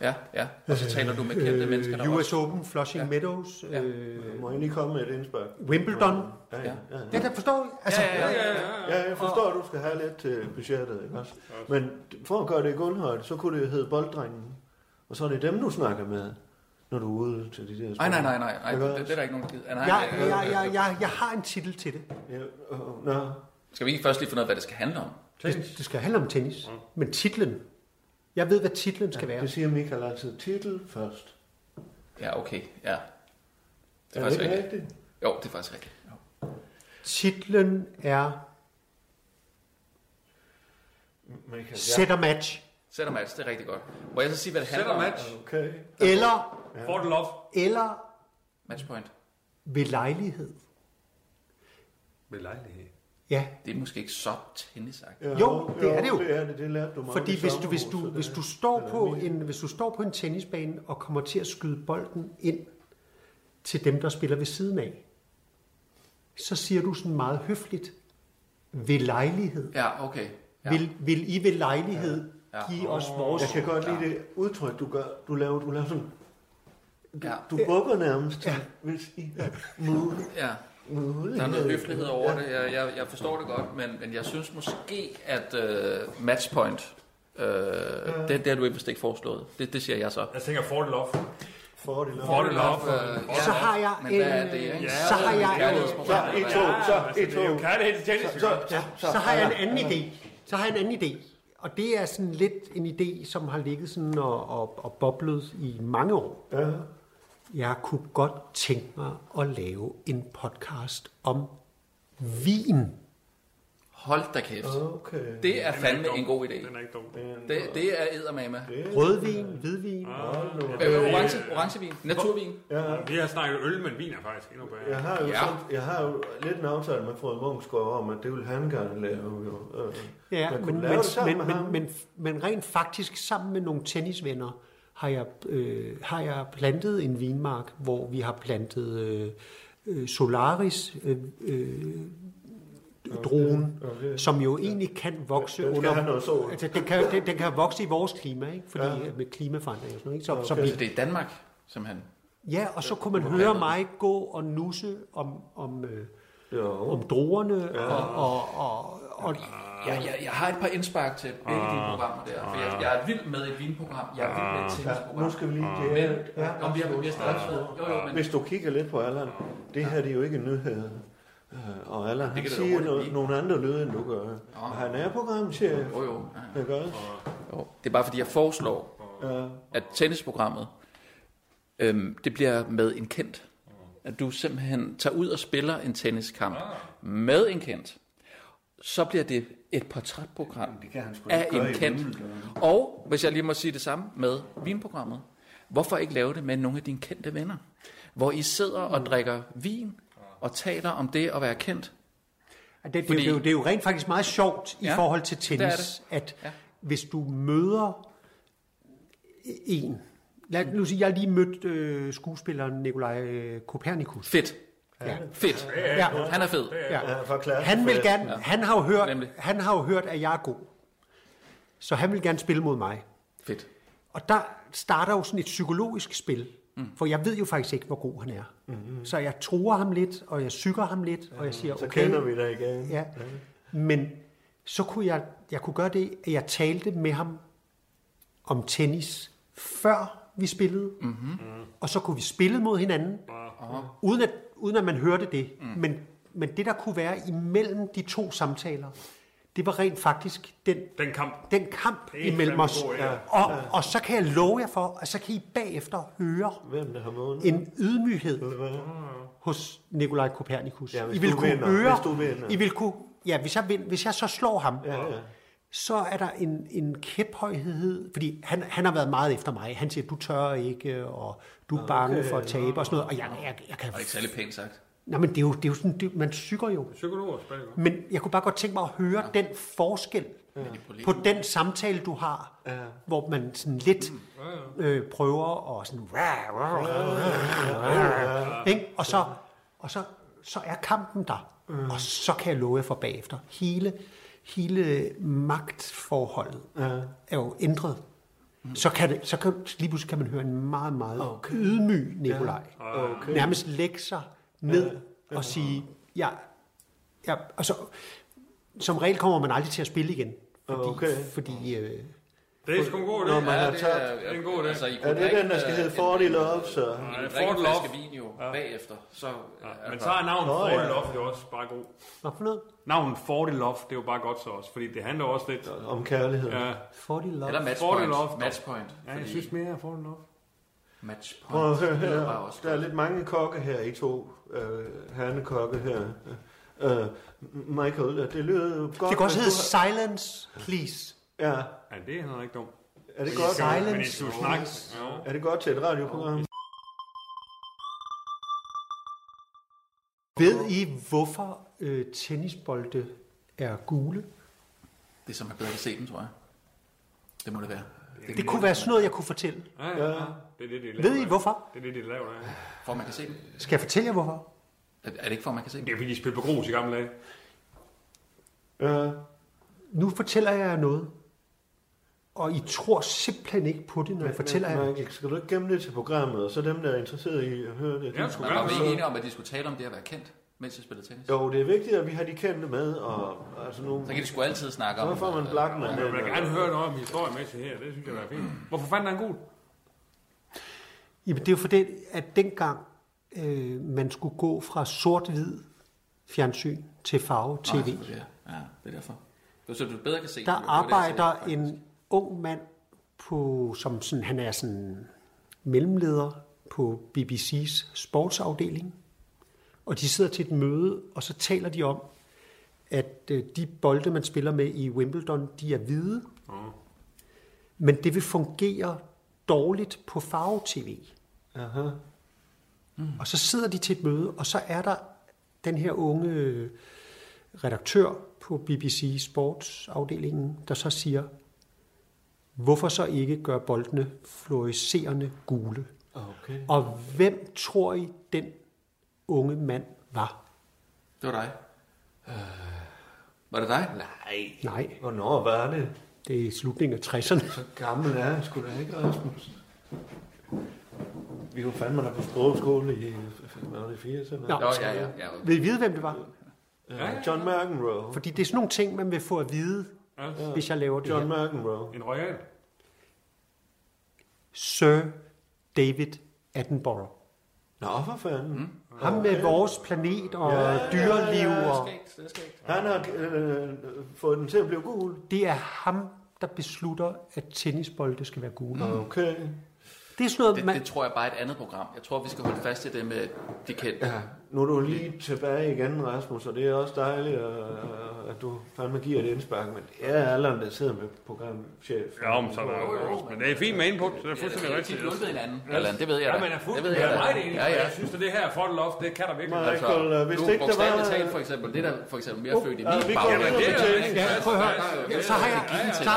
Speaker 2: ja, ja. Og så taler du med kendte mennesker, der
Speaker 11: øh, US
Speaker 2: også...
Speaker 11: Open, Flushing Meadows, øh,
Speaker 1: Må jeg lige komme med et indspark?
Speaker 11: Wimbledon.
Speaker 1: Ja, ja. ja, ja.
Speaker 11: Ja, der forstår I? altså,
Speaker 2: Ja, ja, ja, ja.
Speaker 1: Ja, jeg forstår, at du skal have lidt til budgettet, ikke også? Men for at gøre det i guldhøjde, så kunne det jo hedde Bolddrengen. Og så er det dem, du snakker med, når du er ude til de der
Speaker 2: Nej, nej, nej, nej, nej.
Speaker 1: Ikke
Speaker 2: Det,
Speaker 1: også?
Speaker 2: det er der ikke nogen, der gider. Nej,
Speaker 11: Jeg,
Speaker 2: nej,
Speaker 11: jeg,
Speaker 2: nej,
Speaker 11: jeg, jeg, jeg har en titel til det.
Speaker 1: Ja, øh, nå.
Speaker 2: Skal vi ikke først lige finde ud af, hvad det skal handle om?
Speaker 11: Det, det skal handle om tennis,
Speaker 2: Mm.
Speaker 11: men titlen. Jeg ved, hvad titlen skal være.
Speaker 1: Det siger Michael altid. Titel først.
Speaker 2: Ja, okay, ja. Det er
Speaker 1: Er det
Speaker 2: faktisk
Speaker 1: ikke
Speaker 2: rigtigt.
Speaker 1: rigtigt?
Speaker 2: Jo, det er faktisk rigtigt.
Speaker 11: Titlen er
Speaker 1: Michael, ja.
Speaker 11: Set og Match,
Speaker 2: Sætter match, det er rigtig godt. Må jeg så sige, hvad det handler
Speaker 3: Sætter
Speaker 2: om?
Speaker 3: match.
Speaker 1: Okay.
Speaker 11: eller,
Speaker 3: Får du lov?
Speaker 11: eller
Speaker 2: Matchpoint.
Speaker 11: ved lejlighed.
Speaker 3: Ved lejlighed.
Speaker 11: Ja,
Speaker 2: Det er måske ikke så tennisagtigt.
Speaker 1: Ja,
Speaker 11: Jo, det er det jo.
Speaker 1: Det er det, det lærte du mig.
Speaker 11: Fordi hvis du, hvis, du, hvis, du står på en, hvis du står på en tennisbane og kommer til at skyde bolden ind til dem, der spiller ved siden af, så siger du sådan meget høfligt, ved lejlighed.
Speaker 2: Ja, okay. Ja.
Speaker 11: Ja. Vil, vil I ved lejlighed ja.
Speaker 2: Ja.
Speaker 11: give os vores...
Speaker 1: Jeg kan godt lide det udtryk, du gør. Du laver, du laver sådan...
Speaker 2: Ja,
Speaker 1: Du bukker nærmest, ja. hvis I er muligt.
Speaker 2: ja.
Speaker 1: muligt.
Speaker 2: Der er noget høflighed over det. Jeg, jeg, jeg forstår det godt, men, men jeg synes måske, at øh, matchpoint, øh, det, det har du ikke vist ikke foreslået. Det, det siger jeg så.
Speaker 3: Jeg tænker, får du lov?
Speaker 1: Fordel.
Speaker 3: Får du lov?
Speaker 2: Øh,
Speaker 11: Så har jeg
Speaker 2: men
Speaker 11: en...
Speaker 2: hvad er det, ikke?
Speaker 11: så har jeg en,
Speaker 1: Så
Speaker 2: kærlighedsprogram.
Speaker 1: I
Speaker 2: eller
Speaker 1: to,
Speaker 2: hvad?
Speaker 1: så I
Speaker 3: Altså,
Speaker 1: to.
Speaker 3: det er jo kærlighed til tennis.
Speaker 1: Så,
Speaker 3: Så,
Speaker 1: ja, så,
Speaker 11: så har jeg en anden idé. Så har jeg en anden idé. Og det er sådan lidt en idé, som har ligget sådan og, og, og boblet i mange år. Ja. Jeg kunne godt tænke mig at lave en podcast om vin.
Speaker 2: Hold da kæft.
Speaker 1: Okay.
Speaker 2: Det er fandme
Speaker 12: dum.
Speaker 2: en god idé.
Speaker 12: Den er ikke dum.
Speaker 2: Det, det er eddermame.
Speaker 11: Rødvin, hvidvin.
Speaker 2: Øh, orange, orangevin, naturvin.
Speaker 3: vi har snakket øl, men vin er faktisk endnu bedre.
Speaker 1: Jeg har, jo
Speaker 2: Ja.
Speaker 1: sådan, jeg har jo lidt en aftale med Frode Mungsgaard om, at det vil han gerne lave. Jo. Øh,
Speaker 11: Ja,
Speaker 1: man kunne
Speaker 11: men, men,
Speaker 1: lave det sammen
Speaker 11: men,
Speaker 1: med ham.
Speaker 11: men, men, men rent faktisk sammen med nogle tennisvenner har jeg, øh, har jeg plantet en vinmark, hvor vi har plantet øh, øh, Solaris øh, øh, druen,
Speaker 1: okay.
Speaker 11: som jo egentlig kan vokse
Speaker 1: Den skal
Speaker 11: under...
Speaker 1: have noget sol.
Speaker 11: Altså, den, kan, den, den kan vokse i vores klima, ikke? Fordi ja. med klimaforandringer og sådan noget. Ikke? Så, okay. så vi,
Speaker 12: Altså,
Speaker 2: Så det er Danmark, som han...
Speaker 11: ja, og så kunne man
Speaker 2: Okay.
Speaker 11: høre mig gå og nusse om, om, øh,
Speaker 1: Jo.
Speaker 11: om druerne ja. og... og, og, og
Speaker 2: Jeg, jeg, jeg har et par indspark til begge dine programmer der, for jeg, jeg er vild med et vinprogram, jeg er vild med et
Speaker 1: Nu
Speaker 2: tennisprogram.
Speaker 1: skal vi lige...
Speaker 2: Men,
Speaker 1: Det er,
Speaker 2: ja, om vi har vi har startet med, jo, jo, men
Speaker 1: Hvis du kigger lidt på Allan, det her det er jo ikke en nyhed. Øh, Og Allan, han
Speaker 2: kan det da
Speaker 1: siger
Speaker 2: hurtigt
Speaker 1: noget,
Speaker 2: blive.
Speaker 1: nogle andre lyde, end du gør. Og han er programchef,
Speaker 2: jo, jo. ja, ja.
Speaker 1: ikke også?
Speaker 2: Jo, Det er bare fordi, jeg foreslår,
Speaker 1: Ja.
Speaker 2: at tennisprogrammet, øhm, det bliver med en kendt. At du simpelthen tager ud og spiller en tenniskamp med en kendt. Så bliver det et portrætprogram af en kendt. Og, hvis jeg lige må sige det samme, med vinprogrammet. Hvorfor ikke lave det med nogle af dine kendte venner? Hvor I sidder og drikker vin og taler om det at være kendt.
Speaker 11: Det, det,
Speaker 2: Fordi-
Speaker 11: det, er jo, det er jo rent faktisk meget sjovt ja, i
Speaker 2: Ja,
Speaker 11: forhold til
Speaker 2: er
Speaker 11: tennis, at ja. hvis du møder en... Lad nu sige, jeg har lige mødt øh, skuespilleren Nikolaj øh, Kopernikus.
Speaker 2: Fedt. Ja. Fedt.
Speaker 11: Ja,
Speaker 2: Han er fed.
Speaker 11: ja.
Speaker 1: Ja, fra klassen.
Speaker 11: Han vil gerne, han har jo hørt,
Speaker 2: Nemlig.
Speaker 11: han har jo hørt, at jeg er god. Så han vil gerne spille mod mig.
Speaker 2: Fedt.
Speaker 11: Og der starter jo sådan et psykologisk spil, mm. for jeg ved jo faktisk ikke, hvor god han er. Mm-hmm. Så jeg tror ham lidt, og jeg sykker ham lidt, og jeg siger,
Speaker 1: Så
Speaker 11: okay,
Speaker 1: kender vi dig igen.
Speaker 11: Ja. Men så kunne jeg, jeg kunne gøre det, at jeg talte med ham om tennis, før vi spillede.
Speaker 3: Mhm.
Speaker 11: Mm-hmm. Og så kunne vi spille mod hinanden, uden, at, uden at man hørte det. Mm.
Speaker 3: Mhm.
Speaker 11: Men, men det, der kunne være imellem de to samtaler, det var rent faktisk den,
Speaker 3: Den kamp.
Speaker 11: den kamp
Speaker 3: Det er
Speaker 11: imellem
Speaker 3: fandme
Speaker 11: os.
Speaker 3: god, ja.
Speaker 11: Ja. Og, og så kan jeg love jer for, at så kan I bagefter høre
Speaker 1: Hvem der har vundet?
Speaker 11: en ydmyghed hos Nikolaj Kopernikus.
Speaker 1: Ja, hvis
Speaker 11: I vil
Speaker 1: du
Speaker 11: kunne
Speaker 1: vinder,
Speaker 11: høre,
Speaker 1: hvis du vinder.
Speaker 11: I vil kunne, ja, hvis jeg, vind, hvis jeg så slår ham, ja,
Speaker 1: ja.
Speaker 11: så er der en, en kæphøjhed, fordi han, han har været meget efter mig. Han siger, du tør ikke, og du er bange okay, for at tabe, og sådan noget. Og jeg, jeg, jeg kan...
Speaker 2: Og ikke særlig pænt sagt.
Speaker 11: Nej, men det er jo, det er jo sådan, det, man sykker jo.
Speaker 3: Psykologer spiller godt.
Speaker 11: Men jeg kunne bare godt tænke mig at høre ja. den forskel ja. på den samtale, du har, ja. hvor man sådan lidt øh, prøver at sådan... Ikke? Og så, og så, så er kampen der, og så kan jeg love jer for bagefter. Hele, hele magtforholdet er jo ændret. Så, kan det, så kan, lige pludselig kan man høre en meget, meget Mm. okay. ydmyg Nikolaj. Okay. Nærmest lægge sig ned og sige, ja, ja, og så, som regel kommer man aldrig til at spille igen. Fordi,
Speaker 1: Okay.
Speaker 11: fordi øh,
Speaker 3: Det er sgu en god idé.
Speaker 1: man har
Speaker 2: det
Speaker 1: tabt.
Speaker 2: er
Speaker 3: Det er en god idé.
Speaker 2: Altså, I
Speaker 1: Er
Speaker 2: kunne
Speaker 1: det
Speaker 2: drikke,
Speaker 1: den, der skal
Speaker 2: øh,
Speaker 1: hedde
Speaker 2: en-
Speaker 1: Fordel op, så?
Speaker 2: I
Speaker 3: Ja,
Speaker 2: kunne
Speaker 3: det er
Speaker 2: drikke en
Speaker 3: Fordel Off.
Speaker 2: flaske vin jo bagefter. Så, altså, ja,
Speaker 3: Men så er navnet
Speaker 1: Nå,
Speaker 3: Fordel
Speaker 1: ja.
Speaker 3: Off jo også bare god.
Speaker 11: hvad for noget?
Speaker 3: Navnet Fordel Off, det er jo bare godt så også, fordi det handler også lidt.
Speaker 1: Om kærlighed.
Speaker 3: Ja,
Speaker 11: Fordel love.
Speaker 2: Eller
Speaker 3: Fordel Off.
Speaker 2: matchpoint. Matchpoint.
Speaker 13: Ja, jeg synes mere, jeg får den op.
Speaker 1: Prøv
Speaker 2: Matchpoint.
Speaker 1: at høre
Speaker 2: Det lyder bare
Speaker 1: her.
Speaker 2: også
Speaker 1: Der er lidt mange kokke her, I to øh, hernekokke her. Øh, Michael, det lyder jo godt.
Speaker 11: Det kan også
Speaker 1: men
Speaker 11: hedde
Speaker 1: du
Speaker 11: Silence, Please.
Speaker 1: har- Ja,
Speaker 3: ja det er heller ikke dumt.
Speaker 1: er det godt?
Speaker 3: Men I
Speaker 11: Silence.
Speaker 3: skulle snakke. Jo.
Speaker 1: Er det godt til et radioprogram?
Speaker 11: Ved I, hvorfor øh, tennisbolde er gule?
Speaker 2: Det er som man bedre kan se dem, tror jeg. Det må det være.
Speaker 11: Det kunne være sådan noget, jeg kunne fortælle.
Speaker 3: Ja, ja. ja. Det er det, de laver.
Speaker 11: Ved I
Speaker 3: der.
Speaker 11: hvorfor?
Speaker 3: Det er det, de laver. der.
Speaker 2: For at man kan se dem.
Speaker 11: Skal jeg fortælle jer hvorfor?
Speaker 2: Er er det ikke for, at man kan se dem?
Speaker 3: Det er fordi, de spillede på grus i gamle dage.
Speaker 1: Ja.
Speaker 11: Nu fortæller jeg jer noget. Og I tror simpelthen ikke på det, når jeg fortæller jer. det.
Speaker 1: Michael, skal du ikke gemme det til programmet, og så dem, der er interesseret i at høre det?
Speaker 3: Ja, sgu
Speaker 2: Man
Speaker 3: gerne.
Speaker 2: var vi ikke enige om, at de skulle tale om det at være kendt, mens jeg spillede tennis.
Speaker 1: Jo, det er vigtigt, at vi har de kendte med, og altså nu...
Speaker 2: Så kan de sgu altid snakke om.
Speaker 1: Så får man
Speaker 2: øh,
Speaker 1: blakken af
Speaker 3: Jeg vil gerne høre noget om historiemæssigt her. Det synes jeg, der er fint. Hvorfor fanden er han gul?
Speaker 11: Jamen, det er jo fordi, at dengang øh, man skulle gå fra sort-hvid fjernsyn til
Speaker 2: nej,
Speaker 11: farve-tv,
Speaker 2: Ah, det er- Ja, det er derfor. Det er Så du bedre kan se
Speaker 11: der
Speaker 2: dem, jo. Det var det, jeg
Speaker 11: arbejder
Speaker 2: sagde,
Speaker 11: en ung mand, på, som sådan, han er sådan mellemleder på BBC's sportsafdeling, og de sidder til et møde, og så taler de om, at øh, de bolde, man spiller med i Wimbledon, de er hvide, mm. men det vil fungere dårligt på farve-tv. Mm. Og så sidder de til et møde, og så er der den her unge øh, redaktør på BBC Sportsafdelingen, der så siger, hvorfor så ikke gøre boldene fluorescerende gule?
Speaker 1: Okay.
Speaker 11: Og hvem tror I, den unge mand var?
Speaker 2: faktisk. Det var dig. Øh, Var det dig? Nej.
Speaker 11: Nej,
Speaker 1: Hvornår var det?
Speaker 11: det er slutningen af 60'erne.
Speaker 1: Så gammel er han sgu da ikke, Rasmus. Vi var fandme der på sprogskole i hvad var det, 80'erne.
Speaker 11: Nå.
Speaker 2: Nå, ja, ja. ja.
Speaker 11: Vil I vide, hvem det var?
Speaker 1: Øh, John McEnroe.
Speaker 11: Fordi det er sådan nogle ting, man vil få at vide, hvis jeg laver det
Speaker 1: John
Speaker 11: her.
Speaker 1: McEnroe.
Speaker 3: En royal?
Speaker 11: Sir David Attenborough.
Speaker 1: Nå, for fanden.
Speaker 3: Mm.
Speaker 11: Ham med vores planet og dyreliv. Og
Speaker 1: Han har øh, fået den til at blive gul.
Speaker 11: det er ham, der beslutter, at tennisbolde skal være gule.
Speaker 1: Okay.
Speaker 11: Det er sådan noget,
Speaker 2: Det,
Speaker 11: man...
Speaker 2: det tror jeg bare er et andet program. Jeg tror, vi skal holde fast i det med de kendte.
Speaker 1: Ja, nu er du lige tilbage igen, Rasmus, og det er også dejligt, øh, at du fandme giver et indspark, men det er alderen, der sidder med programchef.
Speaker 3: Ja, men så er der jo også. Men det er fint med input. Det er fuldstændig
Speaker 2: Ja,
Speaker 3: rigtigt.
Speaker 2: de hjulpet hinanden. Eller, det ved jeg
Speaker 3: Ja,
Speaker 2: da.
Speaker 3: men er
Speaker 2: Det ved
Speaker 3: fuldstændig
Speaker 2: jeg da.
Speaker 3: meget enig.
Speaker 2: Ja, ja.
Speaker 3: Jeg synes, at det her Fordel Off, det kan der virkelig.
Speaker 1: Nej.
Speaker 2: Altså,
Speaker 1: Michael, øh, hvis
Speaker 2: nu
Speaker 1: det ikke der var-
Speaker 2: bogstaveligt talt for eksempel, det der for eksempel mere født i min
Speaker 1: ja, vi går
Speaker 2: baggrund.
Speaker 1: videre
Speaker 3: Det er jo ikke.
Speaker 1: Ja,
Speaker 11: prøv at høre. Så har jeg...
Speaker 2: Ja, ja.
Speaker 11: Så, så,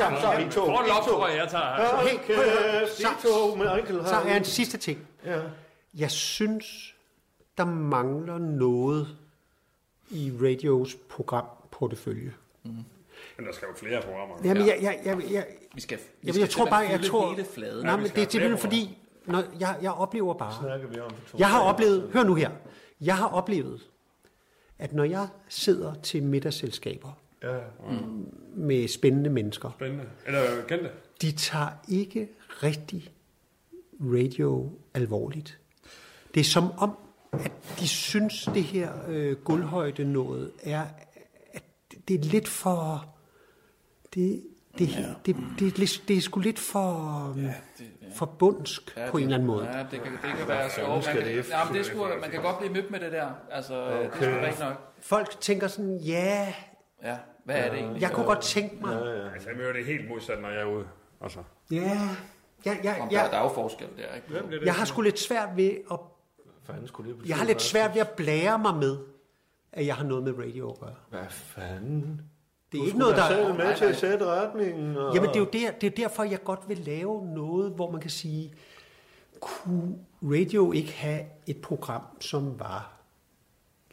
Speaker 1: Så, så er vi to.
Speaker 3: Fordel Off, tror jeg, jeg tager.
Speaker 11: Hey, prøv at høre.
Speaker 1: De to, Michael,
Speaker 11: så
Speaker 1: har
Speaker 11: er en sidste ting.
Speaker 1: Ja.
Speaker 11: Jeg synes, der mangler noget i radios programportefølje.
Speaker 3: Men der skal jo flere programmer.
Speaker 11: Jamen, jeg, jeg, jeg, jeg,
Speaker 2: Vi skal, vi
Speaker 11: jeg,
Speaker 2: skal
Speaker 11: jeg tror bare,
Speaker 2: simpelthen
Speaker 11: jeg
Speaker 2: fylde
Speaker 11: tror...
Speaker 2: hele fladen.
Speaker 11: Nej, men det er simpelthen
Speaker 3: flere
Speaker 11: fordi, når jeg, jeg oplever bare...
Speaker 1: snakker vi om for to.
Speaker 11: Jeg har oplevet... Hør nu her. Jeg har oplevet, at når jeg sidder til middagsselskaber,
Speaker 3: Ja,
Speaker 11: med spændende mennesker.
Speaker 3: spændende. Eller kendte.
Speaker 11: De tager ikke rigtig radio alvorligt. Det er som om, at de synes, det her øh, gulvhøjde noget er, at det er lidt for... Det, det, det, det, det, er lidt- det er sgu lidt for, ja, det, ja. for bundsk ja, på en eller anden måde.
Speaker 2: Ja, det kan, det kan være sjovt. Man, kan, det, jamen, det er sgu, man kan godt blive mødt med det der. Altså, okay. det er sgu rigtig nok.
Speaker 11: Folk tænker sådan, ja,
Speaker 2: Ja, hvad er det egentlig?
Speaker 11: jeg kunne godt tænke mig...
Speaker 3: Altså, jeg møder det helt modsat, når jeg er ude. Altså.
Speaker 11: Ja, ja, ja,
Speaker 2: Om der, der
Speaker 11: ja.
Speaker 2: er jo forskel der, ikke? Hvem
Speaker 11: Jeg har sgu lidt svært ved at
Speaker 1: Fanden skulle det
Speaker 11: Jeg har lidt svært ved at blære mig med, at jeg har noget med radio at gøre.
Speaker 1: Hvad fanden?
Speaker 11: Det er ikke noget, der...
Speaker 1: Der er med til at sætte retningen. Og...
Speaker 11: Jamen, det er jo der, det er derfor, jeg godt vil lave noget, hvor man kan sige, kunne radio ikke have et program, som var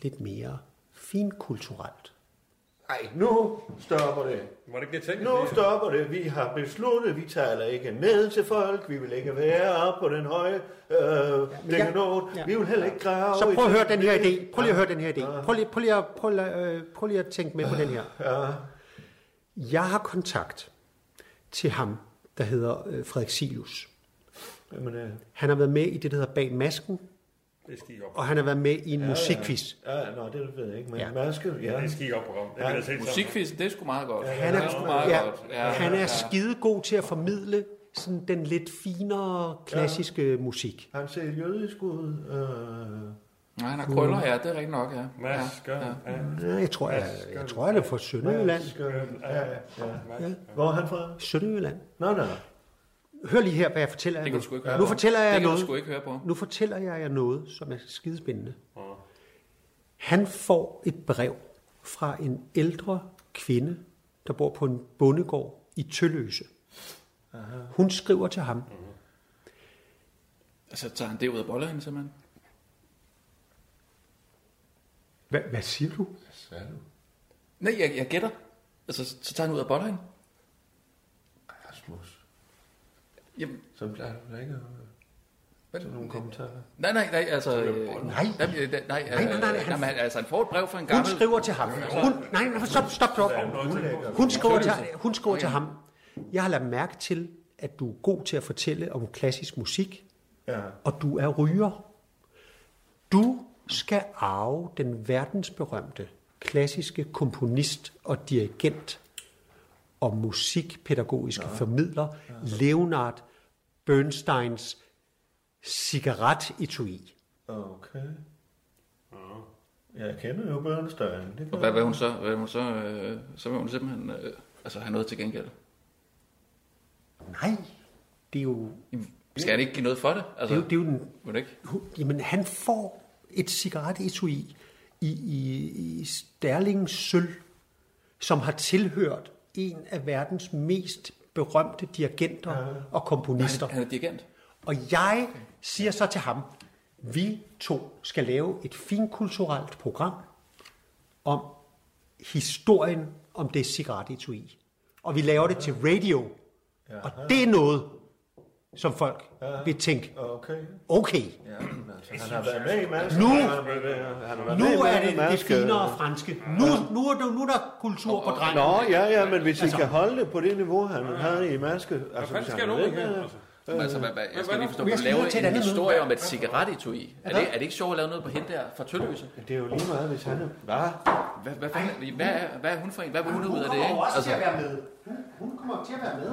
Speaker 11: lidt mere finkulturelt?
Speaker 1: Ej, nu stopper det.
Speaker 3: Var det ikke det, jeg tænkte?
Speaker 1: Nu stopper det. Vi har besluttet, vi taler ikke ned til folk. Vi vil ikke være oppe på den høje øh, ja,
Speaker 11: ja.
Speaker 1: ja. Vi vil heller ikke grave.
Speaker 11: Så
Speaker 1: i
Speaker 11: prøv at høre den her
Speaker 1: lille-
Speaker 11: idé. Prøv lige at høre den her idé. Prøv lige, prøv lige, at, prøv lige, øh, prøv lige at tænke med på den her. Jeg har kontakt til ham, der hedder øh, Frederik Silus.
Speaker 1: Jamen, øh,
Speaker 11: Han har været med i det, der hedder Bag Masken,
Speaker 3: Det er skig op.
Speaker 11: og han har været med i en musikquiz.
Speaker 1: ja, nå, det ved jeg ikke, men
Speaker 11: Ja.
Speaker 1: ja. maske,
Speaker 3: Det
Speaker 1: ja.
Speaker 3: er skig op program. Det har jeg set sammen.
Speaker 2: Musikquiz, det er sgu meget godt.
Speaker 11: Han
Speaker 2: det er sgu
Speaker 11: er,
Speaker 2: meget
Speaker 11: ja,
Speaker 2: godt.
Speaker 11: han er skide god til at formidle sådan den lidt finere klassiske musik.
Speaker 1: Han ser jødisk ud. Øh,
Speaker 2: Nej, han har krøller, ja, det er rigtigt nok, ja. ja.
Speaker 3: Masker. Ja.
Speaker 11: Ja, Jeg tror, jeg, jeg tror, han er fra Sønderjylland.
Speaker 1: maske, ja, ja, ja. Hvor er han fra?
Speaker 11: Sønderjylland.
Speaker 1: Nå, nå.
Speaker 11: Hør lige her, hvad jeg fortæller jer
Speaker 2: Det kan du sgu ikke
Speaker 11: nu.
Speaker 2: høre
Speaker 11: Nu
Speaker 2: på.
Speaker 11: fortæller jeg
Speaker 2: Det
Speaker 11: jer
Speaker 2: kan du
Speaker 11: noget.
Speaker 2: sgu ikke høre på.
Speaker 11: Nu fortæller jeg jer noget, som er skidespændende. Han får et brev fra en ældre kvinde, der bor på en bondegård i Tølløse. Hun skriver til ham,
Speaker 2: Mhm. Altså, tager han det ud af bollerne, simpelthen?
Speaker 11: Hva, hvad siger du?
Speaker 2: Nej, jeg, jeg gætter. Altså, så så tager han ud af bollerne.
Speaker 1: Rasmus,
Speaker 2: Jamen,
Speaker 1: så plejer du da ikke at
Speaker 2: hvad?
Speaker 1: have nogle kommentarer.
Speaker 2: Nej, nej, nej, altså... øh,
Speaker 11: Nej.
Speaker 2: Jamen, øh, nej, nej,
Speaker 11: nej, nej, han-
Speaker 2: nej, altså, han får et brev fra en
Speaker 11: Hun
Speaker 2: gammel...
Speaker 11: skriver til ham. Hun, nej, nej, stop, stop, stop. Hun skriver til, hun skriver til ham. Jeg har lagt mærke til, at du er god til at fortælle om klassisk musik,
Speaker 1: Ja.
Speaker 11: og du er ryger. Du skal arve den verdensberømte klassiske komponist og dirigent og musikpædagogiske formidler Leonard Bernsteins cigaretitui.
Speaker 1: Okay. Jeg kender jo Bernstein. Det
Speaker 2: Og
Speaker 1: kan
Speaker 2: hvad, hvad hun så? Hvad hun så, øh, så vil hun simpelthen øh, altså, have noget til gengæld.
Speaker 11: Nej, det er jo
Speaker 2: Jamen, skal han ikke give noget for det?
Speaker 11: Det
Speaker 2: Altså,
Speaker 11: er jo, det er jo den,
Speaker 2: Må det ikke?
Speaker 11: Hu- jamen, han får et cigaretesui i, i, i Sterling Sølv, som har tilhørt en af verdens mest berømte dirigenter og komponister.
Speaker 2: Han er dirigent.
Speaker 11: Og jeg siger så til ham, vi to skal lave et finkulturelt program om historien om det cigarettetui. Og vi laver det til radio. Og det er noget, som folk vil tænke,
Speaker 1: Okay.
Speaker 11: okay,
Speaker 1: Han har været med i masken.
Speaker 11: Nu-
Speaker 1: Han har været- han har været
Speaker 11: nu
Speaker 1: med i
Speaker 11: er
Speaker 1: Masken.
Speaker 11: det det finere franske. Nu, nu, er, der, nu er der kultur på drengen.
Speaker 1: Nå, ja, ja, men
Speaker 11: Altså-
Speaker 1: hvis I kan holde det på det niveau, han havde i maske. Altså,
Speaker 3: Hvad
Speaker 1: hvis
Speaker 3: skal
Speaker 1: han
Speaker 3: nu?
Speaker 1: ved med-
Speaker 3: igen? Altså,
Speaker 2: Øh, altså, hvad, hvad, jeg skal lige forstå,
Speaker 11: Jeg
Speaker 2: hun
Speaker 11: skal
Speaker 2: laver
Speaker 11: lige til et
Speaker 2: en
Speaker 11: andet møde.
Speaker 2: historie om et cigarettetui. Er det, er det ikke sjovt at lave noget på hende der fra Tølløse?
Speaker 1: Det er jo lige meget, hvis han er... Hvad?
Speaker 2: Hvad, hvad, fanden, hvad, er, hvad er hun for en? Hvad vil hun
Speaker 11: Hun
Speaker 2: ud af det?
Speaker 11: kommer jo
Speaker 2: Ikke?
Speaker 11: også til
Speaker 2: Altså,
Speaker 11: at være med. Hun, hun kommer til at være med.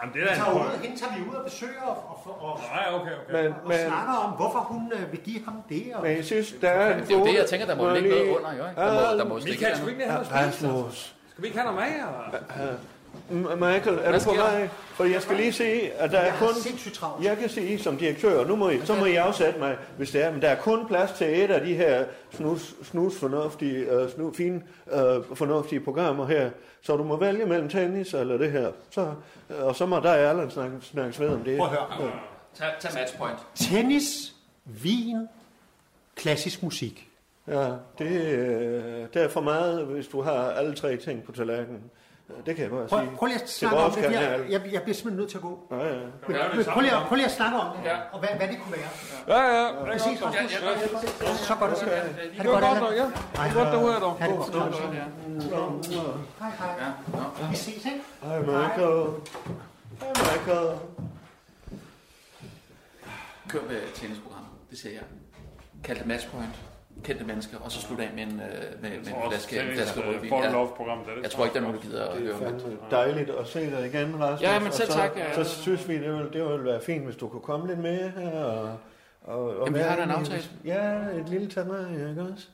Speaker 3: Jamen, det er da en
Speaker 11: Tager
Speaker 3: prøve.
Speaker 11: ud, hende tager vi ud og besøger og, og, og,
Speaker 3: Nej, okay, okay.
Speaker 1: Men,
Speaker 11: og
Speaker 1: men,
Speaker 11: snakker om, hvorfor hun øh, vil give ham det. Og...
Speaker 1: men jeg synes, der er en
Speaker 2: det er jo det, jeg tænker, der må
Speaker 1: Må
Speaker 2: ligge noget
Speaker 1: lige-
Speaker 2: under, jo. Ikke? Der må, der må stikke
Speaker 3: Michael,
Speaker 2: noget.
Speaker 3: skal vi ikke lige have noget at spise?
Speaker 1: Rasmus,
Speaker 3: Skal vi ikke have noget mere?
Speaker 1: M- Michael, er du på
Speaker 2: sker der?
Speaker 1: vej? For jeg skal lige se, at der
Speaker 11: Jeg
Speaker 1: er
Speaker 11: har
Speaker 1: kun...
Speaker 11: sindssygt travlt.
Speaker 1: Jeg kan sige som direktør, nu må I, så må I afsætte mig, hvis det er, men der er kun plads til et af de her snus, snus fornuftige, øh, snu, fine øh, fornuftige programmer her, så du må vælge mellem tennis eller det her. Så, øh, og så må der og Allan snakke, snakkes ved om det.
Speaker 11: Prøv at høre.
Speaker 1: Ja.
Speaker 2: Tag, tag matchpoint.
Speaker 11: Tennis, vin, klassisk musik.
Speaker 1: Ja, det, øh, det er for meget, hvis du har alle tre ting på tallerkenen. Det kan jeg bare
Speaker 11: Prøv,
Speaker 1: sige.
Speaker 11: prøv lige at
Speaker 1: Til
Speaker 11: snakke om
Speaker 1: vores
Speaker 11: det, fordi
Speaker 1: kanal.
Speaker 11: jeg, jeg, jeg bliver simpelthen nødt til at gå.
Speaker 1: Ja, ja.
Speaker 11: Men,
Speaker 3: Ja, det er
Speaker 11: men,
Speaker 3: det
Speaker 11: prøv, lige,
Speaker 3: samme.
Speaker 11: at- prøv lige at snakke om det,
Speaker 2: Ja.
Speaker 11: og hvad, hvad det kunne være.
Speaker 3: Ja, ja. Det er
Speaker 11: Præcis,
Speaker 3: godt,
Speaker 11: Rasmus.
Speaker 2: Ja, ja.
Speaker 11: Det er Så godt at se dig. Ha'
Speaker 3: det
Speaker 11: det
Speaker 3: er
Speaker 11: godt,
Speaker 3: godt,
Speaker 11: Allan.
Speaker 3: ja. Det er godt, derude, dog.
Speaker 11: Ha' det godt. Hej,
Speaker 2: Ja,
Speaker 11: hej.
Speaker 2: nå.
Speaker 11: Vi ses, ikke?
Speaker 1: Hej Michael. Hej Michael.
Speaker 2: Kør med tennisprogram, det siger jeg. Kald det matchpoint, kendte mennesker, og så slut af med en, øh, med, med en flaske, en flaske rødvin.
Speaker 3: Fall in
Speaker 2: Ja,
Speaker 3: Love-program, det er det.
Speaker 2: jeg tror ikke, der er nogen, der gider at
Speaker 1: Det er
Speaker 2: høre det.
Speaker 1: fandme Altså, dejligt at se dig igen, Rasmus.
Speaker 2: Ja, men
Speaker 1: Og
Speaker 2: selv
Speaker 1: så,
Speaker 2: tak,
Speaker 1: Så
Speaker 2: ja.
Speaker 1: synes vi, det ville, det ville være fint, hvis du kunne komme lidt med her. Og, og, og
Speaker 2: Jamen, vi
Speaker 1: være
Speaker 2: har da en
Speaker 1: inde i-
Speaker 2: aftale.
Speaker 1: Ja, et lille tamarie, ikke også?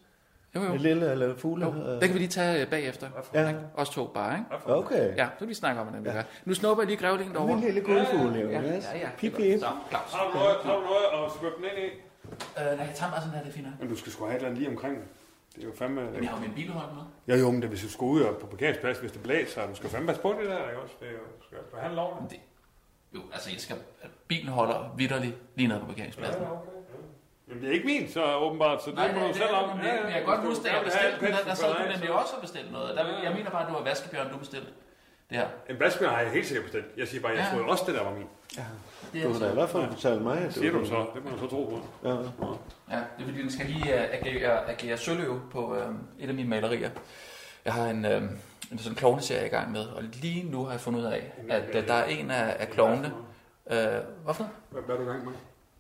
Speaker 2: Jo, jo.
Speaker 1: Et lille eller fugle.
Speaker 2: jo. Det kan vi lige tage øh, bagefter.
Speaker 1: Ja,
Speaker 2: Os to bare, ikke?
Speaker 1: okay.
Speaker 2: Ja, så kan vi snakke om, hvordan vi gør. Nu snupper jeg lige grævlingen
Speaker 1: Min
Speaker 2: derovre.
Speaker 1: lille guldfugle, jo.
Speaker 2: Ja, ja,
Speaker 1: yes.
Speaker 2: ja. ja.
Speaker 1: Pip,
Speaker 2: Det er
Speaker 1: pip.
Speaker 2: godt. Så, Claus.
Speaker 3: Har du noget, har du noget at svøbe den ind i?
Speaker 2: Øh, nej, jeg tager mig sådan her, det er fint. nok.
Speaker 3: Men du skal sgu have et eller andet lige omkring den. Det er jo fandme...
Speaker 2: Men jeg har jo min bilhold med.
Speaker 3: Ja, jo, men det, hvis du skal ud og på parkeringsplads, hvis det blæser, du skal fandme passe på det der, ikke også? Det er jo, du skal forhandle over det.
Speaker 2: Jo, altså, jeg skal, at bilen holder vidderligt lige nede på parkeringspladsen.
Speaker 3: Ja, okay. Jamen, det er ikke min, så åbenbart, så det
Speaker 2: Nej,
Speaker 3: må
Speaker 2: nej,
Speaker 3: du
Speaker 2: det,
Speaker 3: selv om.
Speaker 2: men det, men jeg kan godt
Speaker 3: Hvis du
Speaker 2: huske, at jeg
Speaker 3: gerne vil
Speaker 2: bestilte den, der,
Speaker 3: have en
Speaker 2: der sad du
Speaker 3: pelsforretning,
Speaker 2: nemlig
Speaker 3: så-
Speaker 2: også og bestilte noget. Der,
Speaker 3: Ja, ja.
Speaker 2: jeg mener bare, at det var vaskebjørn, du bestilte. Det her.
Speaker 3: En vaskebjørn har jeg helt sikkert bestilt. Jeg siger bare, jeg
Speaker 2: Ja.
Speaker 3: troede også, det der var min.
Speaker 2: Det
Speaker 1: Du har da i
Speaker 2: er,
Speaker 1: hvert fald fortalt mig, at
Speaker 3: Siger du så? Det må du så tro på.
Speaker 1: Ja.
Speaker 2: ja, det er fordi, den skal lige øh, agere, agere søløv på øh, et af mine malerier. Jeg har en, øh, en sådan klovneserie i gang med, og lige nu har jeg fundet ud af, at øh, der er en af, af klovnene. Øh, hvorfor?
Speaker 3: Hvad, hvad er du i gang med?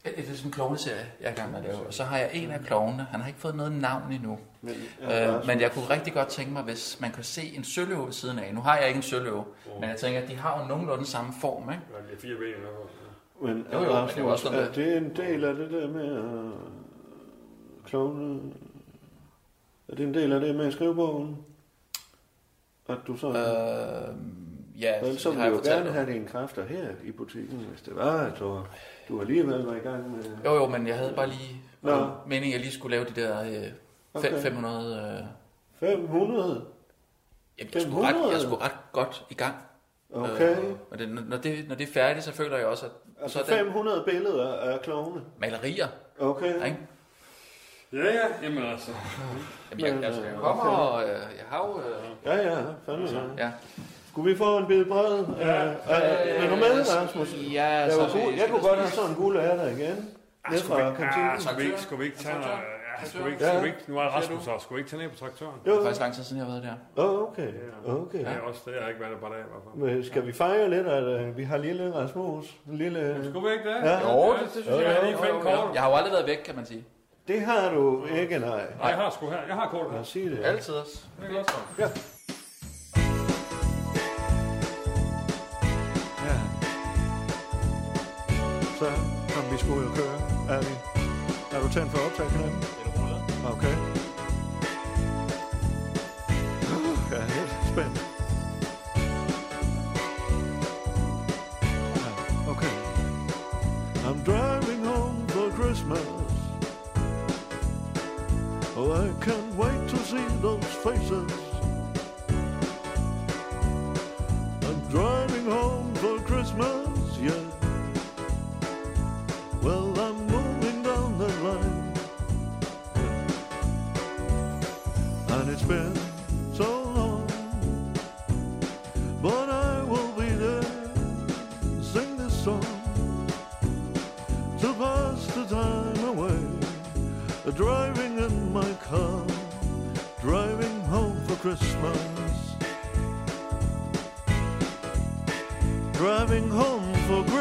Speaker 2: Ja, Det er sådan en klovneserie, jeg er i gang med at lave. Og så har jeg en af klovnene. Han har ikke fået noget navn endnu.
Speaker 1: Men,
Speaker 2: Øh, men jeg kunne rigtig godt tænke mig, hvis man kunne se en søløve ved siden af. Nu har jeg ikke en søløve, men jeg tænker, at de har jo nogenlunde samme form, ikke?
Speaker 3: Ja, det er fire ben eller noget.
Speaker 1: men, øh,
Speaker 2: Jo, jo, men det er jo også sådan, øh-
Speaker 1: er
Speaker 2: at-
Speaker 1: det en del af det der med at klovne? Er det en del af det med skrivebogen? At du så...
Speaker 2: Øh, ja,
Speaker 1: Vel, så
Speaker 2: det
Speaker 1: vil
Speaker 2: har
Speaker 1: jeg
Speaker 2: jeg
Speaker 1: jo
Speaker 2: fortalt
Speaker 1: gerne
Speaker 2: dig.
Speaker 1: have dine kræfter her i butikken, hvis det var, at du, du alligevel var i gang med...
Speaker 2: Jo, jo, men jeg havde bare lige
Speaker 1: Nå.
Speaker 2: meningen, at jeg lige skulle lave de der øh, fem-
Speaker 1: Okay.
Speaker 2: 500... Øh, jamen,
Speaker 1: 500?
Speaker 2: jeg, skulle ret,
Speaker 1: 500?
Speaker 2: jeg skulle ret godt i gang.
Speaker 1: Okay.
Speaker 2: Øh, og det, når- når, det, når det er færdigt, så føler jeg også, at så
Speaker 1: Altså
Speaker 2: er der
Speaker 1: 500 billeder af klovne.
Speaker 2: malerier,
Speaker 1: Okay.
Speaker 2: ikke?
Speaker 3: Ja, ja, jamen altså.
Speaker 2: Jamen, jeg, altså, jeg kommer, og øh, jeg har jo... Øh,
Speaker 1: Ja, ja, fandme. Ja.
Speaker 2: ja.
Speaker 1: Skulle vi få en bid brød? Ja. Er du med, Rasmus?
Speaker 2: Ja,
Speaker 1: Jeg,
Speaker 2: så
Speaker 1: var
Speaker 2: vi
Speaker 1: gul, jeg
Speaker 2: skal
Speaker 1: kunne
Speaker 2: da
Speaker 1: godt have
Speaker 2: spise.
Speaker 1: sådan en gul ærter igen. Ned
Speaker 3: Skulle vi
Speaker 1: fra
Speaker 3: ikke, ah,
Speaker 1: kantinen.
Speaker 3: skulle vi ikke, skulle vi ikke tage... Ja, skulle vi ikke, skulle vi ikke, nu er Rasmus her. Skulle vi ikke tage ned på traktøren?
Speaker 2: Det er
Speaker 1: Jo,
Speaker 2: faktisk lang tid siden, jeg har været der.
Speaker 1: Åh, okay.
Speaker 3: Ja,
Speaker 1: okay.
Speaker 3: jeg også det. Jeg har ikke været der bare dag i hvert fald.
Speaker 1: Men skal vi fejre lidt, at øh, vi har lille Rasmus? Lille...
Speaker 3: Skulle vi ikke det?
Speaker 1: Ja.
Speaker 2: Jo,
Speaker 3: det synes jeg, jeg lige fandt kort.
Speaker 2: Jeg har jo aldrig været væk, kan man sige.
Speaker 1: Det har du ikke, nej.
Speaker 3: Nej, jeg har sgu her. Jeg har kortet her.
Speaker 1: Jeg siger det.
Speaker 2: Altid også.
Speaker 3: Det er godt så.
Speaker 1: Ja. Så kom vi skulle jo køre. Er vi? Er du tændt for optagknappen? Okay. Uh, jeg er helt spændt. Ja, Okay. I'm driving home for Christmas. Oh, I can't wait to see those faces. I'm driving home for Christmas, yeah. Well, I'm moving down the line. And it's been so long. But I will be there, sing this song. To pass the time away, driving in my car, driving home for Christmas driving home for Christmas.